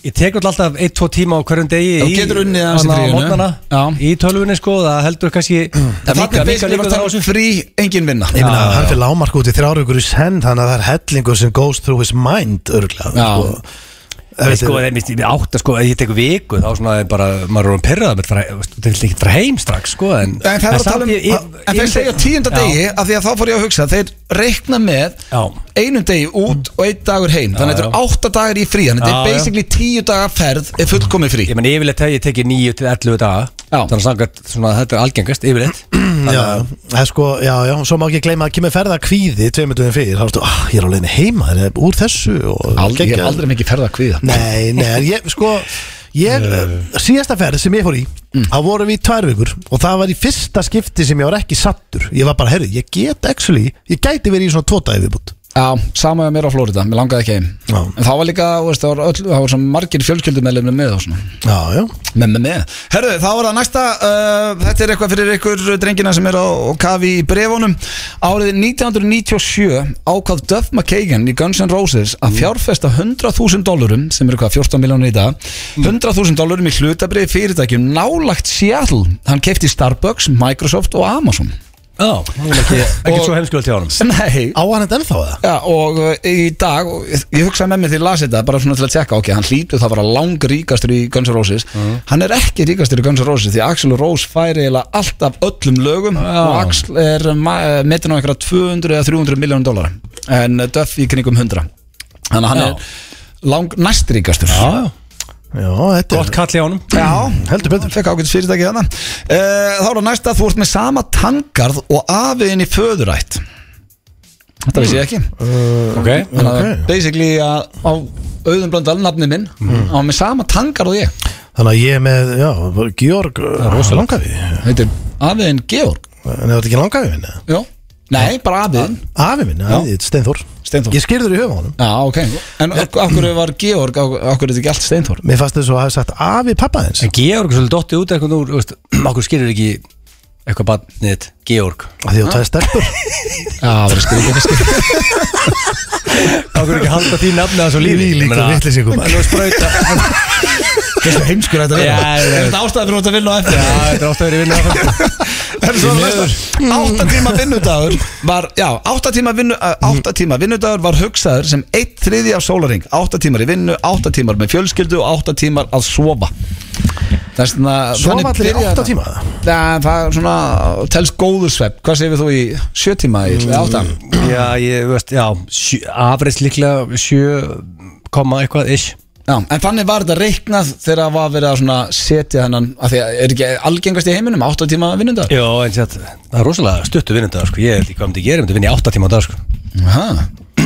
Speaker 3: Ég tek alltaf alltaf 1-2 tíma á hverjum degi
Speaker 1: Já,
Speaker 3: í-
Speaker 1: getur unnið aðeins í
Speaker 3: þarna á
Speaker 1: fríinu.
Speaker 3: morgnana,
Speaker 1: Já.
Speaker 3: Í tölvunni sko Það heldur kannski
Speaker 1: En
Speaker 3: Það
Speaker 1: þarna er basically bara að tala um frí, engin vinna
Speaker 2: Ég meina, hann fyrir lámark út í þrjára ykkur í senn Þannig að það er hellingur sem goes through his mind Örglega
Speaker 1: Já.
Speaker 3: Ég sko, ég misti í átta sko, ef ég tek viku þá svona er bara, maður er um pyrraða með fara, það vil ekki fara heim strax sko en,
Speaker 1: En það er að
Speaker 3: samt
Speaker 1: tala um,
Speaker 3: ég- ég-
Speaker 1: en þeir
Speaker 3: ég-
Speaker 1: segja tíunda
Speaker 3: Já.
Speaker 1: degi af því að þá fór ég að hugsa þeir reikna með
Speaker 3: Já.
Speaker 1: einum degi út og einn dagur heim þannig að
Speaker 3: Já,
Speaker 1: þetta eru átta dagar í frí þannig að
Speaker 3: Já,
Speaker 1: þetta er
Speaker 3: já.
Speaker 1: basically tíu dagar ferð er fullkomið frí
Speaker 3: Ég menn yfirleitt hef ég tekið 9 til 11 daga
Speaker 1: Já.
Speaker 3: Þannig að samkvæmt svona þetta er algengast yfirleitt
Speaker 2: Já, það er sko, já, já, svo má ekki gleyma að kemur ferða kvíði tveimundum fyrir, þá ertu, ah, ég er á leiðinni heima það er úr þessu og
Speaker 1: Aldrei, ég hef
Speaker 2: geggjað.
Speaker 1: aldrei mikið ferða að kvíða
Speaker 2: Nei, nei, en ég, sko ég, eh, síðasta ferð sem ég fór í
Speaker 1: Mm.
Speaker 2: þá vorum við í tvær vikur og það var í fyrsta skipti sem ég var ekki sattur ég var bara, herru, ég get actually ég gæti verið í svona tvo dagi viðbútt
Speaker 1: Já, sama með mér á Flórida, mér langaði ekki heim
Speaker 2: Já.
Speaker 1: En þá var líka, þú veist, það var, öll, það var svona margir fjölskyldumeðlum með og svona
Speaker 2: Já, já,
Speaker 1: Með, með, með. Herðu, þá var það næsta uh, Þetta er eitthvað fyrir ykkur drengina sem er á á kafi í brefunum Árið 1997 ákvað Duff McKagan í Guns N' Roses að fjárfesta 100.000 dólarum sem eru hvað 14 miljónir í dag 100.000 dólarum í hlutabrið fyrirtækjum nálagt Seattle Hann kefti Starbucks, Microsoft og Amazon
Speaker 3: Já, hún er ekki, ekki svo heimskjöld hjá honum
Speaker 1: Nei
Speaker 2: á hann þetta ennþá það
Speaker 1: Já, og uh, í dag, og ég ég hugsaði með mér því að lasi þetta bara svona til að tjekka, ok, hann hlýtur það að vera lang ríkastur í Guns N' Roses
Speaker 3: Mhm.
Speaker 1: hann er ekki ríkastur í Guns N' Roses því að Axl Rose færi eiginlega allt af öllum lögum og Axl er ma- metin á einhverja 200 eða 300 miljónum dólar en uh, Duff í kringum 100 þannig að hann
Speaker 3: Já.
Speaker 1: er lang næst ríkastur
Speaker 3: Já, já,
Speaker 2: Já, þetta
Speaker 3: gott kall hjá honum
Speaker 1: Já,
Speaker 2: heldur betur.
Speaker 1: Fekk ágætis fyrirtæki þarna uh, Þá er það næsta að þú ert með sama tangarð og afiðin í föðurætt Þetta vissi ég ekki
Speaker 3: Eh, Ok,
Speaker 1: eh, Þannig að basically að á auðum blöndal nafni minn mm. á með sama tangar og ég
Speaker 2: Þannig að ég er með, já, bara Georg
Speaker 3: rosalegt.
Speaker 2: Langafi En
Speaker 1: heitir Afiðin Georg
Speaker 2: er þetta ekki Langafi minni?
Speaker 1: Já Nei, bara Afiðin
Speaker 2: Afi minni,
Speaker 1: Já.
Speaker 2: þetta er Steinþór
Speaker 1: Steinþór.
Speaker 2: Ég skýrður í höfum á honum
Speaker 3: Ah.
Speaker 1: Já, ok En af af hverju var Georg, af af hverju er þetta ekki allt Steinþór?
Speaker 2: Mér fannst þess að hafa sagt afi pappa þins
Speaker 3: En Georg er svolítið dottið út eitthvað úr, þú veist, okkur skilur ekki eitthvað barnið, Georg
Speaker 2: Af Því þú tæði stelpur
Speaker 3: Já, það er skilur ekki skilur Okkur ekki halda því nafnið að svo lífi
Speaker 2: Þvílíkur
Speaker 3: Ég meina,
Speaker 2: vitleysingur, maður.
Speaker 3: En þú sprauta
Speaker 1: Hversu heimskur þetta
Speaker 3: Já,
Speaker 1: Er
Speaker 3: já.
Speaker 1: þetta ástæðan fyrir út að vinna á eftir?
Speaker 3: Já, þetta er ofta verið vinna
Speaker 1: Það er svo að næsta Átta tíma vinnudagur var Já, átta tíma, vinnu, uh, átta tíma vinnudagur var hugsaður sem eitt þriði af sólaring Átta tímar í vinnu, átta tímar með fjölskyldu og átta tímar að sofa Það er svona
Speaker 2: Svo var allir í
Speaker 1: byrjar-
Speaker 2: 8 tíma
Speaker 1: Já, það er svona Telst góður svepp Hvað segir þú í sjö tíma í mm. átta?
Speaker 3: Já, ég þú veist, já, sjö- afreist líklega sjö komma eitthvað ish
Speaker 1: Já, en þannig var þetta reiknað þegar það var verið að svona setja hennan að því að er ekki algengast í heiminum átta tíma vinnudagur?
Speaker 3: Já, en sér, það er rosalega stuttu vinnundag sko. Ég held ekki hvað myndi ég gera, ég myndi vinna í átta tíma á dag sko.
Speaker 1: Aha.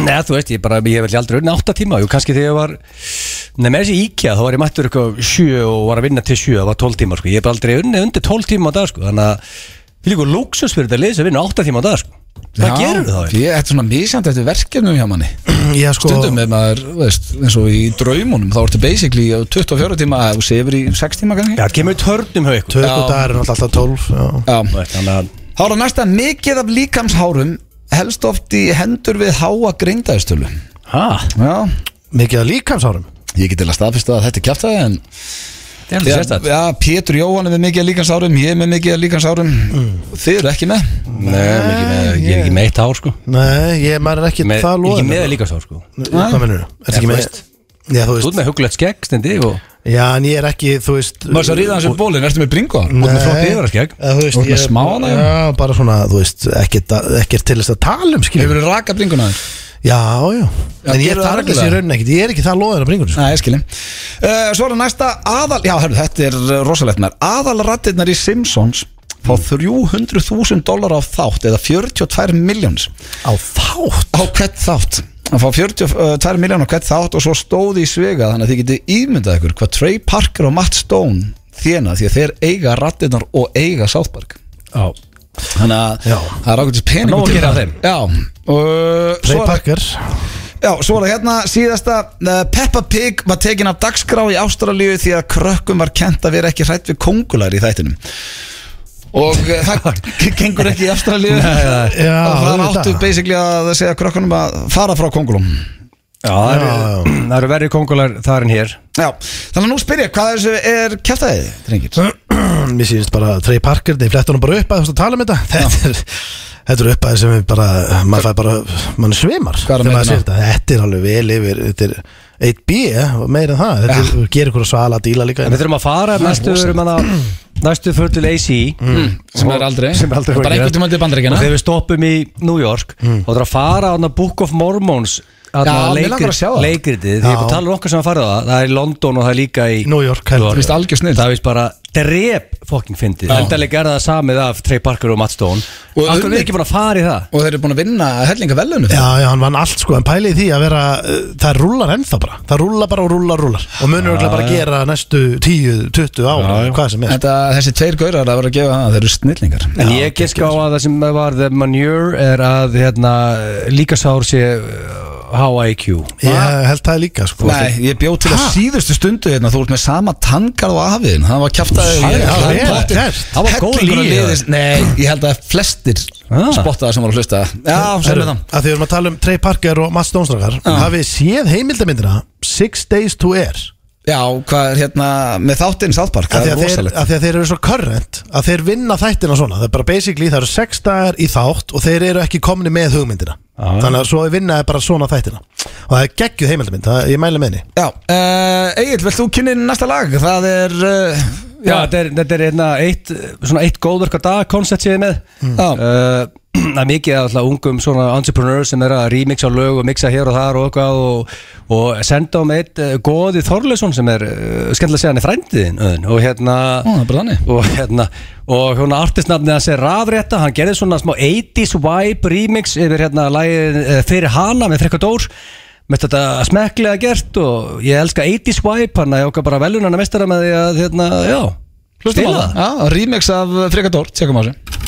Speaker 3: Nei, þú veist, ég bara, ég hef aldrei unni átta tíma Jú, kannski þegar ég var Nei, með þessi íkja, þá var ég mættur eitthvað sjö og var að vinna til sjö, það var tólf tíma sko. Ég hef bara aldrei unni undir tólf tíma á dag sko. Þannig að því líka lúksus fyrir þetta liðs að vinna átta tíma á dag sko. Hvað
Speaker 1: Já,
Speaker 3: gerir það?
Speaker 1: Ég er svona misjandi eftir verkefnum hjá manni
Speaker 2: Já sko
Speaker 1: Stundum er maður, þú veist, eins og í draumunum Þá ertu basically á 24 tíma að þú sefur í 6 tíma gangi
Speaker 3: Já, það kemur törnum hjá ykkur
Speaker 2: Tökudagur er náttúrulega alltaf 12 já.
Speaker 1: Já,
Speaker 3: Þannig að
Speaker 1: hára næsta mikið af líkamshárum Helst oft í hendur við háa greindaðistölu
Speaker 3: Hæ?
Speaker 1: Já,
Speaker 2: Mikið að líkamsárum
Speaker 1: ég get til að staðfesta að þetta er kjaftaði en
Speaker 3: Það er
Speaker 1: Já,
Speaker 3: alveg sérstætt
Speaker 1: já, Pétur Jóhann er með mikið af líkamsárum Ég er með mikið af líkamsárum Þið eru ekki með
Speaker 3: Mm. Nei, mikið með, ég er ekki með eitt ár sko
Speaker 2: Nei, ég maður er ekki
Speaker 3: með,
Speaker 2: það
Speaker 3: Ekki með
Speaker 2: loðin
Speaker 3: líka sár sko
Speaker 2: Hvað mennur þú? Er
Speaker 3: Já,
Speaker 2: ekki
Speaker 3: þú
Speaker 2: með
Speaker 3: veist.
Speaker 2: Já þú
Speaker 3: Þú ert
Speaker 2: veist
Speaker 3: með huglætt skegg stendi og
Speaker 2: Já en ég er ekki þú veist
Speaker 1: Maður svo ríða hans um bólinn, ertu með bringu á hann?
Speaker 3: ert með
Speaker 2: Nei.
Speaker 3: flott yfirvarskegg.
Speaker 2: Já, Þú veist
Speaker 1: Þú ert með
Speaker 2: ég-
Speaker 1: smáana, já.
Speaker 2: Já bara svona þú veist Ekkert ekkert til þess að tala um skiljum
Speaker 1: Hefur þú raka bringuna þér?
Speaker 2: Já já En ég
Speaker 1: gerðu það
Speaker 2: targis í
Speaker 1: reglulega.
Speaker 2: raunin ekkert Ég er ekki það loðin að bringur
Speaker 1: Nei, ég skilji uh, Svo er það næsta aðal Já, hörru, þetta er uh, rosalegt mér Aðalrattirnar í Simpsons fá
Speaker 3: Mm.
Speaker 1: 300.000 dólar á þátt eða 42 miljóns
Speaker 2: Á þátt
Speaker 1: á hvert þátt að fá 42 miljónar á hvert þátt og svo stóði í svega þannig að þið getið ímyndað ykkur hvað Trey Parker og Matt Stone þjena því að þeir eiga rattirnar og eiga South Park
Speaker 3: Já
Speaker 1: þannig að
Speaker 2: Já.
Speaker 1: það er ákveðtis pening
Speaker 3: Nóg að gera af þeim.
Speaker 1: Já, og
Speaker 2: Trey
Speaker 1: svo er-
Speaker 2: Parker
Speaker 1: Já, svo er það hérna síðasta uh, Peppa Pig var tekin af dagskrá í Ástralíu því að krökkum var kent að vera ekki hrætt við kongular í þættinum og uh, það gengur ekki í Ástralíu og
Speaker 2: Já,
Speaker 1: það
Speaker 2: auðvitað.
Speaker 1: áttu basically að segja krökkunum að fara frá kongulum
Speaker 3: Já, það eru,
Speaker 2: Já, já.
Speaker 3: það eru verri kongular þar en hér
Speaker 1: Já, þannig að nú spyrja hvað af þessu er kjæftæðið, drengir?
Speaker 2: Mér sýnist bara Trey Parker Þeir fletta hann bara upp að þú veist að tala um þetta Þetta er, þetta er upp að sem við bara Maður fær bara, mann svimar
Speaker 1: Hvað er
Speaker 2: þegar maður
Speaker 1: myndina?
Speaker 2: sér þetta. þetta er alveg vel yfir Þetta er 1B, og meira en það Þetta er, gerir ykkur svala díla líka
Speaker 3: En við þurfum að fara næstu verum hann að Næstu fyrir til AC mm,
Speaker 1: sem er aldrei.
Speaker 3: sem er aldrei
Speaker 1: Bara
Speaker 3: fyrir.
Speaker 1: einhvern tímann til Bandaríkjanna.
Speaker 3: Og þegar við stoppum í New York Og það er að fara á Book of Mormons
Speaker 1: Mm. Já, mig langar að sjá það.
Speaker 3: Leikritið, því ég er búin að tala um okkar sem að fara á það Það er í London og það er líka í
Speaker 2: New York, held
Speaker 1: Mér finnst það algjör snill.
Speaker 3: Það finnst bara drep fokking fyndið
Speaker 1: Já.
Speaker 3: Endalega er það samið af Trey Parker og Matt Stone
Speaker 1: Og
Speaker 3: Akkur er
Speaker 1: unnið-
Speaker 3: ekki búin að fara í það
Speaker 1: Og þeir eru búin að vinna hellinga velunum
Speaker 2: Já, já, hann vann allt sko En pælið í því að vera uh, Það rúlar ennþá bara Það rúlar bara og rúlar, rúlar Og munur okkur bara að gera næstu 10, 20 ára Hvað sem er
Speaker 1: Þetta, þessi tveir gaurar að vera að gefa það, þeir eru snillingar
Speaker 3: En ég gisk á að það sem var the manure er að hérna, líkasár sé uh, há IQ
Speaker 2: Ég held það líka sko
Speaker 1: Nei, ég bjóð til að
Speaker 2: Ha?
Speaker 1: síðustu stundu hérna, þú ert með sama tangar og afiðin hann var kjaftaði
Speaker 2: Það er vel gert.
Speaker 1: Það var góð
Speaker 3: lína.
Speaker 1: líð Nei, ég held að flestir
Speaker 3: Ah.
Speaker 1: spottaði sem voru að hlusta Já, sem
Speaker 2: Herru,
Speaker 1: við það
Speaker 2: að því við erum að tala um Trey Parker og Matt Stónstrakar hafið þið séð heimildamindina Six Days to Air
Speaker 1: Já, hvað er hérna með þáttinn South Park, það er
Speaker 2: að því að, þeir,
Speaker 1: rosalegt
Speaker 2: að því að þeir eru svo current að þeir vinna þættina svona það er bara basically það eru sex dagar í þátt og þeir eru ekki komni með hugmyndina þannig að svo vinna er bara svona þættina og það er geggjuð heimildamind, það, ég mæli með henni
Speaker 1: Já, uh, Egil, vilt þú kynni næsta lag? Það er uh,
Speaker 3: Já, þetta er, þetta er hérna, eitt, svona eitt góðverka dag koncept séð með
Speaker 1: Já.
Speaker 3: Uh, Það er mikið af alltaf ungum svona entrepreneurs sem er að remixa lög og mixa hér og þar og eitthvað og, og senda um eitt uh, góði Þorleifsson sem er uh, skemmtilega að segja hann er frændiðin öðun, og hérna
Speaker 1: Ó, það er bara þannig.
Speaker 3: og hérna og hérna artistnafnið hans er rafrétta hann gerði svona smá 80s vibe remix yfir hérna lagið eh, fyrir hana með Frekka Dór með þetta smekklega gert og ég elska 80s vibe hann að ég okkar bara velunana mestara með því að hérna, já,
Speaker 1: Hlustum á
Speaker 3: spila
Speaker 1: það Já, remix af Frikadór, tjekum á þessu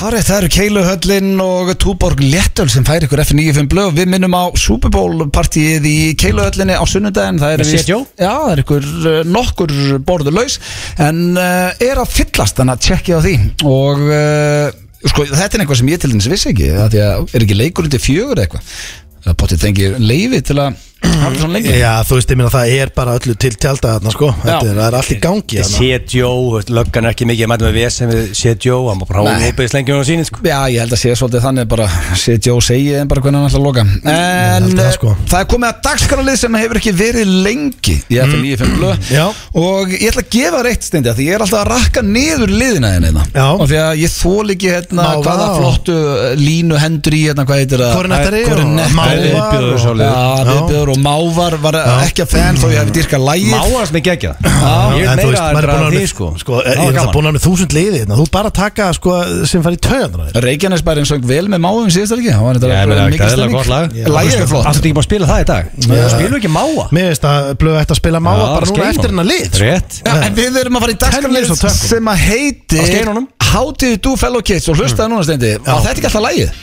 Speaker 1: Hárið, það eru Keiluhöllin og Túborg Léttöl sem fær ykkur F95 blöð Við minnum á Super Bowl partíið í Keiluhöllinni á sunnudaginn Það er
Speaker 3: Með
Speaker 1: víst-
Speaker 3: CTO?
Speaker 1: Já, það er ykkur eh, nokkur borður laus En uh, er að fyllast þannig að tjekkja á því Og uh, sko, þetta er eitthvað sem ég til dæmis vissi ekki af Því að er ekki leikur undir fjögur eða eitthvað Það bótið þengir leifi til að hafa svona lengur
Speaker 2: Já, þú veist, ég meina það er bara öllu til tjálta þarna, sko Þetta er, það er allt í gangi þarna.
Speaker 3: Sétjó, löggan er ekki mikið að mæta með VSM við Sétjó, hann bara hún
Speaker 1: Nei.
Speaker 3: hópið slengjum á síni sko.
Speaker 1: Já, ég held að sé svolítið þannig bara setja og segja en bara hvernig hann ætla að loka En eh,
Speaker 2: held
Speaker 1: það,
Speaker 2: það, sko.
Speaker 1: er komið að dagskrálið sem hefur ekki verið lengi í F95 blöð
Speaker 2: Mm. Já.
Speaker 1: og ég ætla að gefa reitt stendi af því ég er alltaf að rakka niður liðina hérna hérna.
Speaker 2: Já.
Speaker 1: og því að ég þól ekki hérna
Speaker 2: Má,
Speaker 1: hvaða
Speaker 2: vá.
Speaker 1: flottu eh, línu hendur í hérna hvað heitir það
Speaker 2: Kornettari og
Speaker 1: Kornettari.
Speaker 2: Mávar
Speaker 3: Viðbjóður
Speaker 2: og-
Speaker 3: sá liður.
Speaker 1: Já, viðbjöður og mávar var ekki að fenn þó ég hefði dyrkað lægir
Speaker 3: Máast mig gegja Ég er
Speaker 2: en þú
Speaker 3: meira
Speaker 2: veist, maður
Speaker 3: að
Speaker 2: er búin að
Speaker 3: draga því
Speaker 2: vera
Speaker 3: sko
Speaker 2: með- sko,
Speaker 3: Það
Speaker 2: ég
Speaker 3: var
Speaker 2: er það
Speaker 3: gaman.
Speaker 2: búin að vera með þúsund liði hérna. Þú ert bara að taka sko, sem fari í töðan
Speaker 1: Reykjanesbærin söng vel með máum síðast ekki það var
Speaker 3: Já, ég meina,
Speaker 1: þetta mikið
Speaker 3: það er
Speaker 1: stemning
Speaker 3: gott lag
Speaker 1: Lagið er flott
Speaker 3: Alltaf ekki búin að spila það í dag Spilum við ekki máa
Speaker 2: Mér veist að blöðu ætti að spila máa
Speaker 3: Já,
Speaker 2: bara núna
Speaker 3: skein
Speaker 2: eftir hennar lið sko.
Speaker 3: Rétt
Speaker 1: Já, en við erum að fara í
Speaker 2: Telja
Speaker 1: dagskanlið
Speaker 2: svo tökum.
Speaker 1: sem að
Speaker 3: Á
Speaker 1: heitir
Speaker 3: skeinunum.
Speaker 1: How do you do fellow kids og hlustaði núna stendi og þetta er ekki alltaf lægið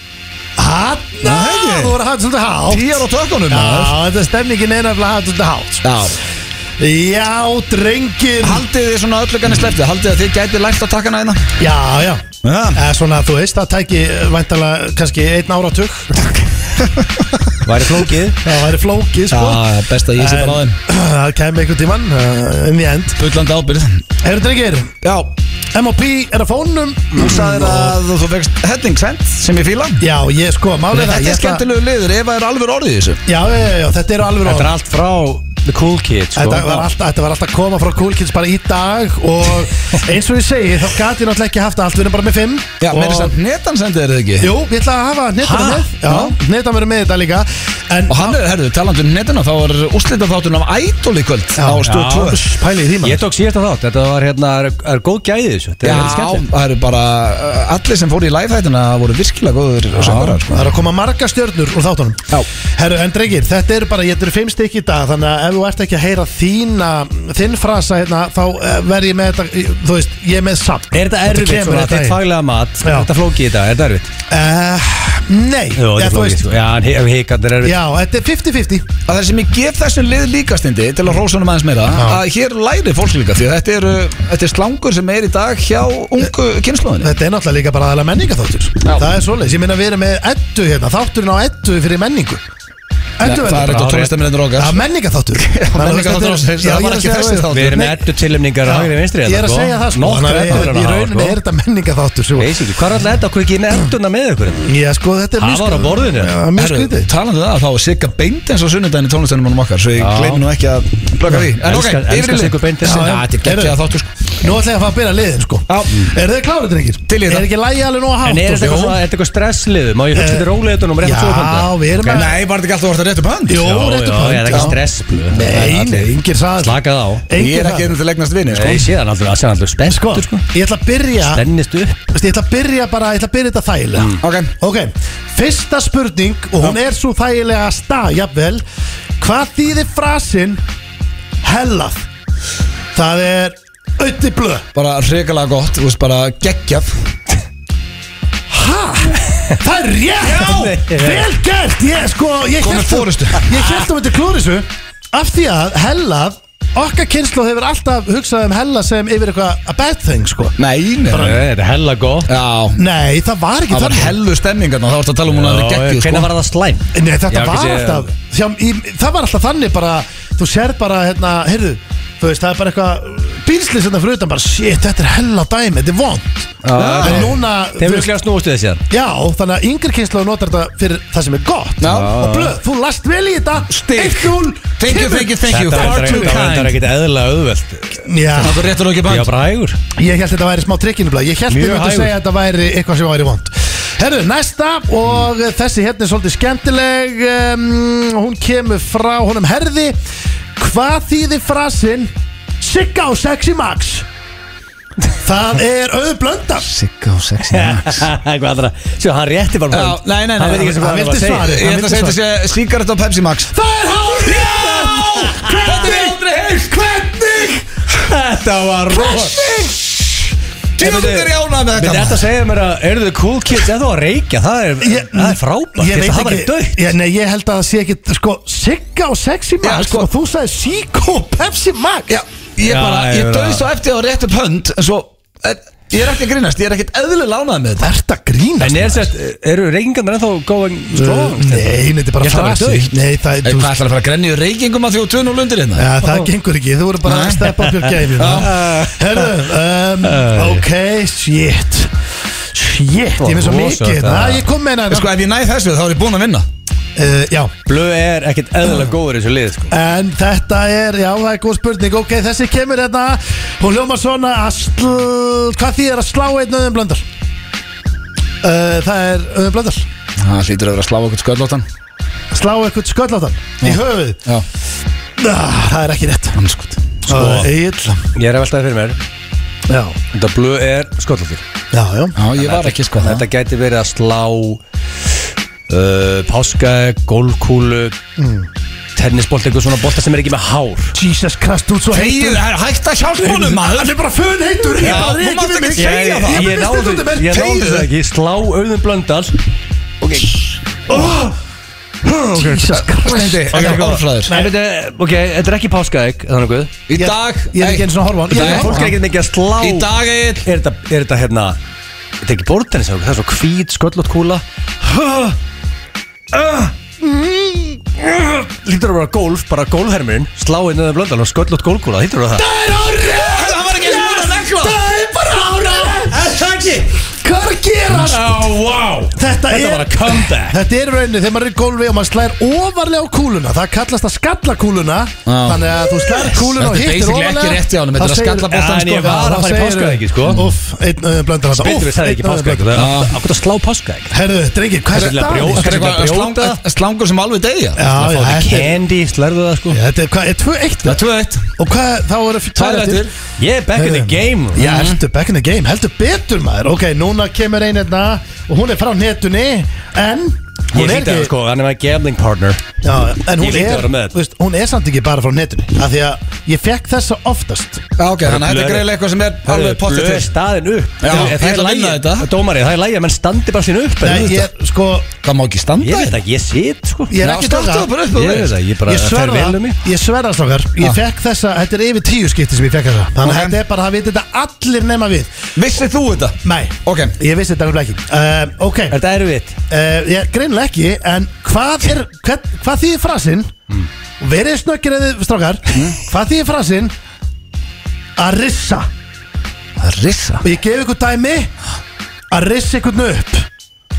Speaker 2: Hanna,
Speaker 1: Nei.
Speaker 2: þú voru að hafa þetta svolítið hátt
Speaker 1: Tíjar á tökunum
Speaker 2: Já,
Speaker 1: maður.
Speaker 2: þetta er stemningin er nefnilega að hafa þetta svolítið hátt
Speaker 1: Já.
Speaker 2: sko. Já, drengir
Speaker 1: Haldið þið svona öllu ganni sleppti Haldið að þið gæti lært að taka hana hérna
Speaker 2: Já, já Eh, Svona, þú veist, það tæki væntalega kannski einn áratug
Speaker 3: Væri flókið
Speaker 2: Það væri flókið, sko
Speaker 1: Já, best að ég sé bara á
Speaker 2: En,
Speaker 1: þeim
Speaker 2: Það kemur einhvern tíman uh, in the end
Speaker 1: Bullandi ábyrð
Speaker 2: Herru drengir,
Speaker 1: Já,
Speaker 2: M.O.P. er að fónum
Speaker 1: þú sagðir að þú fegst helling sent sem ég fíla
Speaker 2: Já, ég sko, málið er
Speaker 1: Þetta
Speaker 2: það
Speaker 1: er
Speaker 2: ég ætla-
Speaker 1: skemmtilegu liður ef það er alveg orðið í þessu
Speaker 2: Já, já, já, já, þetta eru alveg
Speaker 3: Þetta er
Speaker 2: orð
Speaker 3: allt frá The Cool Kids sko
Speaker 2: Þetta var, alltaf, þetta var alltaf að koma frá Cool Kids bara í dag og eins og ég segi þá gat ég náttúrulega ekki haft allt, við erum bara með fimm
Speaker 1: Já,
Speaker 2: og,
Speaker 1: meiri samt netan sendið þið ekki
Speaker 2: Jú, ég ætla að hafa netan
Speaker 1: Ha?
Speaker 2: með Já, netan verið með þetta líka En
Speaker 1: Og hann er, herðu, talandi um netana þá er úslita þáttun af Idol í kvöld á
Speaker 3: já.
Speaker 1: stöð 2
Speaker 2: pæli í því
Speaker 3: Ég
Speaker 2: maður
Speaker 3: tók síðasta þátt Þetta var hérna er, er góð gæði í þessu Þetta
Speaker 1: Já,
Speaker 3: er skemmt
Speaker 1: það eru bara uh, allir sem fóru í live-hættina voru virkilega góður söngarar sko.
Speaker 2: Það er að koma marga stjörnur úr þáttunum
Speaker 1: Já.
Speaker 2: Herru, en drengir, þetta eru bara, ég eru fimm stykki í dag Þannig að ef þú ert ekki að heyra þína Þinn frasa hérna, þá eh, verð ég með þetta í- Þú veist, ég er með samt
Speaker 3: Er þetta erfitt
Speaker 2: kemur
Speaker 3: svona
Speaker 2: að
Speaker 3: þitt
Speaker 2: daginn.
Speaker 3: faglega mat Er
Speaker 2: Já.
Speaker 3: Þetta flókið í dag, er þetta erfitt?
Speaker 2: Eh, Nei,
Speaker 3: Jú,
Speaker 2: Já,
Speaker 3: þetta
Speaker 2: þú
Speaker 3: er flókið
Speaker 2: veist
Speaker 3: sko Já, en he- ef hikarnir er erfitt
Speaker 2: Já, þetta er 50-50
Speaker 1: að það sem ég gef þessum lið líkastindi til að rósa honum aðeins meira að hér læri fólk líka því að þetta er, þetta er slangur sem er í dag hjá ungu kynnslóðinni
Speaker 2: Þetta er náttúrulega líka bara aðalega menningaþáttur Það er svoleiðis, ég meina við erum með eddu hérna Þátturinn á eddu fyrir menningu Eddu
Speaker 1: það er eitthvað tónlistaminnendur
Speaker 2: Það
Speaker 1: okkar
Speaker 2: er menningaþáttur
Speaker 1: menningarþáttur ársins. Það var ekki þessi þáttur.
Speaker 3: Við erum með eddu tilnefningar á hægri vinstri hérna,
Speaker 2: Ég er að segja það sko
Speaker 3: Nokkra
Speaker 2: þannig að
Speaker 3: eddur
Speaker 2: Í rauninni
Speaker 3: sko.
Speaker 2: er þetta menningaþáttur sko.
Speaker 3: Veist ekki, hvað er alltaf þetta okkur ekki með edduna með ykkur?
Speaker 2: Já sko, þetta er
Speaker 3: Það
Speaker 2: mjög
Speaker 3: var á
Speaker 2: skrítið.
Speaker 3: borðinu.
Speaker 2: Já, Mjög skrítið
Speaker 1: talandi um það þá er Sigga beint eins og sunnudaginn í tónlistunum okkar svo ég
Speaker 3: Já.
Speaker 1: gleymi nú ekki að blöka því en ok,
Speaker 3: Elskar-
Speaker 1: yfir í
Speaker 3: elskast
Speaker 1: lið
Speaker 3: ykkur beint þessi
Speaker 2: Já, já.
Speaker 1: þetta er geggjað
Speaker 2: Heyrðu.
Speaker 1: þáttur sko.
Speaker 2: Nú ætla ég að fara að byrja liðin sko Er þið klárið drengir?
Speaker 1: Til í þetta.
Speaker 2: Er ekki lægi alveg nóg að hátt og
Speaker 3: En er þetta eitthvað
Speaker 2: svona?
Speaker 3: svona- er þetta eitthvað stresslið? Má ég hugsa
Speaker 2: Eh,
Speaker 3: þetta róleitunum um rétt
Speaker 2: já,
Speaker 3: svo
Speaker 2: við erum að-
Speaker 1: nei, var þetta ekki alltaf orðið rétt upp hand?
Speaker 2: Jó, réttu
Speaker 3: Já, já, það er ekki
Speaker 2: pönt
Speaker 3: stress blöð.
Speaker 2: Nei, nei, engir sagði
Speaker 3: Slakað á
Speaker 1: ég er ekki einu til legnast vini sko.
Speaker 3: Ég sé það náttúrulega, það sé náttúrulega spennt
Speaker 2: Sko,
Speaker 3: sko.
Speaker 2: ég ætla að byrja
Speaker 3: Stennist upp
Speaker 2: Þú veist, ég ætla að byrja bara, ég ætla að byrja þetta þægilega
Speaker 1: Mm. Ok.
Speaker 2: Ok, fyrsta spurning og hún er svo þægilega stað, jafnvel Hvað þýðir frasinn hellað? Það er auði blöð
Speaker 1: bara hrikalega gott, þú veist bara geggjað
Speaker 2: Ha? Það er rétt!
Speaker 3: Já!
Speaker 2: Vel gert! Ég sko, ég
Speaker 1: Komið
Speaker 2: hélt
Speaker 1: forystu.
Speaker 2: Ég held um þetta klórisu Af því að hellað Okkar kynslu hefur alltaf hugsað um hella sem yfir eitthvað a bad thing, sko
Speaker 1: nei, nei, nei.
Speaker 3: Þetta er hella gott
Speaker 1: já,
Speaker 2: Nei, það var ekki
Speaker 1: það var
Speaker 2: þannig.
Speaker 1: hellu stemmingarna þá varst að tala um hún að það er geggjuð
Speaker 3: Hvernig
Speaker 1: sko.
Speaker 3: var það slæm?
Speaker 2: Nei, þetta var
Speaker 3: Já, kannski-
Speaker 2: alltaf hjá, í, Það var alltaf þannig bara Þú sér bara, hérna, heyrðu Þú veist, það er bara eitthvað Bílslið sem það fyrir utan bara Shit, þetta er hella dæmi, þetta er vond En
Speaker 3: ok.
Speaker 2: núna
Speaker 3: Þeir
Speaker 2: þú
Speaker 3: eru
Speaker 2: veist,
Speaker 3: sklega snúist við þessi þar
Speaker 2: Já, þannig að yngri kynslu notar þetta fyrir það sem er gott
Speaker 1: Já.
Speaker 2: Og blöð, þú last vel í þetta
Speaker 1: Stig.
Speaker 2: 1-0
Speaker 1: Thank you,
Speaker 2: kemur.
Speaker 1: thank you, thank you
Speaker 3: Þetta
Speaker 1: Far
Speaker 3: er-
Speaker 1: too
Speaker 3: þetta var- þetta er
Speaker 1: kind
Speaker 3: ekkert eðla auðvelt
Speaker 2: Já,
Speaker 1: Það er réttur og ekki
Speaker 3: Ég
Speaker 1: bænt
Speaker 3: var bara hægur
Speaker 2: ég held þetta væri smá trikkinu blöð Ég held
Speaker 3: Mjög
Speaker 2: þetta myndi að
Speaker 3: hægur.
Speaker 2: segja að þetta væri eitthvað sem væri vond Herðu, næsta og þessi hérna er svolítið skemmtileg um, Hún kemur frá honum herði Hvað þýðir frasinn Sigga á sexy max? Það er auðblönda
Speaker 10: Sigga og sexy
Speaker 3: Eitthvað aðra Sjá, hann rétti bara
Speaker 1: Já, nei, nei, nei
Speaker 3: Hann veit ekki sem hvað hann var að segja
Speaker 2: svarið.
Speaker 1: Ég ætla að segja þetta sé Sigaret og Pepsi Max
Speaker 2: Það er hálfrið Hvernig? Hvernig?
Speaker 3: Þetta var ros
Speaker 1: Tjóðum er ég ánað með
Speaker 3: Við
Speaker 1: þetta
Speaker 3: þetta segja mér að Eru þau cool kids eða þú að reykja Það er,
Speaker 2: Ég-
Speaker 3: það er frábært
Speaker 2: Ég veit
Speaker 3: Það var
Speaker 2: ekki
Speaker 3: dött
Speaker 2: ég, Nei, ég held að það sé ekki Sko, Sigga og Sexy Max
Speaker 1: Já, sko.
Speaker 2: Og þú sagði Sigga og Pepsi Max
Speaker 1: Já, ég
Speaker 3: Já,
Speaker 1: bara,
Speaker 3: ég
Speaker 1: ég
Speaker 3: verð að-
Speaker 1: döðst á eftir á rétt upp hönd En svo, en ég er ekki að grínast Ég er ekkert eðlilega ánað með þetta
Speaker 2: Ert að grínast
Speaker 3: En er sett, eru reykingarnar ennþá going strong?
Speaker 2: Mm. Nei, þetta er bara
Speaker 3: Ég held að það væri
Speaker 2: frasi
Speaker 3: dautt.
Speaker 2: Nei, það er
Speaker 1: Hvað ætlar að fara að grenja í reykingum að því og tvun og lundir hérna?
Speaker 2: Ja, það gengur ekki, þú voru bara að steppa upp your game
Speaker 1: Já.
Speaker 2: Herðu, um, ok, shit Shit, ég með svo
Speaker 3: Rosa
Speaker 2: mikið
Speaker 3: þetta.
Speaker 2: hérna. Æ, Ég kom með
Speaker 1: Sko,
Speaker 2: hérna
Speaker 1: ef ég næði þessu þá er ég búinn að vinna
Speaker 2: uh, Já,
Speaker 3: Blöð er ekkert eðlilega góður í þessu lið sko.
Speaker 2: En þetta er, já það er góð spurning Ok, þessi kemur hérna Hún hljómar svona að sl... Hvað því er að slá einn auðum blöndar? Uh, það er auðum blöndar
Speaker 1: Það hlýtur að vera að slá okkur sköllóttan
Speaker 2: Slá eitthvað skölláttan Í höfuð
Speaker 1: Já.
Speaker 2: ah, Það er ekki rétt
Speaker 1: Hanskot
Speaker 2: Sko Egil
Speaker 3: Ég er að veltaði fyrir mér
Speaker 2: Já,
Speaker 3: Þetta blöð er sköllóttir
Speaker 2: já, já
Speaker 1: Já, ég var ekki sko
Speaker 3: Þetta gæti verið að slá uh, Páska, gólkúlu
Speaker 1: Mm.
Speaker 3: Tennisbolt, eitthvað svona bolta sem er ekki með hár
Speaker 2: Jesus Christ, þú ert svo heitur
Speaker 1: Þegið, hægt að hjálpa honum maður
Speaker 2: Hann er bara fönn heitur
Speaker 1: Já,
Speaker 2: bara
Speaker 1: þú
Speaker 2: rek
Speaker 1: mátt
Speaker 2: yfir
Speaker 1: ekki
Speaker 2: mig.
Speaker 1: segja
Speaker 2: Ég-
Speaker 1: það.
Speaker 2: Ég náði
Speaker 3: Ég náði
Speaker 2: þetta
Speaker 3: ég náði það ekki Slá auðum blöndal
Speaker 2: Jesus Christ
Speaker 1: Steindi, ekki orðfræður
Speaker 3: Nei, veitu, ok, þetta er ekki páskaegg Þannig að
Speaker 1: Í dag
Speaker 2: Ég er ekki eins og að horfa á hann Ég er
Speaker 1: Nei,
Speaker 2: að horfa á
Speaker 3: Fólk er
Speaker 2: hann.
Speaker 3: ekkert mikið að slá
Speaker 1: Í dag er
Speaker 3: Er þetta, er þetta hérna Þetta er ekki bortennis Það er svo hvít, sköllótt kúla Lítur að vera golf Bara gólfhermurinn Slá inn eða blöndal Og sköllótt gólkúla Lítur að það
Speaker 1: Það var ekki eins og að negla
Speaker 2: Það er bara ára Hvað er að gera
Speaker 3: Oh, wow
Speaker 2: Þetta
Speaker 3: Þetta
Speaker 2: er
Speaker 3: var að comeback
Speaker 2: Þetta er rauninni þegar maður er í gólfi og maður slæðir ofarlega á kúluna Það kallast að skalla kúluna Þannig að þú slæðir kúluna og
Speaker 1: Þetta er
Speaker 2: hittir
Speaker 1: basically
Speaker 2: ofarlega
Speaker 1: ekki rétt hjá honum, þetta er að skalla boltann,
Speaker 3: sko. Já, þá segirðu-
Speaker 2: Uff, sko. einn öðum blöndar þetta
Speaker 3: Betur við það er ekki páskaegg Það er ákveð að slá páskaegg
Speaker 2: Herðu, drengir, hvað er
Speaker 3: Þetta er
Speaker 2: þetta?
Speaker 3: brjó-
Speaker 1: Þetta er eitthvað
Speaker 3: Þetta er
Speaker 1: slanga-
Speaker 3: brjóta.
Speaker 1: slangur sem alveg degja
Speaker 2: Já, já,
Speaker 3: Fáðu
Speaker 2: þetta er
Speaker 3: candy, slærðu það sko
Speaker 2: Já, Þetta er, hvað, er 2-1
Speaker 1: Það er 2-1
Speaker 2: Og hvað, þá eru
Speaker 1: Tvær
Speaker 2: 2
Speaker 1: eftir.
Speaker 3: Ég er back in the game
Speaker 2: Já, heldur back in the game, heldur betur maður Ok, núna kemur ein hérna Og hún er frá netunni En
Speaker 3: Ég
Speaker 2: hún er
Speaker 3: hlýtti að
Speaker 2: ekki
Speaker 3: sko, hann er maður gambling partner
Speaker 2: Já, en hún
Speaker 3: Ég hlýt að
Speaker 2: er,
Speaker 3: vera með þetta.
Speaker 2: þú veist, hún er samt ekki bara frá netinu af því að ég fekk þessa oftast
Speaker 1: Já, ok, þannig að þetta er
Speaker 3: blöð.
Speaker 1: greiðlega eitthvað sem er alveg potið
Speaker 3: Blöð
Speaker 1: til
Speaker 3: staðin upp
Speaker 1: Já,
Speaker 3: Ef
Speaker 1: ég ætla að
Speaker 3: lagi-
Speaker 1: vinna þetta.
Speaker 3: Dómari, það er lægi að menn standi bara sín upp
Speaker 2: Nei, ég, sko,
Speaker 1: Það má ekki standa hérna.
Speaker 3: Ég veit ekki, ég sit sko
Speaker 2: ég er ekki
Speaker 1: startaðu bara upp, þú
Speaker 3: Ég veit
Speaker 1: veist.
Speaker 3: það, ég bara
Speaker 2: Ég
Speaker 3: fer
Speaker 2: sverða,
Speaker 3: vel um mig Ah.
Speaker 2: ég sverða slokar Ég fekk þessa, þetta er yfir tíu skipti sem ég fekk þessa Þannig að þetta er bara, það veit þetta allir nema við
Speaker 1: Vissið þú þetta?
Speaker 2: Nei,
Speaker 1: Ok.
Speaker 2: ég vissi þetta alveg ekki uh, Ok,
Speaker 3: Er þetta erfitt?
Speaker 2: uh, ég greinlega ekki En hvað er, hvað, hvað þýðir frasinn Verið snöggir eða strákar Hvað þýðir frasinn Að rissa
Speaker 1: Það rissa
Speaker 2: Og ég gef ykkur dæmi Að rissa ykkur upp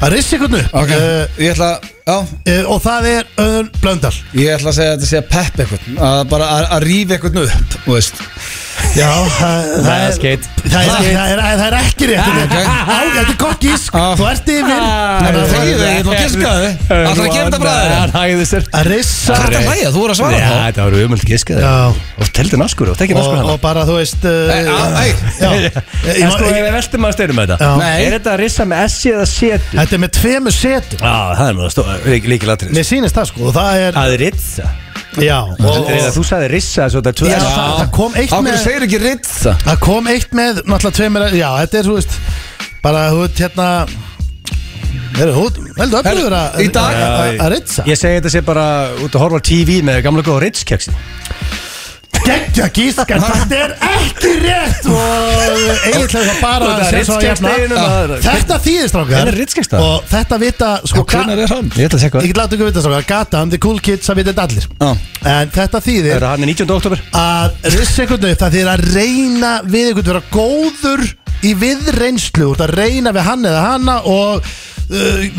Speaker 2: Að rissa ykkur upp
Speaker 1: Ok,
Speaker 2: uh,
Speaker 1: ég ætla að Já,
Speaker 2: uh, Og það er Öðun Blöndal
Speaker 1: ég ætla að segja að þetta sé að peppa eitthvað Að bara að, að rífa eitthvað upp Þú veist
Speaker 2: Já, það, það,
Speaker 3: er
Speaker 2: er-
Speaker 3: skeit.
Speaker 2: það, er, það, er, það er ekki rétt Á, Þetta er gott gísk
Speaker 1: Ah.
Speaker 2: Þú ert yfir
Speaker 1: Það er þegið þig, ég ætla að giska á þig Það er að gefa þetta bræðir
Speaker 3: Það hægði sér
Speaker 2: Að rissa
Speaker 1: Hvað er að hlæja? Þú voru að
Speaker 3: Já,
Speaker 1: svara þá
Speaker 3: þetta var umöld giskað
Speaker 2: Já.
Speaker 3: Og teldi naskur og tekið
Speaker 2: og,
Speaker 3: naskur
Speaker 2: og
Speaker 3: hann
Speaker 2: bara þú veist
Speaker 1: Nei,
Speaker 2: uh,
Speaker 1: á, ei.
Speaker 2: já. Ég-
Speaker 3: En sko, ef
Speaker 2: ég-
Speaker 3: við veltum að steyrum þetta
Speaker 2: Já.
Speaker 1: Nei.
Speaker 3: Er þetta að rissa með S eða setu? Já,
Speaker 2: Þetta er með tveimu setum
Speaker 3: það er mjög stóð Líkil atrið
Speaker 2: Mér sýnist það sko og það
Speaker 1: Ah.
Speaker 2: er
Speaker 3: Að ritsa
Speaker 2: Já, og, og,
Speaker 3: Andrið, Þú sagði rissa svo þetta er tvö
Speaker 2: já
Speaker 3: S.
Speaker 2: það, það kom eitt
Speaker 1: Ákveður
Speaker 2: með
Speaker 1: segir ekki ritt það
Speaker 2: Það kom eitt með náttúrulega tveimur Já, þetta er, þú veist Bara, þú veist, hérna Þeir eru hút, veldu öfnur að
Speaker 1: í dag-
Speaker 2: að- að- Að ritsa
Speaker 3: Ég segi þetta sé bara út að horfa á TV með gamla góða ritskeksin
Speaker 2: Gekkja gísk,
Speaker 1: Ah.
Speaker 2: en þetta er ekki rétt Og eiginlega það bara
Speaker 3: Þetta er
Speaker 2: sér svo að
Speaker 3: ritskeks
Speaker 2: jafna.
Speaker 3: deginum að-
Speaker 2: Þetta þýðir
Speaker 3: Hvenær
Speaker 2: strákar
Speaker 3: er ritskeks dagur?
Speaker 2: Og þetta vita, sko
Speaker 1: Hvernig er Ah. hann?
Speaker 3: Ég ætla að segja
Speaker 2: Ég
Speaker 3: hvað
Speaker 2: get láta ykkur vita strákar Gatan, the cool kids, það vita þetta allir
Speaker 1: Já.
Speaker 2: En þetta
Speaker 3: Það
Speaker 2: þýðir
Speaker 3: er að hann er 19. oktober
Speaker 2: að rissa einhvern upp það þýðir að reyna við einhvern vera góður í viðreynslu út að reyna við hann eða hanna og uh,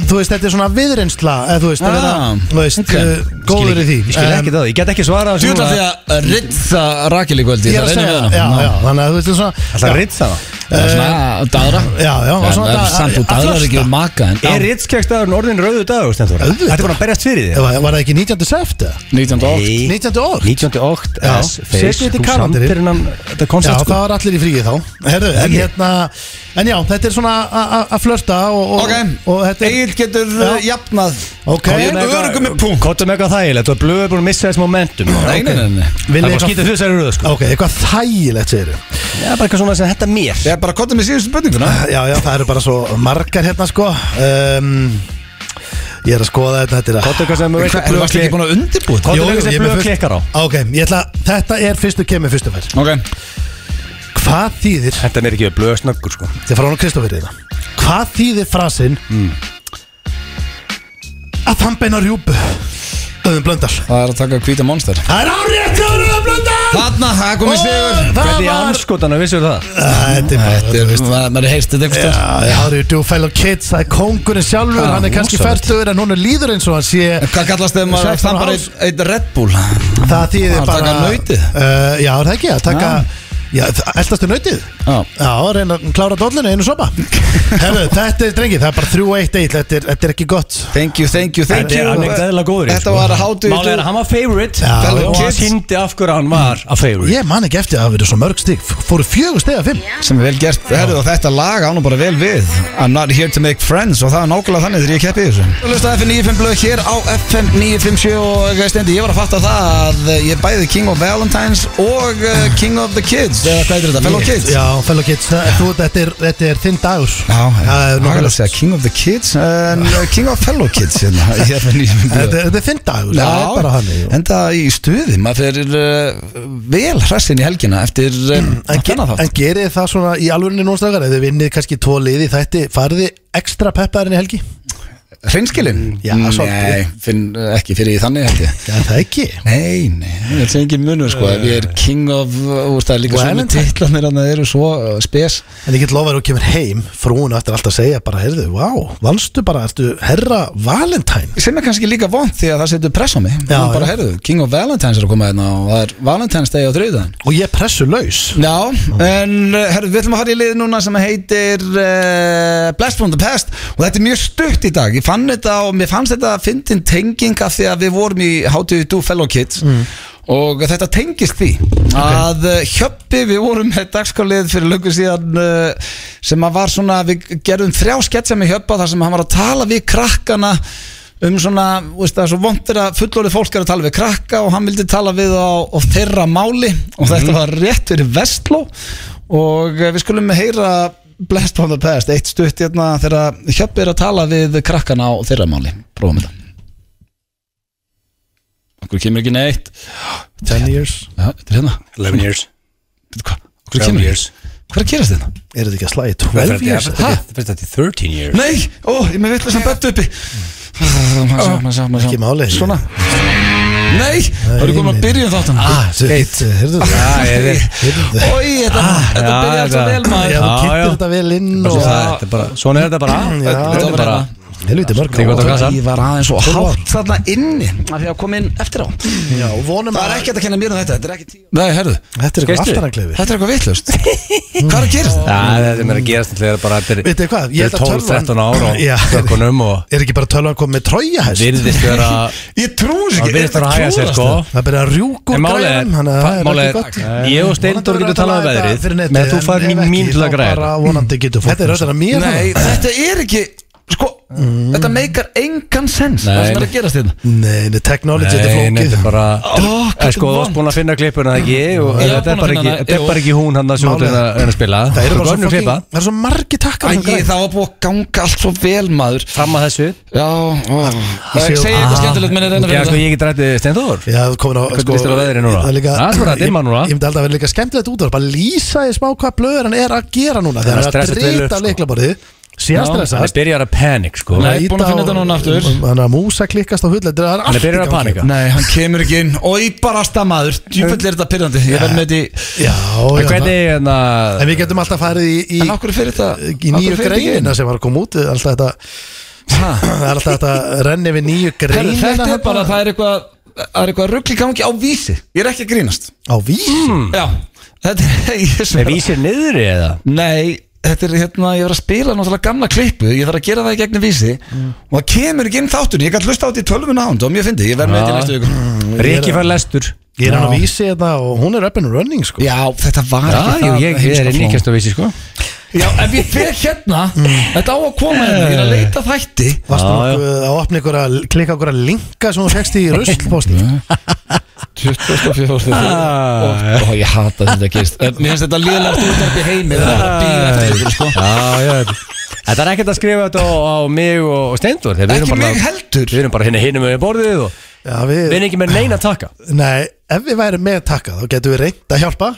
Speaker 2: þú veist, þetta er svona viðreynsla eða þú veist,
Speaker 1: Ah,
Speaker 2: að vera, þú veist,
Speaker 1: ok.
Speaker 2: uh, góður í því
Speaker 3: Ég skil ekki það, ég get ekki svarað
Speaker 1: Þú ert að því að ritza Rakel í kvöldi
Speaker 2: Ég er að segja það, já, já, þannig að þú veist, svona
Speaker 3: Það ritt það
Speaker 1: Það er svona daðra
Speaker 2: Já, já, og svona
Speaker 1: Það er
Speaker 2: daðra-
Speaker 1: samt og
Speaker 2: að
Speaker 1: daðrar ekki
Speaker 2: þrosta.
Speaker 1: um maka en-
Speaker 3: Er rittskjækstaðurinn orðin rauðu dagur, Stenþór?
Speaker 2: Auðvitað.
Speaker 3: Þetta er bara að berjast fyrir þig
Speaker 2: Var, var það ekki 19. september?
Speaker 1: 19. ótt
Speaker 3: Nei.
Speaker 2: 19. ork?
Speaker 3: 1908
Speaker 2: Já.
Speaker 3: S,
Speaker 2: Setjið þetta
Speaker 3: Face,
Speaker 2: í
Speaker 3: þú
Speaker 2: kalendarinn.
Speaker 3: samtir innan Þetta
Speaker 2: Já,
Speaker 3: er koncept
Speaker 2: það
Speaker 3: sko
Speaker 2: var allir í fríi þá Herru, en,
Speaker 3: Ekki?
Speaker 2: hérna, en já, þetta er svona a- a- að flörta og, og,
Speaker 1: Ok,
Speaker 2: og þetta er
Speaker 1: Egil getur uh, jafnað
Speaker 2: Ok,
Speaker 1: Ég er örugum með punkt
Speaker 3: Kottum eitthvað þægilegt, þú er blöður búin að missa þess momentum Það
Speaker 1: Nei, nei, nei, nei
Speaker 3: er
Speaker 2: Viljið
Speaker 3: bara
Speaker 2: eitthvað-
Speaker 3: skýta því þessari rauðu sko
Speaker 2: ok, eitthvað þægilegt segir
Speaker 3: Það er bara eitthvað svona sem þetta mér
Speaker 1: Ég er bara að kotta með síðustu spurninguna
Speaker 2: Já, já, það eru bara svo margar hérna sko um, Ég er að skoða þetta, þetta er að
Speaker 3: Kottum eitthvað sem þú veist að
Speaker 1: Þú varst ekki
Speaker 3: blöð
Speaker 1: búin að undirbúið
Speaker 3: Kottum
Speaker 2: Jú, jú,
Speaker 3: eitthvað
Speaker 2: ég
Speaker 3: sem
Speaker 2: er með
Speaker 3: blöð
Speaker 2: fullt-
Speaker 3: klikkar á
Speaker 2: Ok, ég ætla, þetta er fyrstu kemur fyrstu fær
Speaker 1: Ok
Speaker 2: Hvað þýðir,
Speaker 3: Þetta er ekki við blöð snöggur sko
Speaker 2: þetta er frá hún Kristoffer í það Hvað þýðir frasin
Speaker 3: Mm.
Speaker 2: Að hann beina rjúpu Öðum blöndal
Speaker 1: Það er að taka hvíta monster
Speaker 2: Það er árétt öðum blöndal
Speaker 1: Þarna, það er komið sigur
Speaker 2: Það
Speaker 3: Hvernig
Speaker 2: var
Speaker 3: anskotana vissur það?
Speaker 2: Æ, Þetta er bara,
Speaker 1: Þetta
Speaker 2: þú
Speaker 1: er,
Speaker 2: veist
Speaker 1: ma- maður heyrst þetta einhvers
Speaker 2: Já,
Speaker 1: þar
Speaker 2: það eru do fellow kids Það er kóngurinn sjálfur,
Speaker 1: Ah,
Speaker 2: hann er kannski
Speaker 1: rosalegt.
Speaker 2: færtugur En hún er líður eins og hann sé
Speaker 1: Hvað kallast þegar maður
Speaker 2: Sextán
Speaker 1: þambar
Speaker 2: árs.
Speaker 1: eitt, eitt Red Bull?
Speaker 2: Það þýðir
Speaker 1: Að
Speaker 2: bara
Speaker 1: taka nautið?
Speaker 2: Uh, já, er það ekki, að taka Já, eldastu nautið
Speaker 1: Já.
Speaker 2: Já, reyna að klára dollinu einu sopa Herru, þetta er drengi, það er bara 3-1-1 þetta, er- þetta er ekki gott
Speaker 1: Thank you, thank you, thank
Speaker 3: Þetta er
Speaker 1: you
Speaker 3: hann ekkert eðla góður í,
Speaker 1: Þetta
Speaker 3: sko.
Speaker 1: var hátu
Speaker 3: Málið er að hann var favorite
Speaker 2: Já,
Speaker 1: fellow
Speaker 3: Og hann
Speaker 1: kids.
Speaker 3: hindi af hverju hann var að favorite
Speaker 2: Ég man ekki eftir að það hafa verið svo mörg stig F- Fóru fjögur stig af fimm
Speaker 1: Sem er vel gert Herðu, og þetta lag ánum bara vel við I'm not here to make friends Og það er nákvæmlega þannig þegar ég keppi í þessu Þú lustaði FM 95 blöð hér á FM 957 Og eh, stendi, ég var að fatta það að eh, ég er bæði King of Valentines og eh, King of the Kids Eða hvað er þetta? Fellow Kids
Speaker 2: Já, fellow kids, það, þú, þetta, er, þetta er þinn dagur
Speaker 1: Já,
Speaker 2: það er
Speaker 1: það er að
Speaker 2: nokkuð
Speaker 1: segja King of the Kids en eh, King of Fellow Kids hérna í FM 95 blöð
Speaker 2: Þetta þetta er þinn dagur, það er bara hann
Speaker 1: en það í stuði maður fyrir uh, vel hressin í helgina eftir um,
Speaker 2: En, ge
Speaker 1: þennan
Speaker 2: en
Speaker 1: þátt
Speaker 2: gerið þið það svona í alvörinu núnstakar Ef þið vinnið kannski tvo liði í þætti Farið þið ekstra peppaðurinn í helgi?
Speaker 1: hreinskilin?
Speaker 2: já,
Speaker 1: nei,
Speaker 2: svolítið.
Speaker 1: finn, eh, ekki fyrir í þannig held ég
Speaker 2: Já, það ekki
Speaker 1: nei, nei, þetta er engin munur sko við erum king of, uh, úr, það er líka svona
Speaker 2: Valentine.
Speaker 1: titlanir að það eru svo uh, spes
Speaker 2: En ég get lofa að þú kemur heim Frúin eftir alltaf að segja bara Herðu, vá, vannstu bara, ertu herra Valentine
Speaker 1: sem er kannski líka vond því að það setur press á mig
Speaker 2: Já,
Speaker 1: Nú bara
Speaker 2: já.
Speaker 1: heyrðu, king of Valentines er að koma hérna og það er Valentine's Day á þriðan
Speaker 2: Og ég pressu laus
Speaker 1: Já, en uh, herru, við ætlum að fara í lið núna sem heitir uh, Blast from the Past og þetta er mjög stutt í dag, ég fann þetta og mér fannst þetta að fyndin tenging af því að við vorum í How to Do Fellow Kids og þetta tengist því að uh, Hjöppi, við vorum með dagskalið fyrir löngu síðan uh, sem að var svona, við gerðum þrjá sketsa með Hjöppa þar sem hann var að tala við krakkana um svona, þú veist það er svo vondir að fullorðið fólk er að tala við krakka og hann vildi tala við á, á þeirra máli og þetta var rétt fyrir Vestló og eh, við skulum heyra Blast from the Past, eitt stutt hérna þegar Hjöppi er að tala við krakkana á þeirra máli, prófum þetta Okkur kemur ekki neitt
Speaker 2: 10 years
Speaker 1: Já, þetta er hérna
Speaker 3: 11 years
Speaker 1: Veitu hvað, okkur kemur ekki Hvað er að gerast þetta?
Speaker 2: Er þetta ekki að slæði
Speaker 3: Það
Speaker 2: 12 years?
Speaker 3: fyrir þetta til 13 years
Speaker 1: Nei, ó, ég með vitlega sem bættu uppi
Speaker 2: Ekki máli
Speaker 1: Svona Nei, það eru komin að byrja um þáttan
Speaker 2: Ah, eitt Herðu,
Speaker 3: Já, ég veit.
Speaker 1: Ói, þetta, þetta
Speaker 3: já,
Speaker 1: byrja alltaf
Speaker 3: þetta-
Speaker 1: vel maður
Speaker 2: Já, þú
Speaker 3: Já, já.
Speaker 2: kynntir þetta vel inn og
Speaker 3: Það- þetta er bara- Svona er þetta bara Þetta er bara
Speaker 2: Helviti mörg
Speaker 3: Þetta er gott að kassa
Speaker 1: Ég var aðeins og hátt þarna inni af því að koma inn eftir á Það
Speaker 2: Já, og vonum
Speaker 1: er
Speaker 2: að
Speaker 1: ekki hægt að kenna mér um þetta, þetta er ekki tíu Nei, herðu,
Speaker 2: Þetta er eitthvað
Speaker 3: Skeistu?
Speaker 2: aftanaklefi
Speaker 1: þetta er eitthvað vitlaust Hvað er að gera þetta?
Speaker 3: Það er sem er að gerast Þetta er bara Þetta
Speaker 2: Vitið þið hvað? Ég
Speaker 3: er
Speaker 2: held að
Speaker 3: 12-13
Speaker 2: tölvan-
Speaker 3: ára
Speaker 2: Já.
Speaker 3: og Tökunum og
Speaker 2: Er ekki bara tölvan komið með trójahest?
Speaker 3: Virðist vera
Speaker 1: Ég trúi
Speaker 3: Það virðist vera að hæga sér sko
Speaker 2: Það byrja að rjúka
Speaker 3: En
Speaker 2: úr
Speaker 3: málið er-
Speaker 2: græðum Þannig að það er
Speaker 3: málið
Speaker 2: ekki
Speaker 3: er-
Speaker 2: gott
Speaker 3: ég og Steindór getum talað um veðrið, menn þú farir í mín til að græða.
Speaker 2: Þetta er öðvitað mér
Speaker 1: Nei, þetta er ekki Sko, þetta meikar engan sens Það
Speaker 3: Nei,
Speaker 1: sem er að gerast hérna. þetta
Speaker 2: Nei, nei, technology, þetta er
Speaker 3: Nei,
Speaker 2: flókið
Speaker 3: þetta er bara
Speaker 1: Ó,
Speaker 3: Það er sko, þú varst búin að finna klippuna það ekki
Speaker 1: Ég
Speaker 3: og
Speaker 1: var búinn að
Speaker 3: þetta er bara
Speaker 1: finna
Speaker 3: ekki,
Speaker 1: hana,
Speaker 3: þetta er
Speaker 1: jú.
Speaker 3: bara ekki hún hann að sem hún
Speaker 2: Málið-
Speaker 3: er að reyna að spila
Speaker 2: Það eru
Speaker 3: Þú
Speaker 2: bara
Speaker 3: gönnum
Speaker 2: svo
Speaker 3: klippa.
Speaker 2: fucking- það eru svo margi takkar sem
Speaker 1: Æ,
Speaker 2: græða.
Speaker 1: það var búið að ganga allt svo vel maður
Speaker 3: fram að þessu
Speaker 1: Já, ó,
Speaker 2: Ég sé-
Speaker 1: segja eitthvað skemmtilegt minn er reyna að
Speaker 3: Já,
Speaker 1: finna
Speaker 3: sko,
Speaker 1: það
Speaker 3: ég get rættið Steindór
Speaker 2: Já, þú komin á sko,
Speaker 3: Hvernig líst þér á veðrið núna?
Speaker 2: Það er líka
Speaker 3: Það er bara að dimma núna.
Speaker 2: Ég, ég myndi alltaf að vera líka skemmtilegt út Bara lýsa í smá hvað blöður hann er að gera núna
Speaker 3: er
Speaker 2: Þegar hann
Speaker 3: að
Speaker 2: er að
Speaker 3: stressa vel upp,
Speaker 2: drita
Speaker 3: sko.
Speaker 2: leiklaborðið Sé að stressa
Speaker 3: Hann byrjar að panik, sko
Speaker 1: Nei, búin að finna þetta núna aftur.
Speaker 2: um, Þannig að músa klikkast á hullet
Speaker 3: Hann er byrjar að panika
Speaker 1: Nei, hann kemur ekki inn Og í barasta maður Djúfell er þetta pyrrandi Ég verð með þetta í
Speaker 2: Já,
Speaker 3: En
Speaker 2: já það-
Speaker 3: hvernig, hérna, en að
Speaker 2: En við getum alltaf farið í,
Speaker 1: En
Speaker 2: í,
Speaker 1: okkur fyrir þetta
Speaker 2: í nýju
Speaker 1: af hverju fer þetta ekki inn?
Speaker 2: greinina sem var að koma út Alltaf þetta Það er alltaf þetta renni við nýju
Speaker 1: Herru,
Speaker 2: greinina
Speaker 1: Þetta er
Speaker 2: hérna.
Speaker 1: bara, það er eitthvað Það er eitthvað ruggli gangi á vísi Ég er ekki að grínast
Speaker 2: Á vísi
Speaker 1: Já, þetta er ég sver-
Speaker 3: Er vísir niðri eða?
Speaker 1: Nei, þetta er hérna Ég var að spila náttúrulega gamla klippu Ég þarf að gera það í gegnum vísi Og það kemur ekki inn þáttur Ég gæti hlusta á þetta í tölvun ánd Og mér fyndi, ég verð með þetta í næstu viku
Speaker 3: Rikki fær lestur
Speaker 2: Ég er hann á vísi þetta og hún er up and running sko
Speaker 1: Já, þetta var
Speaker 3: Já,
Speaker 1: ekki
Speaker 3: jú,
Speaker 1: það
Speaker 3: ég, ég er
Speaker 1: heimska
Speaker 3: inn í
Speaker 1: fló.
Speaker 3: kjæst á vísi sko
Speaker 1: Já, ef ég fer hérna Þetta á að koma hérna, ég er að leita þætti
Speaker 2: Varstu
Speaker 3: Já,
Speaker 2: nokkuð að opna ykkur að klikka ykkur að linka sem þú fegst í ruslposti
Speaker 1: 24 og,
Speaker 3: Ah.
Speaker 1: og ég hata þetta gerist En Ah. Mér finnst þetta liðlegt útarp í heimi Það er að býða eftir ykkur sko
Speaker 3: Já, já Þetta er ekkert að skrifa þetta á, á mig og, og Steindur
Speaker 1: Ekki mig heldur.
Speaker 3: Við erum bara hinni hinni með borðið og
Speaker 2: Já,
Speaker 3: Við
Speaker 2: við
Speaker 3: erum ekki með neina taka
Speaker 2: Nei, ef við værum með takka þá getum við reynd að hjálpa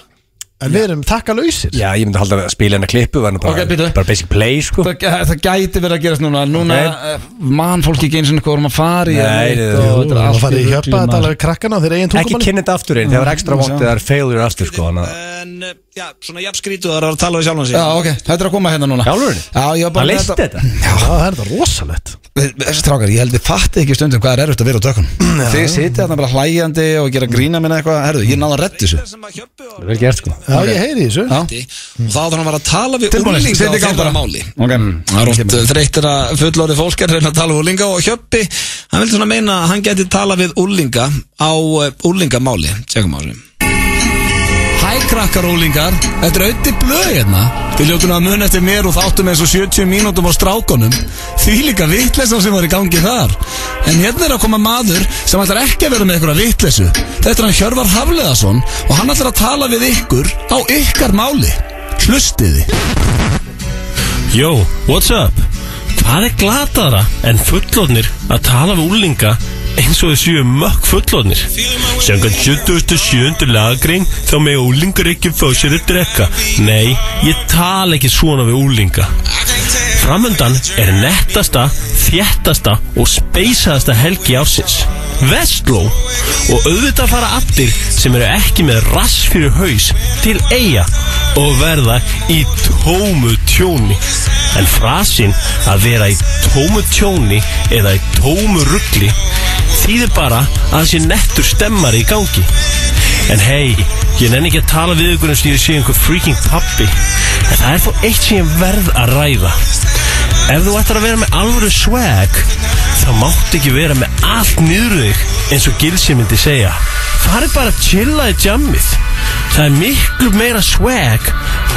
Speaker 2: En við erum takka lausir
Speaker 3: Já, ég myndi halda að spila hennar klippu var nú bara,
Speaker 1: Ok, býttu.
Speaker 3: bara basic play sko
Speaker 1: það, það gæti verið að gerast núna Núna
Speaker 3: Nei.
Speaker 1: okay. mann fólk ekki eins og hvað vorum að fara í
Speaker 3: Nei,
Speaker 1: eða neitt
Speaker 3: nei,
Speaker 1: og
Speaker 3: nei.
Speaker 1: þetta er
Speaker 2: Það
Speaker 1: allt
Speaker 2: farið í
Speaker 1: í
Speaker 2: hjöpa
Speaker 1: rugli,
Speaker 2: að tala
Speaker 1: maður.
Speaker 2: við krakkana og þeir eigin
Speaker 3: Ekki
Speaker 2: tungumáli
Speaker 3: kynna þetta aftur inn, þegar ekstra vont eða er failure aftur sko hana.
Speaker 11: En, eh, já, svona jafnskrítu Það er að tala við sjálfan sig
Speaker 1: Já, ok, þetta er að koma hérna núna
Speaker 3: Jálfurinn?
Speaker 1: Já, ég var bara með
Speaker 3: Hann leist þetta
Speaker 2: Já, það er þetta rosalegt
Speaker 1: Þessi strákar, ég held við fatti ekki stundum hvað er erfitt að vera á tökum Þið sitja þarna bara hlægjandi og gera grína minna eitthvað Herðu, ég náða að reddi þessu
Speaker 3: Vel gert sko
Speaker 2: Já, ég heyri í þessu
Speaker 1: Já.
Speaker 11: Mm. Og þá þarf hann að vera að tala við
Speaker 1: Tilbúin, setja í gang bara.
Speaker 11: máli
Speaker 1: Ok,
Speaker 11: Það er oft þreyttir að fullorði fólk er að reyna að tala við úlinga og Hjöppi, hann vildi svona meina að hann geti tala við úlinga á eh, úlingamáli, tjekum á þessu Hæ krakkar úlingar, þetta er auðvitað blöð hérna Þið ljóttum að muna eftir mér og þáttum eins og 70 mínútum á strákonum Því líka vitleysa sem var í gangi þar En hérna er að koma maður sem ætlar ekki að vera með einhverja vitleysu Þetta er hann Hjörvar Hafleðason og hann ætlar að tala við ykkur á ykkar máli Hlustiði
Speaker 12: Jó, what's up? Hvað er glataðra en fullornir að tala við úlinga eins og þau séu mökk fullornir? Sjangan 77. lagrein þá með úlingar ekki fá sér að drekka. Nei, ég tala ekki svona við úlinga. Framöndan er nettasta, þjættasta og speysaðasta helgi ársins. Vestló og auðvitað fara allir sem eru ekki með rass fyrir haus til eiga og verða í tómu tjóni. En frasin að vera í tómu tjóni eða í tómu ruggli þýðir bara að þessi nettur stemmari í gangi. En hei, ég nenni ekki að tala við ykkur eins og ég sé einhver freaking pappi. En það er þó eitt sem ég verð að ræða. Ef þú ætlar að vera með alvöru swag, þá máttu ekki vera með allt niður þig eins og Gilsi myndi segja. Farið bara að chilla í jammið. Það er miklu meira swag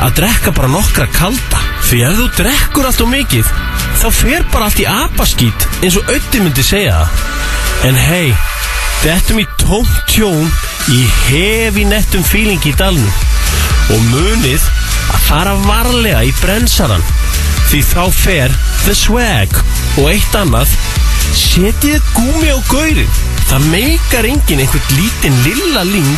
Speaker 12: að drekka bara nokkra kalda. Því ef þú drekkur allt og mikið, þá fer bara allt í apaskít eins og Ötti myndi segja það. En hei, Dettum í tómt tjón í hefi nettum fílingi í dalnum og munið að fara varlega í bremsaran því þá fer the swag og eitt annað setið gúmi á gaurin það meikar engin einhvern lítinn lilla ling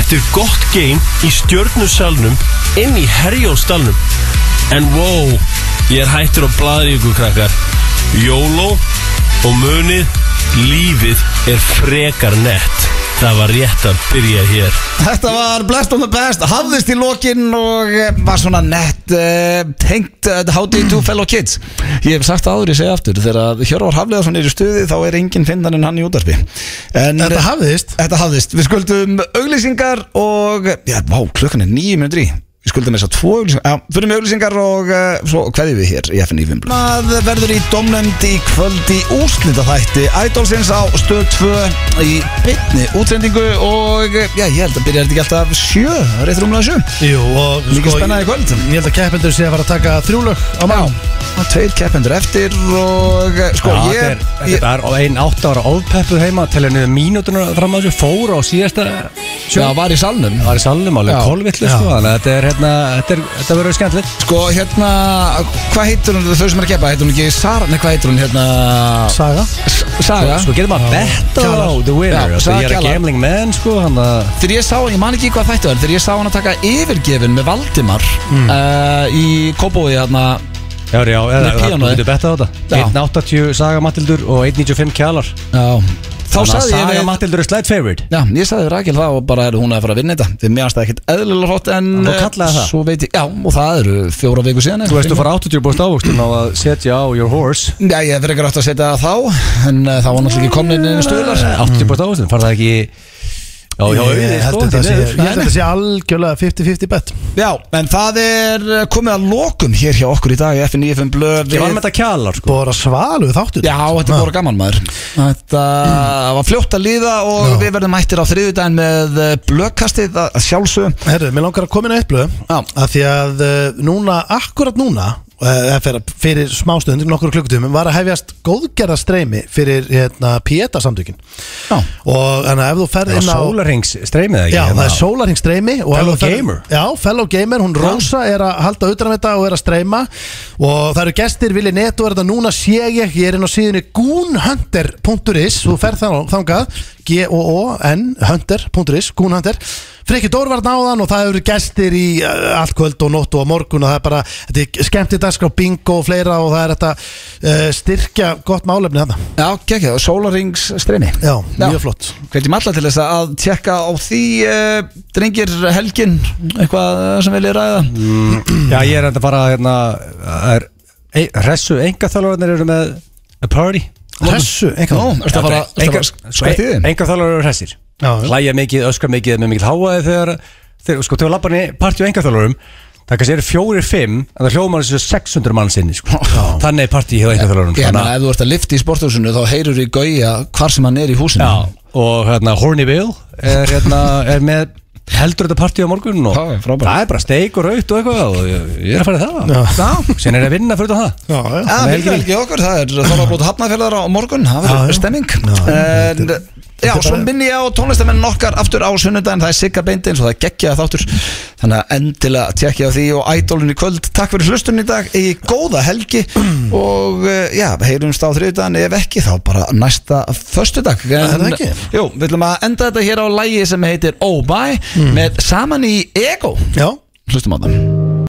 Speaker 12: eftir gott geim í stjörnusalnum inn í herjónstalnum en wow ég er hættur að blaðri ykkur krakkar YOLO Og munið, lífið er frekar nett Það var rétt að byrja hér
Speaker 1: Þetta var Blast on the Best, hafðist í lokin og eh, var svona nett uh, tengt uh, How do you do fellow kids Ég hef sagt það áður, ég segi aftur þegar að Hjörvar Hafleðarsson er í stuði þá er enginn finnan en hann í útarpi en, eh,
Speaker 2: Þetta hafðist
Speaker 1: Þetta hafðist, við skuldum auglýsingar og, já, vá, klukkan er nýjum minnur í Við skuldum þess að tvo auglýsingar, já, fyrir með auglýsingar og uh, svo hverði við hér í FNÍ Fimblu Það verður í domnefnd í kvöld í úslita þætti Ædolsins á stöð 2 í bytni útrendingu og, eh, já, ég held að byrja þetta ekki alltaf sjö, rétt rúmlega sjö
Speaker 2: Jú, og
Speaker 1: Mikið
Speaker 2: sko,
Speaker 1: spennaði í kvöld
Speaker 2: Ég held að keppendur sé að fara að taka þrjúlög á mán
Speaker 1: og tveir keppendur eftir og, eh, sko,
Speaker 3: Já,
Speaker 1: ég,
Speaker 3: þetta er,
Speaker 1: ég
Speaker 3: þetta er ein átt ára ofpeppuð heima til henni mínútuna fram að þessu fóra á síðasta
Speaker 1: Já, var í salnum
Speaker 3: Það var í salnum alveg
Speaker 1: Já.
Speaker 3: kolvillu sko Þannig að þetta er hérna Þetta, er, þetta verður skemmtilegt
Speaker 1: Sko, hérna, hvað heitur hún, þau sem er að keppa, heitur hún ekki Sara, nei, hvað heitur hún, hérna,
Speaker 2: Saga
Speaker 1: S- Saga?
Speaker 3: Sko getur maður að betta á
Speaker 1: Kjalar.
Speaker 3: the winner
Speaker 1: Já,
Speaker 3: Já,
Speaker 1: sagði
Speaker 3: Ég er að
Speaker 1: Kjalar.
Speaker 3: gambling man sko Þannig að
Speaker 1: Þegar ég sá, ég man ekki hvað þættu er, þegar ég sá hann að taka yfirgefin með Valdimar eh, í Kópói, hérna,
Speaker 3: Já, já, eða
Speaker 1: Með
Speaker 3: þú
Speaker 1: píanóið.
Speaker 3: getur betta á þetta
Speaker 1: Já.
Speaker 3: 1.80 Saga Matildur og 1.95 Kjalar
Speaker 1: já, þá
Speaker 3: Þannig að
Speaker 1: sagði ég
Speaker 3: Saga
Speaker 1: við-
Speaker 3: Mattildur er slight favorite
Speaker 1: Já, ég sagði við Rakel það og bara er hún að fara að vinna þetta Þið mér aðstæði ekkert eðlilega hrótt en
Speaker 3: Þú
Speaker 1: eh,
Speaker 3: kallaði það?
Speaker 1: Svo veit ég, já, og það eru fjóra viku síðan
Speaker 3: Þú veist, þú fara 80 búst ávöxtun á að setja á your horse
Speaker 1: Já, ég verður ekki rætt að setja það þá En uh, það var náttúrulega ekki komnið inn í stöðlar
Speaker 3: 80 búst Eh, ávöxtun, fara það ekki Já, já, sko,
Speaker 2: sko, Ég held að þetta sé- ég held að þetta sé algjörlega 50-50 bet
Speaker 1: Já, en það er eh, komið að lokum hér hjá okkur í dag FNIFM blöð
Speaker 3: Ég var með þetta kjalar, sko
Speaker 2: Bóra svalu þáttur
Speaker 1: Já, þetta er bara gaman maður Þetta var fljótt að líða og við verðum mættir á þriðjudaginn með eh, blöðkastið að að sjálfsögum
Speaker 2: Herru, mér langar að koma inn á eitt blöð
Speaker 1: Já.
Speaker 2: að Því að uh, núna, akkurat núna uh, fyrir, fyrir smástund, nokkur klukkutum var að hefjast góðgerða streymi fyrir hérna, Pieta samtökin
Speaker 1: Já.
Speaker 2: og þannig að ef þú ferð
Speaker 1: Hérna
Speaker 2: inn á
Speaker 3: Sólarings streymið ekki
Speaker 2: Já,
Speaker 3: hérna.
Speaker 2: það er sólarhing streymi og
Speaker 3: Fellow
Speaker 2: ef þú ferð-
Speaker 3: gamer.
Speaker 2: Já, fellow gamer, hún Rósa er að halda utan við þetta og er að streyma og það eru gestir, vilji netu er þetta núna sé ég, ég er inn á síðunni goonhunter.is, þú ferð þang- þangað G-O-O-N hunter.is, goonhunter Frikki Dór var náðan og það eru gestir í uh, allt kvöld og nótt og á morgun og það er bara, þetta er skemmti dagskrá bingo og fleira og það er þetta uh, styrkja gott málefni þarna
Speaker 1: Já, gekkja, Solarings streymi
Speaker 2: Já, mjög flott
Speaker 1: Hvernig maður til þess að tjekka á því uh, drengir helgin eitthvað eh, sem viljið ræða
Speaker 3: Já, ég er enda bara hérna það er, e, Hressu engaþjálfarnir eru með a party
Speaker 2: Hressu, einhvern
Speaker 1: ertu að fara ertu að fara skvætt í þeim?
Speaker 3: Engaþjálfarnir sko, eru hressir
Speaker 2: Já, já.
Speaker 3: Læja mikið, öskra mikið, með mikið háaði þegar þegar, sko, þegar lapparni partí á engaþjálfarum það kannski eru fjórir fimm en það hljóðum hann þessu 600 mann sinni sko. þannig er partí hjá engaþjálfarum
Speaker 1: Ég meina, ef þú ert að lifta í sporthúsinu þá heyrur í gauja hvar sem hann er í húsinu
Speaker 3: Já, og hérna Horny Bill er, hérna, er með heldur þetta partí á morgun og
Speaker 1: Já, frábært.
Speaker 3: það er bara steik og raut og eitthvað og ég, ég er að fara í það
Speaker 2: Já.
Speaker 3: Já. Sen er ég að vinna fyrir utan það
Speaker 2: Já, já
Speaker 1: Já, mikil helgi Ah, hjá okkur, það er Þorvarblót Hafnafélagar á morgun, það
Speaker 2: Já, já.
Speaker 1: verður stemming en, Já, svo minni ég á tónlistamennin okkar aftur á sunnudaginn, það er Sigga Beindins og það er geggjaða þáttur þannig að endilega tjekkja á því og ædólun í kvöld, takk fyrir hlustun í dag í góða helgi og eh, já, heyrumst á þriðudaginn ef ekki þá bara næsta föstudag
Speaker 2: Er það ekki?
Speaker 1: Jú, við ætlum að enda
Speaker 2: Mm.
Speaker 1: þetta hér á lægi sem heitir Oh Bye með saman í Ego
Speaker 2: Já
Speaker 1: Hlustum á það